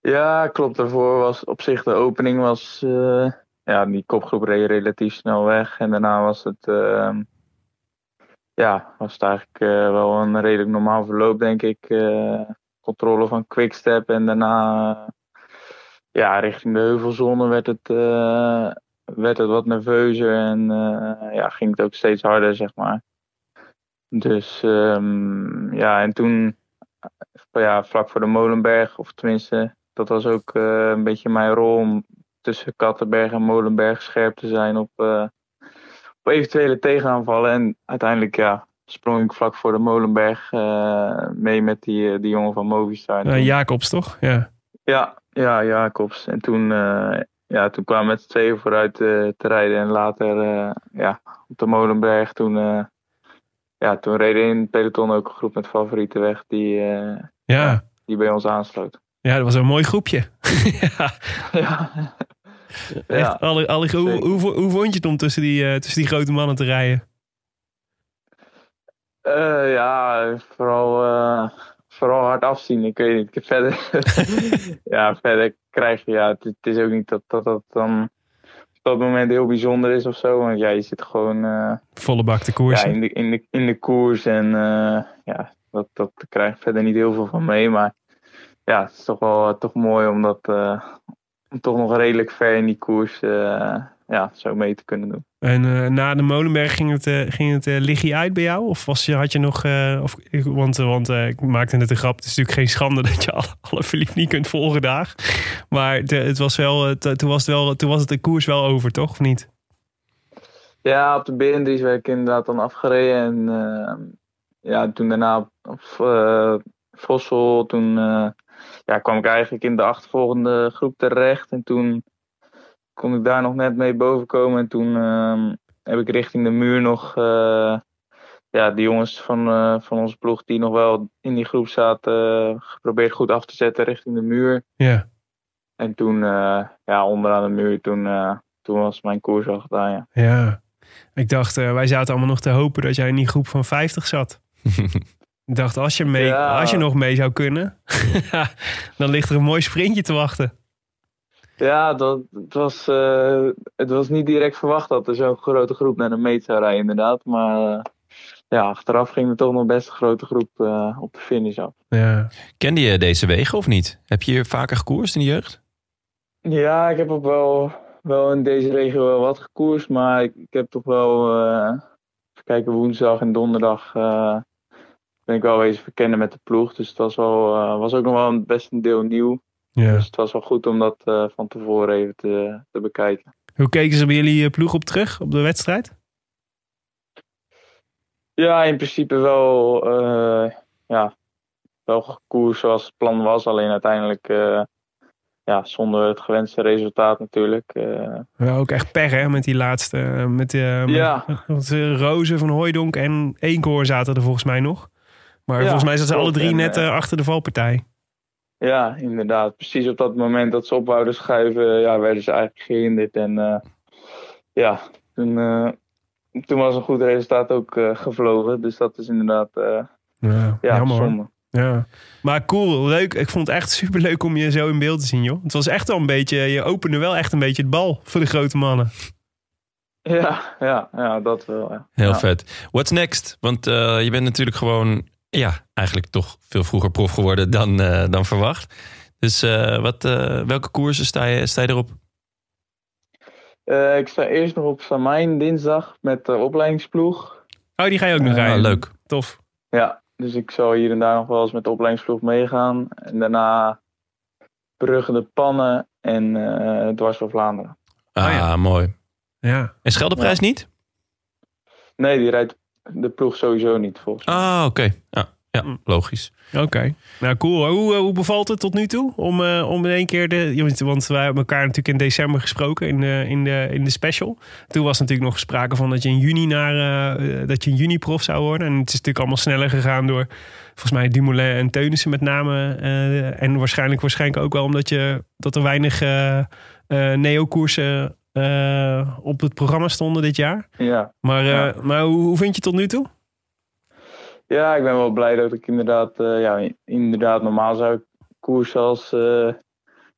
Speaker 7: Ja, klopt. Daarvoor was op zich de opening was... eh, ja, die kopgroep reed relatief snel weg. En daarna was het... ehm, ja, was het eigenlijk eh, wel een redelijk normaal verloop, denk ik. Eh, controle van Quickstep en daarna... eh, ja, richting de heuvelzone werd het, eh, werd het wat nerveuzer. En eh, ja, ging het ook steeds harder, zeg maar. Dus ehm, ja, en toen eh, ja, vlak voor de Molenberg, of tenminste, dat was ook eh, een beetje mijn rol om tussen Kattenberg en Molenberg scherp te zijn op, eh, op eventuele tegenaanvallen. En uiteindelijk ja, sprong ik vlak voor de Molenberg eh, mee met die, eh, die jongen van Movistar. En
Speaker 2: Eh,
Speaker 7: toen-
Speaker 2: Jacobs, toch? Ja.
Speaker 7: ja, ja, Jacobs. En toen, eh, ja, toen kwamen we met z'n tweeën vooruit eh, te rijden. En later eh, ja, op de Molenberg. Toen, eh, ja, toen reden in het peloton ook een groep met favorieten weg die, eh,
Speaker 2: ja.
Speaker 7: die bij ons aansloot. [LAUGHS]
Speaker 2: Ja, dat was een mooi groepje. ja,
Speaker 7: ja.
Speaker 2: echt. Alle, alle, hoe,
Speaker 7: Zeker.
Speaker 2: hoe, hoe vond je het om tussen die, eh, tussen die grote mannen te rijden?
Speaker 7: Eh, ja, vooral, eh, vooral hard afzien. Ik weet niet. Ik heb verder, ja, verder krijg je. Ja, het, het is ook niet dat dat, dat dan op dat moment heel bijzonder is of zo. Want ja, je zit gewoon. eh,
Speaker 2: Volle bak te koersen.
Speaker 7: Ja, in de, in de, in de koers. En eh, ja, dat, dat krijg ik verder niet heel veel van mee. Maar ja, het is toch wel eh, toch mooi om, dat, eh, om toch nog redelijk ver in die koers eh, ja, zo mee te kunnen doen.
Speaker 2: En eh, na de Molenberg ging het, eh, ging het eh, liggie uit bij jou? Of was je, had je nog... eh, of, ik- want eh, want eh, ik maakte net een grap. Het is natuurlijk geen schande [LAUGHS] dat je alle, alle verliefd niet kunt volgen daar. Maar de- het was wel, eh, t- toen was het wel, toen was het de koers wel over, toch? Of niet?
Speaker 7: Ja, op de Berendries werd ik inderdaad dan afgereden. En eh, ja, toen daarna op, op eh, Vossel, toen eh, ja, kwam ik eigenlijk in de achtervolgende groep terecht. En toen kon ik daar nog net mee bovenkomen. En toen ehm, heb ik richting de muur nog eh, ja, de jongens van, eh, van onze ploeg die nog wel in die groep zaten, eh, geprobeerd goed af te zetten richting de muur.
Speaker 2: Ja,
Speaker 7: En toen, eh, ja, onderaan de muur, toen, eh, toen was mijn koers al gedaan, ja.
Speaker 2: ja. Ik dacht, eh, wij zaten allemaal nog te hopen dat jij in die groep van 50 zat. Ik dacht, als je, mee,
Speaker 7: Ja.
Speaker 2: als je nog mee zou kunnen, [LAUGHS] dan ligt er een mooi sprintje te wachten.
Speaker 7: Ja, dat, het, was, eh, het was niet direct verwacht dat er zo'n grote groep naar de meet zou rijden, inderdaad. Maar eh, ja, achteraf ging er toch nog best een grote groep eh, op de finish af.
Speaker 2: Ja.
Speaker 1: Kende je deze wegen of niet? Heb je hier vaker gekoerst in de jeugd?
Speaker 7: Ja, ik heb ook wel, wel in deze regio wel wat gekoerst. Maar ik, ik heb toch wel, eh, even kijken, woensdag en donderdag eh, ben ik wel eens verkennen met de ploeg. Dus het was, wel, eh, was ook nog wel een- best een deel nieuw.
Speaker 2: ja.
Speaker 7: Dus het was wel goed om dat eh, van tevoren even te, te bekijken.
Speaker 2: Hoe keken ze bij jullie eh, ploeg op terug, op de wedstrijd?
Speaker 7: Ja, in principe wel, eh, ja, wel gekoerd zoals het plan was. Alleen uiteindelijk eh, ja, zonder het gewenste resultaat natuurlijk. eh.
Speaker 2: Ja, ook echt per, hè, met die laatste. eh, Met, eh, met-
Speaker 7: ja,
Speaker 2: want, eh, Rozen van Hooidonk en Eenkoor zaten er volgens mij nog. Maar
Speaker 7: Ja,
Speaker 2: volgens mij zaten ze alle
Speaker 7: klopt.
Speaker 2: drie
Speaker 7: En,
Speaker 2: net
Speaker 7: eh,
Speaker 2: eh, achter de valpartij.
Speaker 7: ja, inderdaad. Precies op dat moment dat ze op wouden schuiven, ja, werden ze eigenlijk gehinderd. En eh, ja, toen, eh, toen was een goed resultaat ook eh, gevlogen. Dus dat is inderdaad eh,
Speaker 2: Ja,
Speaker 7: ja,
Speaker 2: jammer. hoor.
Speaker 7: zonde. [LAUGHS]
Speaker 2: Ja. Maar cool, leuk. Ik vond het echt super leuk om je zo in beeld te zien, joh. Het was echt wel een beetje, je opende wel echt een beetje het bal voor de grote mannen.
Speaker 7: Ja, ja, ja, dat wel. Ja.
Speaker 1: Heel
Speaker 7: Ja.
Speaker 1: vet. What's next? Want eh, je bent natuurlijk gewoon, ja, eigenlijk toch veel vroeger prof geworden dan, eh, dan verwacht. Dus eh, wat, eh, welke koersen sta je, sta je erop?
Speaker 7: Eh, ik sta eerst nog op Samijn dinsdag met de opleidingsploeg.
Speaker 2: Oh, die ga je ook nog
Speaker 7: Ja,
Speaker 2: rijden.
Speaker 1: Ah, leuk.
Speaker 2: Tof.
Speaker 7: Ja, dus ik zal hier en daar nog wel eens met de opleidingsploeg meegaan. En daarna Brugge de Pannen en eh Dwars door Vlaanderen.
Speaker 1: Ah,
Speaker 2: Ah, ja.
Speaker 1: mooi.
Speaker 2: Ja.
Speaker 1: En Scheldeprijs niet?
Speaker 7: Nee, die rijdt de ploeg sowieso niet volgens mij.
Speaker 1: Ah, oké. Ja. Ja,
Speaker 7: Mm.
Speaker 1: logisch.
Speaker 2: Oké. Nou, cool. Hoe, eh, hoe bevalt het tot nu toe? Om, eh, om in één keer de. ja, want- Want wij hebben elkaar natuurlijk in december gesproken in de, in de, in de special. Toen was natuurlijk nog sprake van dat je in juni naar eh, eh, dat je in juni prof zou worden. En het is natuurlijk allemaal sneller gegaan door volgens mij Dumoulin en Teunissen met name. eh, en waarschijnlijk waarschijnlijk ook wel omdat je dat er weinig eh, eh, neo-koersen eh, op het programma stonden dit jaar.
Speaker 7: Ja.
Speaker 2: Maar, eh,
Speaker 7: Ja.
Speaker 2: maar hoe, hoe vind je het tot nu toe?
Speaker 7: ja, ik ben wel blij dat ik inderdaad, eh, ja, inderdaad normaal zou ik koersen als eh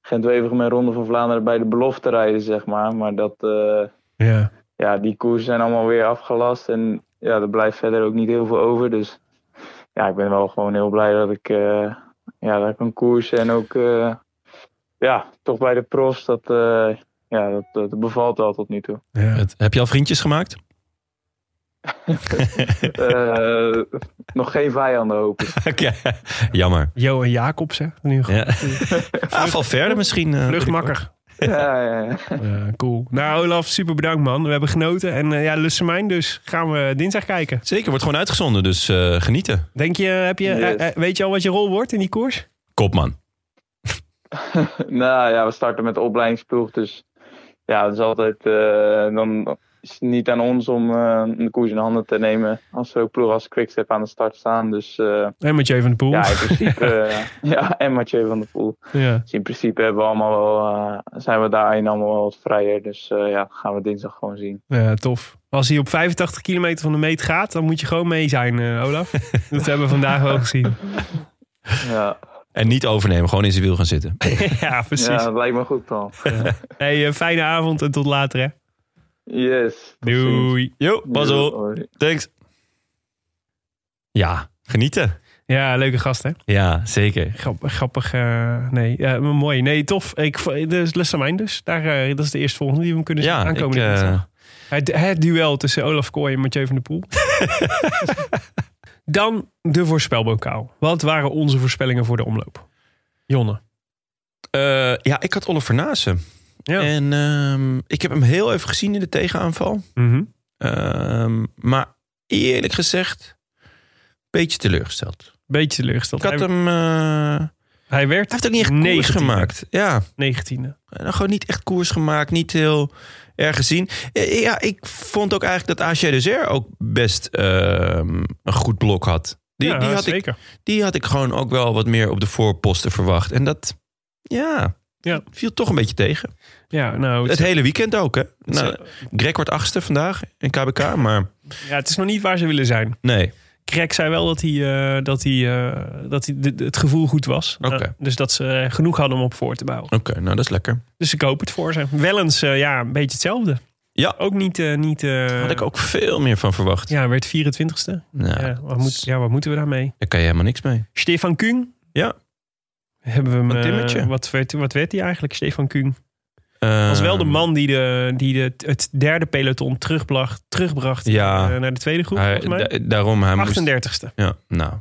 Speaker 7: Gent-Wevergem en Ronde van Vlaanderen bij de belofte rijden, zeg maar. Maar dat, eh,
Speaker 2: Ja.
Speaker 7: ja, die koersen zijn allemaal weer afgelast. En ja, er blijft verder ook niet heel veel over. Dus ja, ik ben wel gewoon heel blij dat ik, eh, ja, dat ik kan koersen. En ook eh, ja, toch bij de profs. Dat, eh, ja, dat, dat bevalt wel tot nu toe.
Speaker 1: Het- heb je al vriendjes gemaakt? [LAUGHS]
Speaker 7: Eh, nog geen vijanden hopen.
Speaker 1: Oké, Jammer.
Speaker 2: Jo en Jacobsen. Nu
Speaker 1: Ja. Ah, van verder misschien. eh,
Speaker 2: Luchtmakker.
Speaker 7: Ja, ja, [LAUGHS] ja.
Speaker 2: Ja, cool. Nou, Olaf, super bedankt, man. We hebben genoten. En eh ja, Lussemijn, dus gaan we dinsdag kijken.
Speaker 1: Zeker, wordt gewoon uitgezonden, dus eh, genieten.
Speaker 2: Denk je, heb je
Speaker 7: Yes.
Speaker 2: eh, eh, weet je al wat je rol wordt in die koers?
Speaker 1: Kopman.
Speaker 7: Nou ja, we starten met de opleidingsploeg. Dus ja, dat is altijd. eh, dan is het niet aan ons om eh, de koers in handen te nemen. Als er ook ploegen als Quickstep aan de start staan. Dus eh,
Speaker 2: En Mathieu van de Poel.
Speaker 7: ja, in principe. eh, ja, en Mathieu van der Poel.
Speaker 2: Ja.
Speaker 7: Dus in principe hebben we allemaal wel, eh, zijn we daarin allemaal wel wat vrijer. Dus eh, ja, gaan we dinsdag gewoon zien.
Speaker 2: Ja, tof. Als hij op 85 kilometer van de meet gaat, dan moet je gewoon mee zijn, eh, [LAUGHS] Olaf. Dat hebben we vandaag wel gezien.
Speaker 7: Ja,
Speaker 1: En niet overnemen, gewoon in zijn wiel gaan zitten.
Speaker 2: [LAUGHS] ja, precies.
Speaker 7: ja dat lijkt me goed dan.
Speaker 2: Hey, eh, fijne avond en tot later, hè.
Speaker 7: Yes. tot ziens.
Speaker 2: Doei.
Speaker 1: Yo, Basel,
Speaker 7: Doei.
Speaker 1: thanks. Ja, genieten.
Speaker 2: Ja, leuke gast, hè?
Speaker 1: Ja, zeker.
Speaker 2: Grap- grappig. eh, nee, eh, maar mooi. Nee, tof. Ik, vo- dus Lussemijn dus. Daar, eh, dat is de eerstvolgende die we hem kunnen zien
Speaker 1: Ja,
Speaker 2: aankomen.
Speaker 1: ik, eh,
Speaker 2: Het, het duel tussen Olaf Kooi en Mathieu van der
Speaker 1: [LAUGHS]
Speaker 2: Poel. Dan de voorspelbokaal. Wat waren onze voorspellingen voor de omloop? Jonne.
Speaker 1: eh, ja, ik had Oliver Naassen.
Speaker 2: Ja.
Speaker 1: En ehm, ik heb hem heel even gezien in de tegenaanval.
Speaker 2: Mhm.
Speaker 1: Ehm, maar eerlijk gezegd, een beetje teleurgesteld.
Speaker 2: Beetje
Speaker 1: Ik
Speaker 2: teleurgesteld.
Speaker 1: had
Speaker 2: Hij,
Speaker 1: hem... eh,
Speaker 2: hij werd
Speaker 1: Hij heeft ook niet echt koers
Speaker 2: 19e.
Speaker 1: gemaakt. Ja,
Speaker 2: 19e.
Speaker 1: nou, gewoon niet echt koers gemaakt. Niet heel erg gezien. Eh, Ja, ik vond ook eigenlijk dat AG Deser ook best ehm, een goed blok had. Die,
Speaker 2: ja,
Speaker 1: die, had ik,
Speaker 2: zeker.
Speaker 1: die had ik gewoon ook wel wat meer op de voorposten verwacht. En dat, ja,
Speaker 2: Ja.
Speaker 1: viel toch een beetje tegen.
Speaker 2: Ja, nou,
Speaker 1: Het
Speaker 2: het,
Speaker 1: hele weekend ook, hè. Nou, Greg wordt achtste vandaag in KBK, maar
Speaker 2: ja, het is nog niet waar ze willen zijn.
Speaker 1: nee.
Speaker 2: Krek zei wel dat, hij, eh, dat, hij, eh, dat hij de- de- het gevoel goed was.
Speaker 1: Oké.
Speaker 2: Nou, dus dat ze eh, genoeg hadden om op voor te bouwen.
Speaker 1: Oké, nou dat is lekker.
Speaker 2: Dus ik hoop het voor ze. Wellens, eh, ja, een beetje hetzelfde.
Speaker 1: Ja.
Speaker 2: Ook niet... eh, niet eh,
Speaker 1: Had ik ook veel meer van verwacht.
Speaker 2: Ja, werd 24ste.
Speaker 1: Nou,
Speaker 2: Ja, wat, moet, ja, wat moeten we daarmee?
Speaker 1: daar kan je helemaal niks mee.
Speaker 2: Stefan Kuhn.
Speaker 1: Ja.
Speaker 2: Hebben we hem,
Speaker 1: Wat
Speaker 2: eh,
Speaker 1: timmetje.
Speaker 2: wat, werd, wat werd hij eigenlijk, Stefan Kuhn?
Speaker 1: Dat
Speaker 2: was wel de man die, de, die de, het derde peloton terugbracht, terugbracht
Speaker 1: Ja.
Speaker 2: eh, naar de tweede groep,
Speaker 1: Hij,
Speaker 2: volgens mij.
Speaker 1: da- daarom, hij moest...
Speaker 2: 38ste.
Speaker 1: Ja, nou.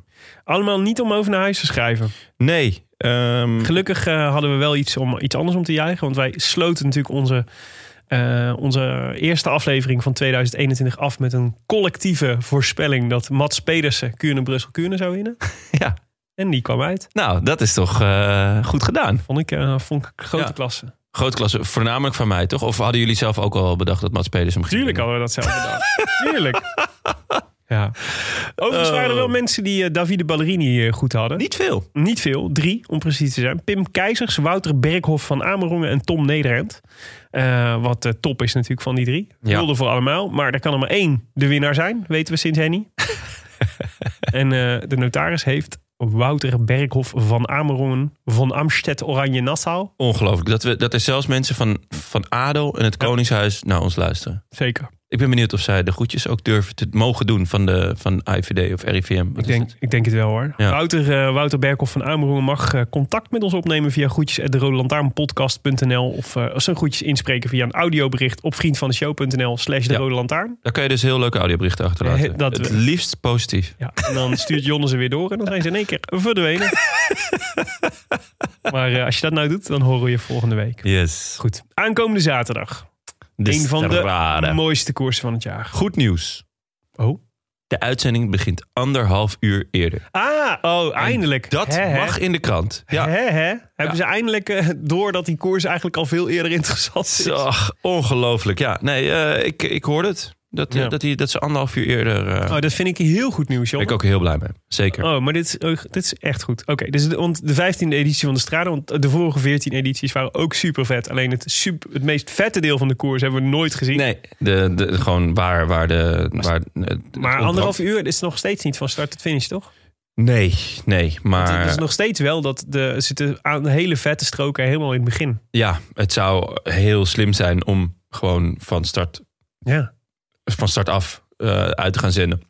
Speaker 2: Allemaal niet om over naar huis te schrijven.
Speaker 1: Nee. ehm,
Speaker 2: Gelukkig eh, hadden we wel iets, om, iets anders om te juichen. Want wij sloten natuurlijk onze, eh, onze eerste aflevering van 2021 af... met een collectieve voorspelling dat Mats Pedersen Kuurne Brussel Kuurne zou winnen.
Speaker 1: Ja.
Speaker 2: En die kwam uit.
Speaker 1: nou, dat is toch eh, goed gedaan.
Speaker 2: Vond ik, eh, vond ik grote
Speaker 1: Ja.
Speaker 2: klasse.
Speaker 1: Grootklasse, voornamelijk van mij, toch? Of hadden jullie zelf ook al bedacht dat Mats Spelers hem ging
Speaker 2: Tuurlijk
Speaker 1: winnen?
Speaker 2: hadden we dat
Speaker 1: [LAUGHS]
Speaker 2: zelf bedacht. Tuurlijk. Ja. Overigens waren er wel mensen die eh, Davide Ballerini eh, goed hadden.
Speaker 1: Ehm. Niet veel.
Speaker 2: Niet veel, drie om precies te zijn. Pim Keizers, Wouter Berghof van Amerongen en Tom Nederend. Eh, wat eh, top is natuurlijk van die drie.
Speaker 1: Ja.
Speaker 2: Wilde voor allemaal, maar er kan er maar één de winnaar zijn, weten we sinds
Speaker 1: [LAUGHS]
Speaker 2: Henny. en eh, de notaris heeft Wouter Berghof van Amerongen van Amstedt Oranje Nassau.
Speaker 1: Ongelooflijk. Dat, we, dat er zelfs mensen van, van ADO en het Koningshuis naar ons luisteren.
Speaker 2: Zeker.
Speaker 1: Ik ben benieuwd of zij de groetjes ook durven te mogen doen van, de, van IVD of RIVM. Wat
Speaker 2: Ik
Speaker 1: is
Speaker 2: denk,
Speaker 1: het?
Speaker 2: ik denk het wel hoor.
Speaker 1: Ja.
Speaker 2: Wouter, eh, Wouter Berkhoff van Amerongen mag eh, contact met ons opnemen via groetjes at of eh, zijn groetjes inspreken via een audiobericht op vriendvandeshow.nl slash de
Speaker 1: Ja.
Speaker 2: rode lantaarn.
Speaker 1: Daar kan je dus heel leuke audioberichten achterlaten.
Speaker 2: Eh, [LAUGHS] dat
Speaker 1: het
Speaker 2: we-
Speaker 1: liefst positief.
Speaker 2: Ja, en dan stuurt Jonne ze weer door en dan zijn ze in één keer
Speaker 1: [LAUGHS]
Speaker 2: verdwenen. maar eh, als je dat nou doet, dan horen we je volgende week.
Speaker 1: Yes.
Speaker 2: Goed, aankomende zaterdag.
Speaker 1: De
Speaker 2: een van de
Speaker 1: strade.
Speaker 2: mooiste koersen van het jaar.
Speaker 1: Goed nieuws.
Speaker 2: Oh,
Speaker 1: De uitzending begint anderhalf uur eerder.
Speaker 2: Ah, oh, eindelijk.
Speaker 1: Dat
Speaker 2: Hè, hè.
Speaker 1: mag in de krant. Ja.
Speaker 2: Hè, hè? Hebben ze eindelijk eh, door dat die koers eigenlijk al veel eerder interessant is?
Speaker 1: Zo, Ach, ongelooflijk. Ja, nee, eh, ik, ik hoorde het. Dat, eh,
Speaker 2: Ja.
Speaker 1: dat, die, dat ze anderhalf uur eerder... eh,
Speaker 2: Oh, dat vind ik heel goed nieuws,
Speaker 1: ben
Speaker 2: jongen.
Speaker 1: ik ook heel blij mee. Zeker.
Speaker 2: Oh, maar dit, is- oh, dit is echt goed. Oké, dus de, want de 15e editie van de Strade, want de vorige 14 edities waren ook super vet. Alleen het, sup- het meest vette deel van de koers hebben we nooit gezien.
Speaker 1: Nee, de, de, gewoon waar, waar de... Waar,
Speaker 2: maar anderhalf uur is nog steeds niet van start tot finish, toch?
Speaker 1: Nee, nee,
Speaker 2: Want
Speaker 1: maar...
Speaker 2: het is nog steeds wel dat de, er zitten aan hele vette stroken helemaal in het begin.
Speaker 1: Ja, het zou heel slim zijn om gewoon van start,
Speaker 2: Ja.
Speaker 1: van start af eh, uit te gaan zenden.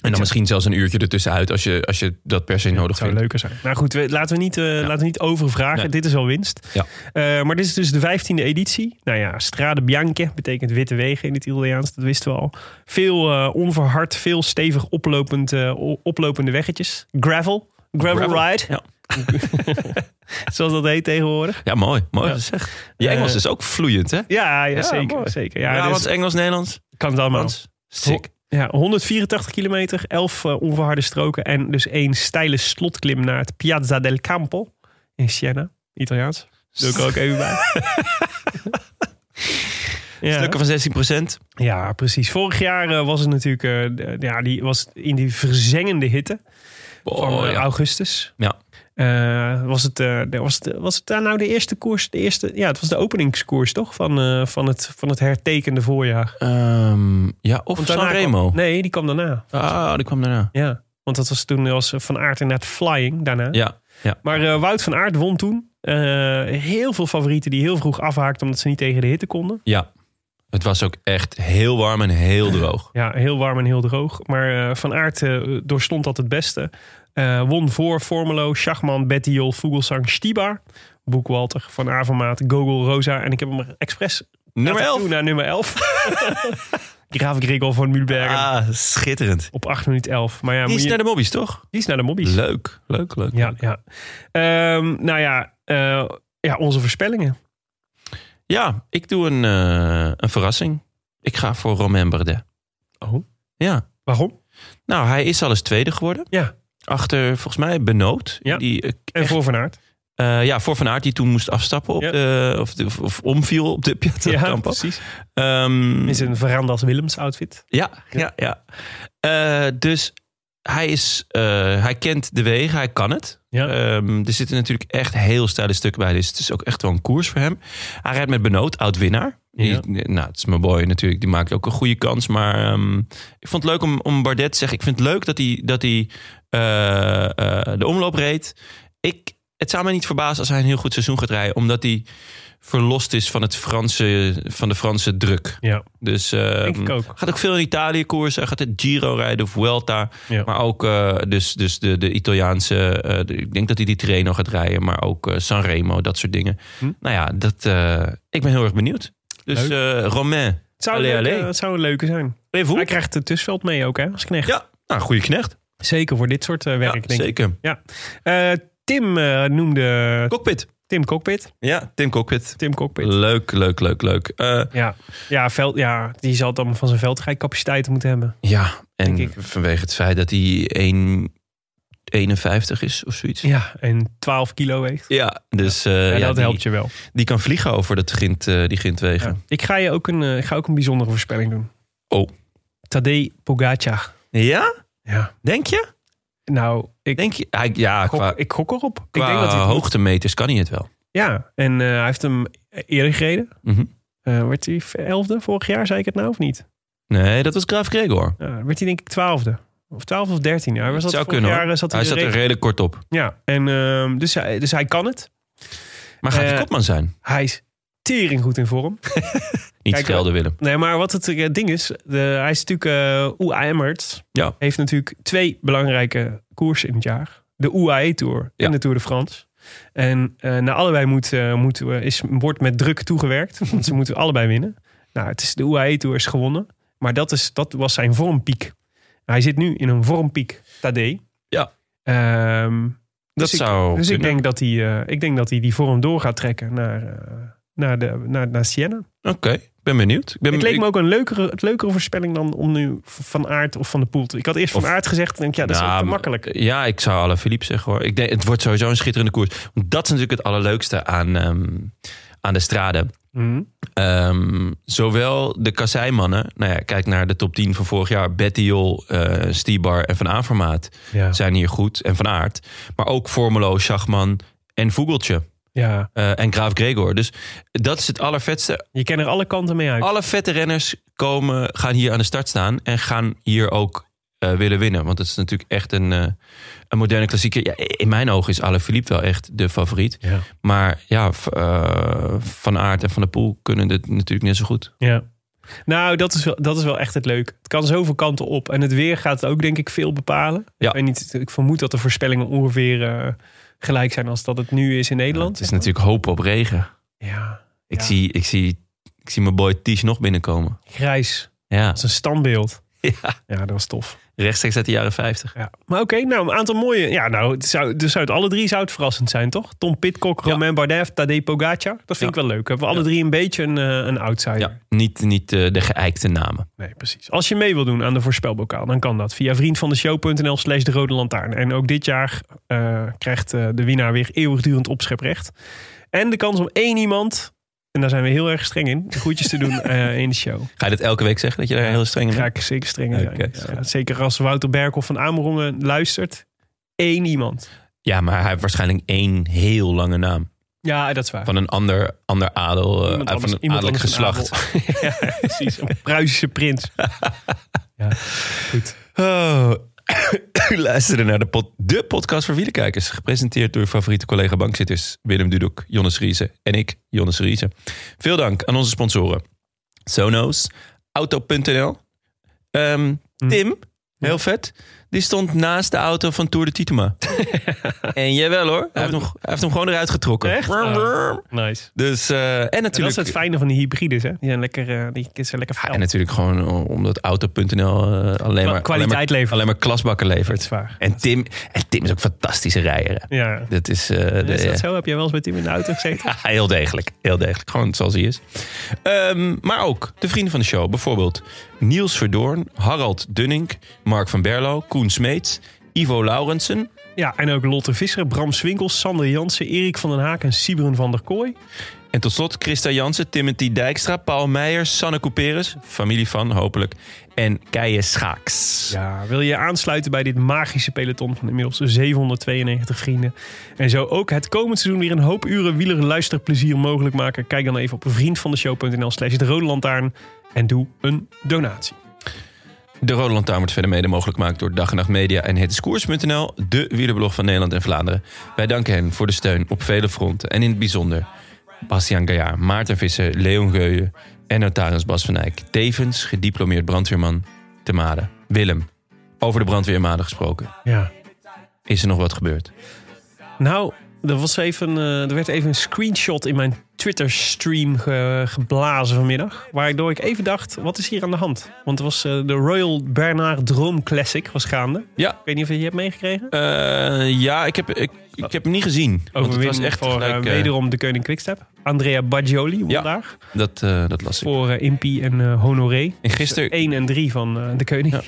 Speaker 1: En dan misschien zelfs een uurtje ertussenuit als je, als je dat per se nodig
Speaker 2: Het zou
Speaker 1: vindt.
Speaker 2: leuker zijn. Nou goed, we, laten, we niet, eh, laten we niet overvragen.
Speaker 1: Nee.
Speaker 2: Dit is al winst.
Speaker 1: Ja.
Speaker 2: Eh, maar dit is dus de 15e editie. Nou ja, Strade Bianche betekent witte wegen in het Italiaans. Dat wisten we al. Veel eh, onverhard, veel stevig oplopend, eh, o- oplopende weggetjes. Gravel. Gravel,
Speaker 1: Gravel,
Speaker 2: ride.
Speaker 1: ja.
Speaker 2: [LAUGHS] Zoals dat heet tegenwoordig.
Speaker 1: Ja, mooi. Mooi
Speaker 2: Ja.
Speaker 1: gezegd. Je Engels
Speaker 2: Eh,
Speaker 1: is ook vloeiend, hè?
Speaker 2: Ja, ja,
Speaker 1: Ja,
Speaker 2: zeker.
Speaker 1: mooi.
Speaker 2: zeker.
Speaker 1: Ja,
Speaker 2: Ja, dus
Speaker 1: wat is Engels, Nederlands?
Speaker 2: kan het allemaal.
Speaker 1: Frans? Sick.
Speaker 2: Ja, 184 kilometer, 11 eh, onverharde stroken en dus één steile slotklim naar het Piazza del Campo in Siena, Italiaans. Doe ik er ook even
Speaker 1: [LAUGHS]
Speaker 2: bij. ja.
Speaker 1: Stukken van 16 procent.
Speaker 2: ja, precies. Vorig jaar eh, was het natuurlijk eh, d- ja, die was in die verzengende hitte van eh,
Speaker 1: Oh, ja.
Speaker 2: augustus.
Speaker 1: Ja.
Speaker 2: Eh, was, het, eh, de- was, het, was het daar nou de eerste koers? De eerste, ja, het was de openingskoers toch van, eh, van, het, van het hertekende voorjaar.
Speaker 1: Ehm, ja, of
Speaker 2: Want daarna
Speaker 1: San
Speaker 2: kwam-
Speaker 1: Remo.
Speaker 2: nee, die kwam daarna.
Speaker 1: Ah, die kwam daarna.
Speaker 2: Ja, want dat was toen was Van Aert inderdaad flying daarna.
Speaker 1: Ja, ja.
Speaker 2: Maar eh, Wout van Aert won toen. Eh, heel veel favorieten die heel vroeg afhaakten omdat ze niet tegen de hitte konden.
Speaker 1: ja. Het was ook echt heel warm en heel droog.
Speaker 2: Ja, heel warm en heel droog. Maar eh, Van Aert eh, doorstond dat het beste. Eh, won voor Formelo, Schachman, Bettiol, Vogelsang, Stibar, Boekwalter, Van Avermaat, Gogol, Rosa. En ik heb hem er expres
Speaker 1: Nummer
Speaker 2: laten
Speaker 1: 11.
Speaker 2: toe naar nummer 11.
Speaker 1: [LAUGHS]
Speaker 2: Graaf Grigol van Mühlbergen
Speaker 1: Ah, schitterend.
Speaker 2: op 8 minuut 11. Maar ja,
Speaker 1: Die
Speaker 2: moet
Speaker 1: is
Speaker 2: je-
Speaker 1: naar de mobbies, toch?
Speaker 2: die is naar de mobbies.
Speaker 1: Leuk, leuk, leuk.
Speaker 2: Ja, ja. Ehm, nou ja, eh, ja, onze voorspellingen.
Speaker 1: Ja, ik doe een, eh, een verrassing. Ik ga voor Romain Bardet.
Speaker 2: Oh.
Speaker 1: Ja.
Speaker 2: Waarom?
Speaker 1: Nou, hij is al eens tweede geworden.
Speaker 2: Ja.
Speaker 1: Achter, volgens mij, Benoot.
Speaker 2: Ja.
Speaker 1: Die, eh,
Speaker 2: En voor
Speaker 1: [LAUGHS]
Speaker 2: Van Aert.
Speaker 1: eh, ja, voor Van Aert, die toen moest afstappen. Op
Speaker 2: Ja.
Speaker 1: de, of, de- of, of omviel op de [LAUGHS] Piazza
Speaker 2: Ja,
Speaker 1: Campo.
Speaker 2: precies.
Speaker 1: Ehm,
Speaker 2: Is een Verandas Willems outfit.
Speaker 1: Ja, ja, ja. Eh, dus hij, is, eh, hij kent de wegen, hij kan het.
Speaker 2: Ja.
Speaker 1: Ehm, er zitten natuurlijk echt heel steile stukken bij. Dus het is ook echt wel een koers voor hem. Hij rijdt met Benoot, oud-winnaar. Die-
Speaker 2: Ja.
Speaker 1: Nou, het is mijn boy natuurlijk. Die maakt ook een goede kans. Maar ehm, ik vond het leuk om, om Bardet te zeggen. Ik vind het leuk dat hij, dat hij eh, eh, de omloop reed. Ik, het zou mij niet verbazen als hij een heel goed seizoen gaat rijden. Omdat hij verlost is van, het Franse, van de Franse druk.
Speaker 2: Ja.
Speaker 1: Dus ehm,
Speaker 2: Denk ik ook.
Speaker 1: gaat ook veel in Italië koersen. Gaat het Giro rijden of Vuelta.
Speaker 2: Ja.
Speaker 1: Maar ook eh, dus, dus de, de Italiaanse... eh, de- ik denk dat hij die Tirreno gaat rijden. Maar ook eh, Sanremo, dat soort dingen.
Speaker 2: Hm.
Speaker 1: Nou ja, dat, eh, ik ben heel erg benieuwd. Dus eh Romain,
Speaker 2: Het zou,
Speaker 1: Allee,
Speaker 2: een leuke-
Speaker 1: allee.
Speaker 2: het zou een leuke zijn.
Speaker 1: ben je
Speaker 2: Hij
Speaker 1: voet?
Speaker 2: krijgt het tussenveld mee ook, hè, als knecht.
Speaker 1: Ja, nou, goede knecht.
Speaker 2: Zeker voor dit soort eh, werk,
Speaker 1: ja,
Speaker 2: denk ik.
Speaker 1: zeker.
Speaker 2: Eh, Tim eh, noemde
Speaker 1: Cockpit.
Speaker 2: Tim Cockpit.
Speaker 1: Ja, Tim Cockpit.
Speaker 2: Tim Cockpit.
Speaker 1: Leuk, leuk, leuk, leuk. Eh,
Speaker 2: ja. Ja, veld, ja, die zal het allemaal van zijn veldrijcapaciteit moeten hebben.
Speaker 1: ja, en
Speaker 2: Denk
Speaker 1: vanwege het feit dat hij 1,51 is of zoiets. Ja,
Speaker 2: Ja, en 12 kilo weegt.
Speaker 1: dus eh,
Speaker 2: Ja,
Speaker 1: ja,
Speaker 2: dat
Speaker 1: die,
Speaker 2: helpt je wel.
Speaker 1: die kan vliegen over dat grind, eh, die grindwegen.
Speaker 2: Ik ga je ook een, eh, ik ga ook een bijzondere voorspelling doen.
Speaker 1: Oh.
Speaker 2: Tadej Pogacar.
Speaker 1: Ja?
Speaker 2: Ja.
Speaker 1: Denk je?
Speaker 2: Nou, ik,
Speaker 1: Denk je? Hij- ja,
Speaker 2: gok,
Speaker 1: qua,
Speaker 2: ik gok erop.
Speaker 1: qua
Speaker 2: ik denk dat hij het moet.
Speaker 1: hoogtemeters kan hij het wel.
Speaker 2: Ja, en eh, hij heeft hem eerder gereden.
Speaker 1: Mhm.
Speaker 2: Eh, werd hij elfde vorig jaar, zei ik het nou of niet?
Speaker 1: Nee, dat was Graaf Gregor.
Speaker 2: Ja, werd hij denk ik twaalfde. Of twaalf of dertien. Hij was
Speaker 1: Het
Speaker 2: dat
Speaker 1: zou
Speaker 2: vorig
Speaker 1: kunnen
Speaker 2: jaar
Speaker 1: hoor.
Speaker 2: eh, zat hij,
Speaker 1: Hij
Speaker 2: in
Speaker 1: zat
Speaker 2: de
Speaker 1: er
Speaker 2: race.
Speaker 1: redelijk kort op.
Speaker 2: Ja, en, ehm, dus, hij, dus hij kan het.
Speaker 1: Maar gaat
Speaker 2: Eh,
Speaker 1: hij kopman zijn?
Speaker 2: Hij is tering goed in vorm.
Speaker 1: Niet
Speaker 2: kijk,
Speaker 1: schelden, Willem.
Speaker 2: Nee, maar wat het eh, ding is, de, hij is natuurlijk eh UAE Emirates.
Speaker 1: Ja.
Speaker 2: Heeft natuurlijk twee belangrijke koersen in het jaar. De UAE Tour
Speaker 1: Ja.
Speaker 2: en de Tour de France. En eh naar allebei moet, eh, moet, eh, is, wordt met
Speaker 1: [LAUGHS]
Speaker 2: druk toegewerkt. Want ze moeten allebei winnen. Nou, het is, de UAE Tour is gewonnen. Maar dat, is, dat was zijn vormpiek. Hij zit nu in een vormpiek, Tadej.
Speaker 1: Ja.
Speaker 2: Ehm,
Speaker 1: Dat
Speaker 2: dus ik-
Speaker 1: zou
Speaker 2: dus ik
Speaker 1: kunnen.
Speaker 2: denk, dat hij, eh, ik denk dat hij die vorm door gaat trekken naar, eh, naar, de, naar, naar Siena.
Speaker 1: Oké, ik ben benieuwd. Ik ben,
Speaker 2: Het leek
Speaker 1: ik-
Speaker 2: me ook een leukere, het leukere voorspelling dan om nu v- van Aard of van de Poel te... Ik had eerst
Speaker 1: Of-
Speaker 2: van Aard gezegd, denk ik, ja, dat is
Speaker 1: Nou,
Speaker 2: ook te
Speaker 1: maar-
Speaker 2: makkelijk.
Speaker 1: Ja, ik zou alle Philippe zeggen hoor. Ik denk, het wordt sowieso een schitterende koers. Want dat is natuurlijk het allerleukste aan, ehm, aan de straden.
Speaker 2: Mhm.
Speaker 1: Ehm, zowel de kasseimannen, nou ja, kijk naar de top 10 van vorig jaar. Bettiol, eh Stibar en Van Avermaat
Speaker 2: Ja.
Speaker 1: zijn hier goed en Van Aert. Maar ook Formelo, Schachman en Vogeltje
Speaker 2: ja,
Speaker 1: eh, en Graaf Gregor. Dus dat is het allervetste.
Speaker 2: je kan er alle kanten mee uit.
Speaker 1: Alle vette renners komen, gaan hier aan de start staan en gaan hier ook eh, willen winnen. Want het is natuurlijk echt een, eh, een moderne klassieker. Ja, in mijn ogen is Alaphilippe wel echt de favoriet.
Speaker 2: Ja.
Speaker 1: Maar ja, v- eh, Van Aert en Van der Poel kunnen dit natuurlijk net zo goed.
Speaker 2: Ja. Nou, dat is, wel, dat is wel echt het leuk. Het kan zoveel kanten op. En het weer gaat ook, denk ik, veel bepalen.
Speaker 1: Ja.
Speaker 2: Ik, weet niet, ik vermoed dat de voorspellingen ongeveer eh, gelijk zijn als dat het nu is in Nederland.
Speaker 1: het is natuurlijk hoop op regen.
Speaker 2: Ja,
Speaker 1: Ik,
Speaker 2: Ja.
Speaker 1: zie, ik, zie, ik zie mijn boy Ties nog binnenkomen.
Speaker 2: grijs.
Speaker 1: Ja,
Speaker 2: Dat is een standbeeld.
Speaker 1: [LAUGHS] ja.
Speaker 2: Ja, dat was tof.
Speaker 1: rechtstreeks uit de jaren 50.
Speaker 2: Ja. Maar oké, nou, een aantal mooie. Ja, nou, het zou, dus uit alle drie zou het verrassend zijn, toch? Tom Pitcock,
Speaker 1: Ja.
Speaker 2: Romain Bardet, Tadej Pogacar. Dat vind
Speaker 1: Ja.
Speaker 2: ik wel leuk. Hebben we alle drie een beetje een, eh, een outsider.
Speaker 1: Ja, niet, niet eh, de geëikte namen.
Speaker 2: Nee, precies. Als je mee wil doen aan de voorspelbokaal, dan kan dat via vriendvandeshow.nl slash de rode lantaarn. En ook dit jaar eh, krijgt eh, de winnaar weer eeuwigdurend opscheprecht. En de kans om één iemand, en daar zijn we heel erg streng in, de groetjes
Speaker 1: [LAUGHS]
Speaker 2: te doen eh, in de show.
Speaker 1: Ga je dat elke week zeggen, dat je daar heel streng in
Speaker 2: Daar
Speaker 1: bent?
Speaker 2: ga ik zeker strenger zijn.
Speaker 1: Oké, is goed.
Speaker 2: Ja, zeker als Wouter Berkhoff van Amerongen luistert. Eén iemand.
Speaker 1: Ja, maar hij heeft waarschijnlijk één heel lange naam.
Speaker 2: Ja, dat is waar.
Speaker 1: Van een ander, ander adel, eh,
Speaker 2: Iemand
Speaker 1: van
Speaker 2: anders-
Speaker 1: een
Speaker 2: iemand
Speaker 1: adellijk
Speaker 2: anders
Speaker 1: geslacht.
Speaker 2: een
Speaker 1: [LAUGHS]
Speaker 2: adel. ja, precies. Een Pruisische prins. ja, goed.
Speaker 1: Oh. [COUGHS] U luisterde naar de, pod- de podcast voor wielerkijkers. Gepresenteerd door uw favoriete collega bankzitters Willem Dudok, Jonnes Riese en ik, Jonnes Riese. Veel dank aan onze sponsoren. Sonos, Auto.nl. Ehm,
Speaker 2: Hm.
Speaker 1: Tim, heel vet. Die stond naast de auto van Tour de
Speaker 2: [LAUGHS]
Speaker 1: Titema. en jawel hoor, hij heeft, nog, hij heeft hem gewoon eruit getrokken.
Speaker 2: Echt? Ah,
Speaker 1: Brum, brum.
Speaker 2: Nice.
Speaker 1: Dus, eh, en
Speaker 2: En dat is
Speaker 1: natuurlijk...
Speaker 2: het fijne van die hybrides, hè? Die zijn lekker, eh, die zijn lekker fel.
Speaker 1: en natuurlijk gewoon eh, omdat Auto.nl eh, alleen, maar, alleen, maar,
Speaker 2: kwaliteit leveren.
Speaker 1: alleen maar klasbakken
Speaker 2: Dat
Speaker 1: levert.
Speaker 2: is waar.
Speaker 1: En Tim, en Tim is ook een fantastische rijder. hè.
Speaker 2: Ja.
Speaker 1: Dat is, eh, de-
Speaker 2: is dat zo? Heb jij wel eens met Tim in de auto
Speaker 1: [LAUGHS]
Speaker 2: gezeten?
Speaker 1: Ja, heel degelijk. Heel degelijk. Gewoon zoals hij is. Ehm, maar ook de vrienden van de show. Bijvoorbeeld Niels Verdoorn, Harald Dunning, Mark van Berlo, Koen Smeets, Ivo Laurensen.
Speaker 2: Ja, en ook Lotte Visser, Bram Swinkels, Sander Jansen, Erik van den Haak en Sieberen van der Kooi.
Speaker 1: En tot slot Christa Jansen, Timothy Dijkstra, Paul Meijers, Sanne Couperus, familie van hopelijk, en Keijer Schaaks.
Speaker 2: Ja, wil je je aansluiten bij dit magische peloton van inmiddels 792 vrienden? En zo ook het komend seizoen weer een hoop uren wieler luisterplezier mogelijk maken? Kijk dan even op vriendvandeshow.nl slash de rode lantaarn en doe een donatie.
Speaker 1: De Rode Lantaarn wordt verder mede mogelijk gemaakt door Dag en Nacht Media en het is koers.nl, de wielerblog van Nederland en Vlaanderen. Wij danken hen voor de steun op vele fronten en in het bijzonder Bastiaan Gaillard, Maarten Visser, Leon Geuyen en notaris Bas van Eyck. Tevens gediplomeerd brandweerman te Maden. Willem, over de brandweer in Maden gesproken.
Speaker 2: Ja.
Speaker 1: Is er nog wat gebeurd?
Speaker 2: Nou, er, was even, eh, er werd even een screenshot in mijn Twitter-stream ge- geblazen vanmiddag. Waardoor ik even dacht, wat is hier aan de hand? Want het was eh, de Royal Bernard Droom Classic was gaande.
Speaker 1: Ja.
Speaker 2: Ik weet niet of je die hebt meegekregen.
Speaker 1: Eh, ja, ik heb, ik, ik heb hem niet gezien. Want het was
Speaker 2: Overwinning
Speaker 1: echt
Speaker 2: voor eh,
Speaker 1: gelijk, eh,
Speaker 2: wederom de koning Quickstep. Andrea Baggioli won
Speaker 1: Ja.
Speaker 2: daar.
Speaker 1: dat, eh, dat las ik.
Speaker 2: Voor eh, Impy en eh, Honoré.
Speaker 1: En gisteren
Speaker 2: 1 en 3 van eh, de koning.
Speaker 1: Ja.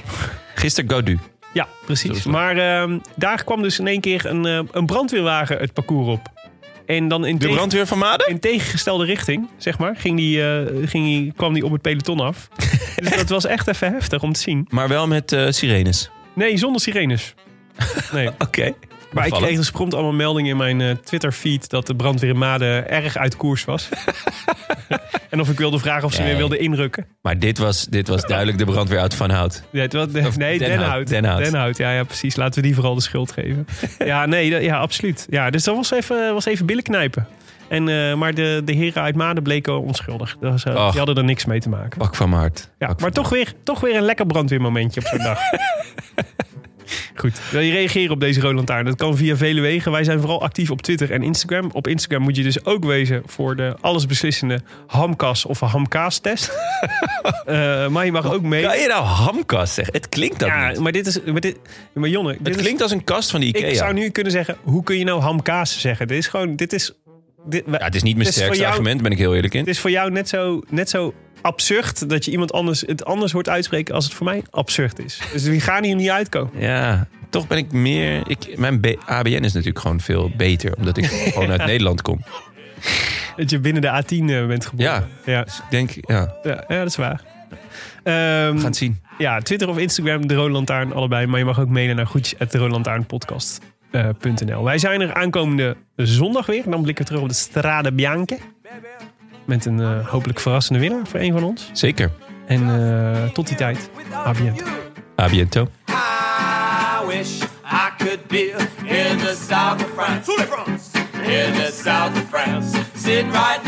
Speaker 1: gister Gaudu.
Speaker 2: Ja,
Speaker 1: Zo is
Speaker 2: precies.
Speaker 1: dat.
Speaker 2: Maar ehm, daar kwam dus in één keer een, eh, een brandweerwagen het parcours op. En dan in
Speaker 1: De brandweer van Maden?
Speaker 2: in tegengestelde richting, zeg maar, ging die, eh, ging die, kwam die op het peloton
Speaker 1: [LAUGHS]
Speaker 2: af. dus dat was echt even heftig om te zien.
Speaker 1: Maar wel met eh, sirenes.
Speaker 2: Nee, zonder sirenes. Nee.
Speaker 1: [LAUGHS] Oké.
Speaker 2: Maar ik
Speaker 1: Opvallend.
Speaker 2: kreeg dus prompt allemaal meldingen in mijn eh, Twitter-feed... dat de brandweer in Maden erg uit koers
Speaker 1: [LAUGHS]
Speaker 2: was. en of ik wilde vragen of ze
Speaker 1: Nee.
Speaker 2: weer wilden inrukken.
Speaker 1: Maar dit was, dit was duidelijk de brandweer uit Van Hout.
Speaker 2: Nee, het was-
Speaker 1: Of
Speaker 2: nee
Speaker 1: Den Hout,
Speaker 2: Denhout.
Speaker 1: Den Hout.
Speaker 2: ja, ja, precies. Laten we die vooral de schuld geven.
Speaker 1: [LAUGHS]
Speaker 2: ja, nee, dat- ja, absoluut. Ja, dus dat was even, was even billen knijpen. En, eh, maar de, de heren uit Maden bleken onschuldig. Dat was, eh,
Speaker 1: Ach.
Speaker 2: die hadden er niks mee te maken.
Speaker 1: Pak van mijn hart.
Speaker 2: Ja,
Speaker 1: Pak van
Speaker 2: maar toch weer, toch weer een lekker brandweermomentje op zo'n dag. [LAUGHS] Goed, wil je reageren op deze Roland Taarn? Dat kan via vele wegen. Wij zijn vooral actief op Twitter en Instagram. Op Instagram moet je dus ook wezen voor de allesbeslissende hamkas of [LAUGHS] hamkaas-test. Eh, maar je mag ook mee.
Speaker 1: mijn- Kan je nou hamkast zeggen? Het klinkt dat
Speaker 2: Ja,
Speaker 1: niet.
Speaker 2: maar dit is... Maar, dit, maar Jonne, dit
Speaker 1: Het
Speaker 2: is-
Speaker 1: klinkt als een kast van de Ikea.
Speaker 2: ik zou nu kunnen zeggen, hoe kun je nou hamkaas zeggen? Dit is gewoon, dit is dit- we-
Speaker 1: Ja, het is niet mijn
Speaker 2: Het is
Speaker 1: sterkste
Speaker 2: voor jou-
Speaker 1: argument, ben ik heel eerlijk in.
Speaker 2: het is voor jou net zo, net zo absurd dat je iemand anders het anders hoort uitspreken als het voor mij absurd
Speaker 1: [LAUGHS]
Speaker 2: is. Dus we gaan hier niet uitkomen.
Speaker 1: Ja, toch ben ik meer... Ik, mijn B- ABN is natuurlijk gewoon veel beter, omdat ik gewoon
Speaker 2: [LAUGHS]
Speaker 1: uit Nederland kom.
Speaker 2: Dat je binnen de A10 eh, bent geboren.
Speaker 1: Ja.
Speaker 2: Ja,
Speaker 1: Dus ik denk, ja, we
Speaker 2: ja, ja, dat is waar. Ehm,
Speaker 1: gaan het zien.
Speaker 2: Ja, Twitter of Instagram, De Rode Lantaarn, allebei. Maar je mag ook mailen naar eh, groetjes.deroodlantaarnpodcast.nl. Wij zijn er aankomende zondag weer. Dan blikken we terug op de Strade Bianche. Met een eh, hopelijk verrassende winnaar voor een van ons.
Speaker 1: Zeker.
Speaker 2: En eh, tot die tijd, ABN.
Speaker 1: A biento.
Speaker 5: I wish I could be in the south of France. In the south of France. Sit right next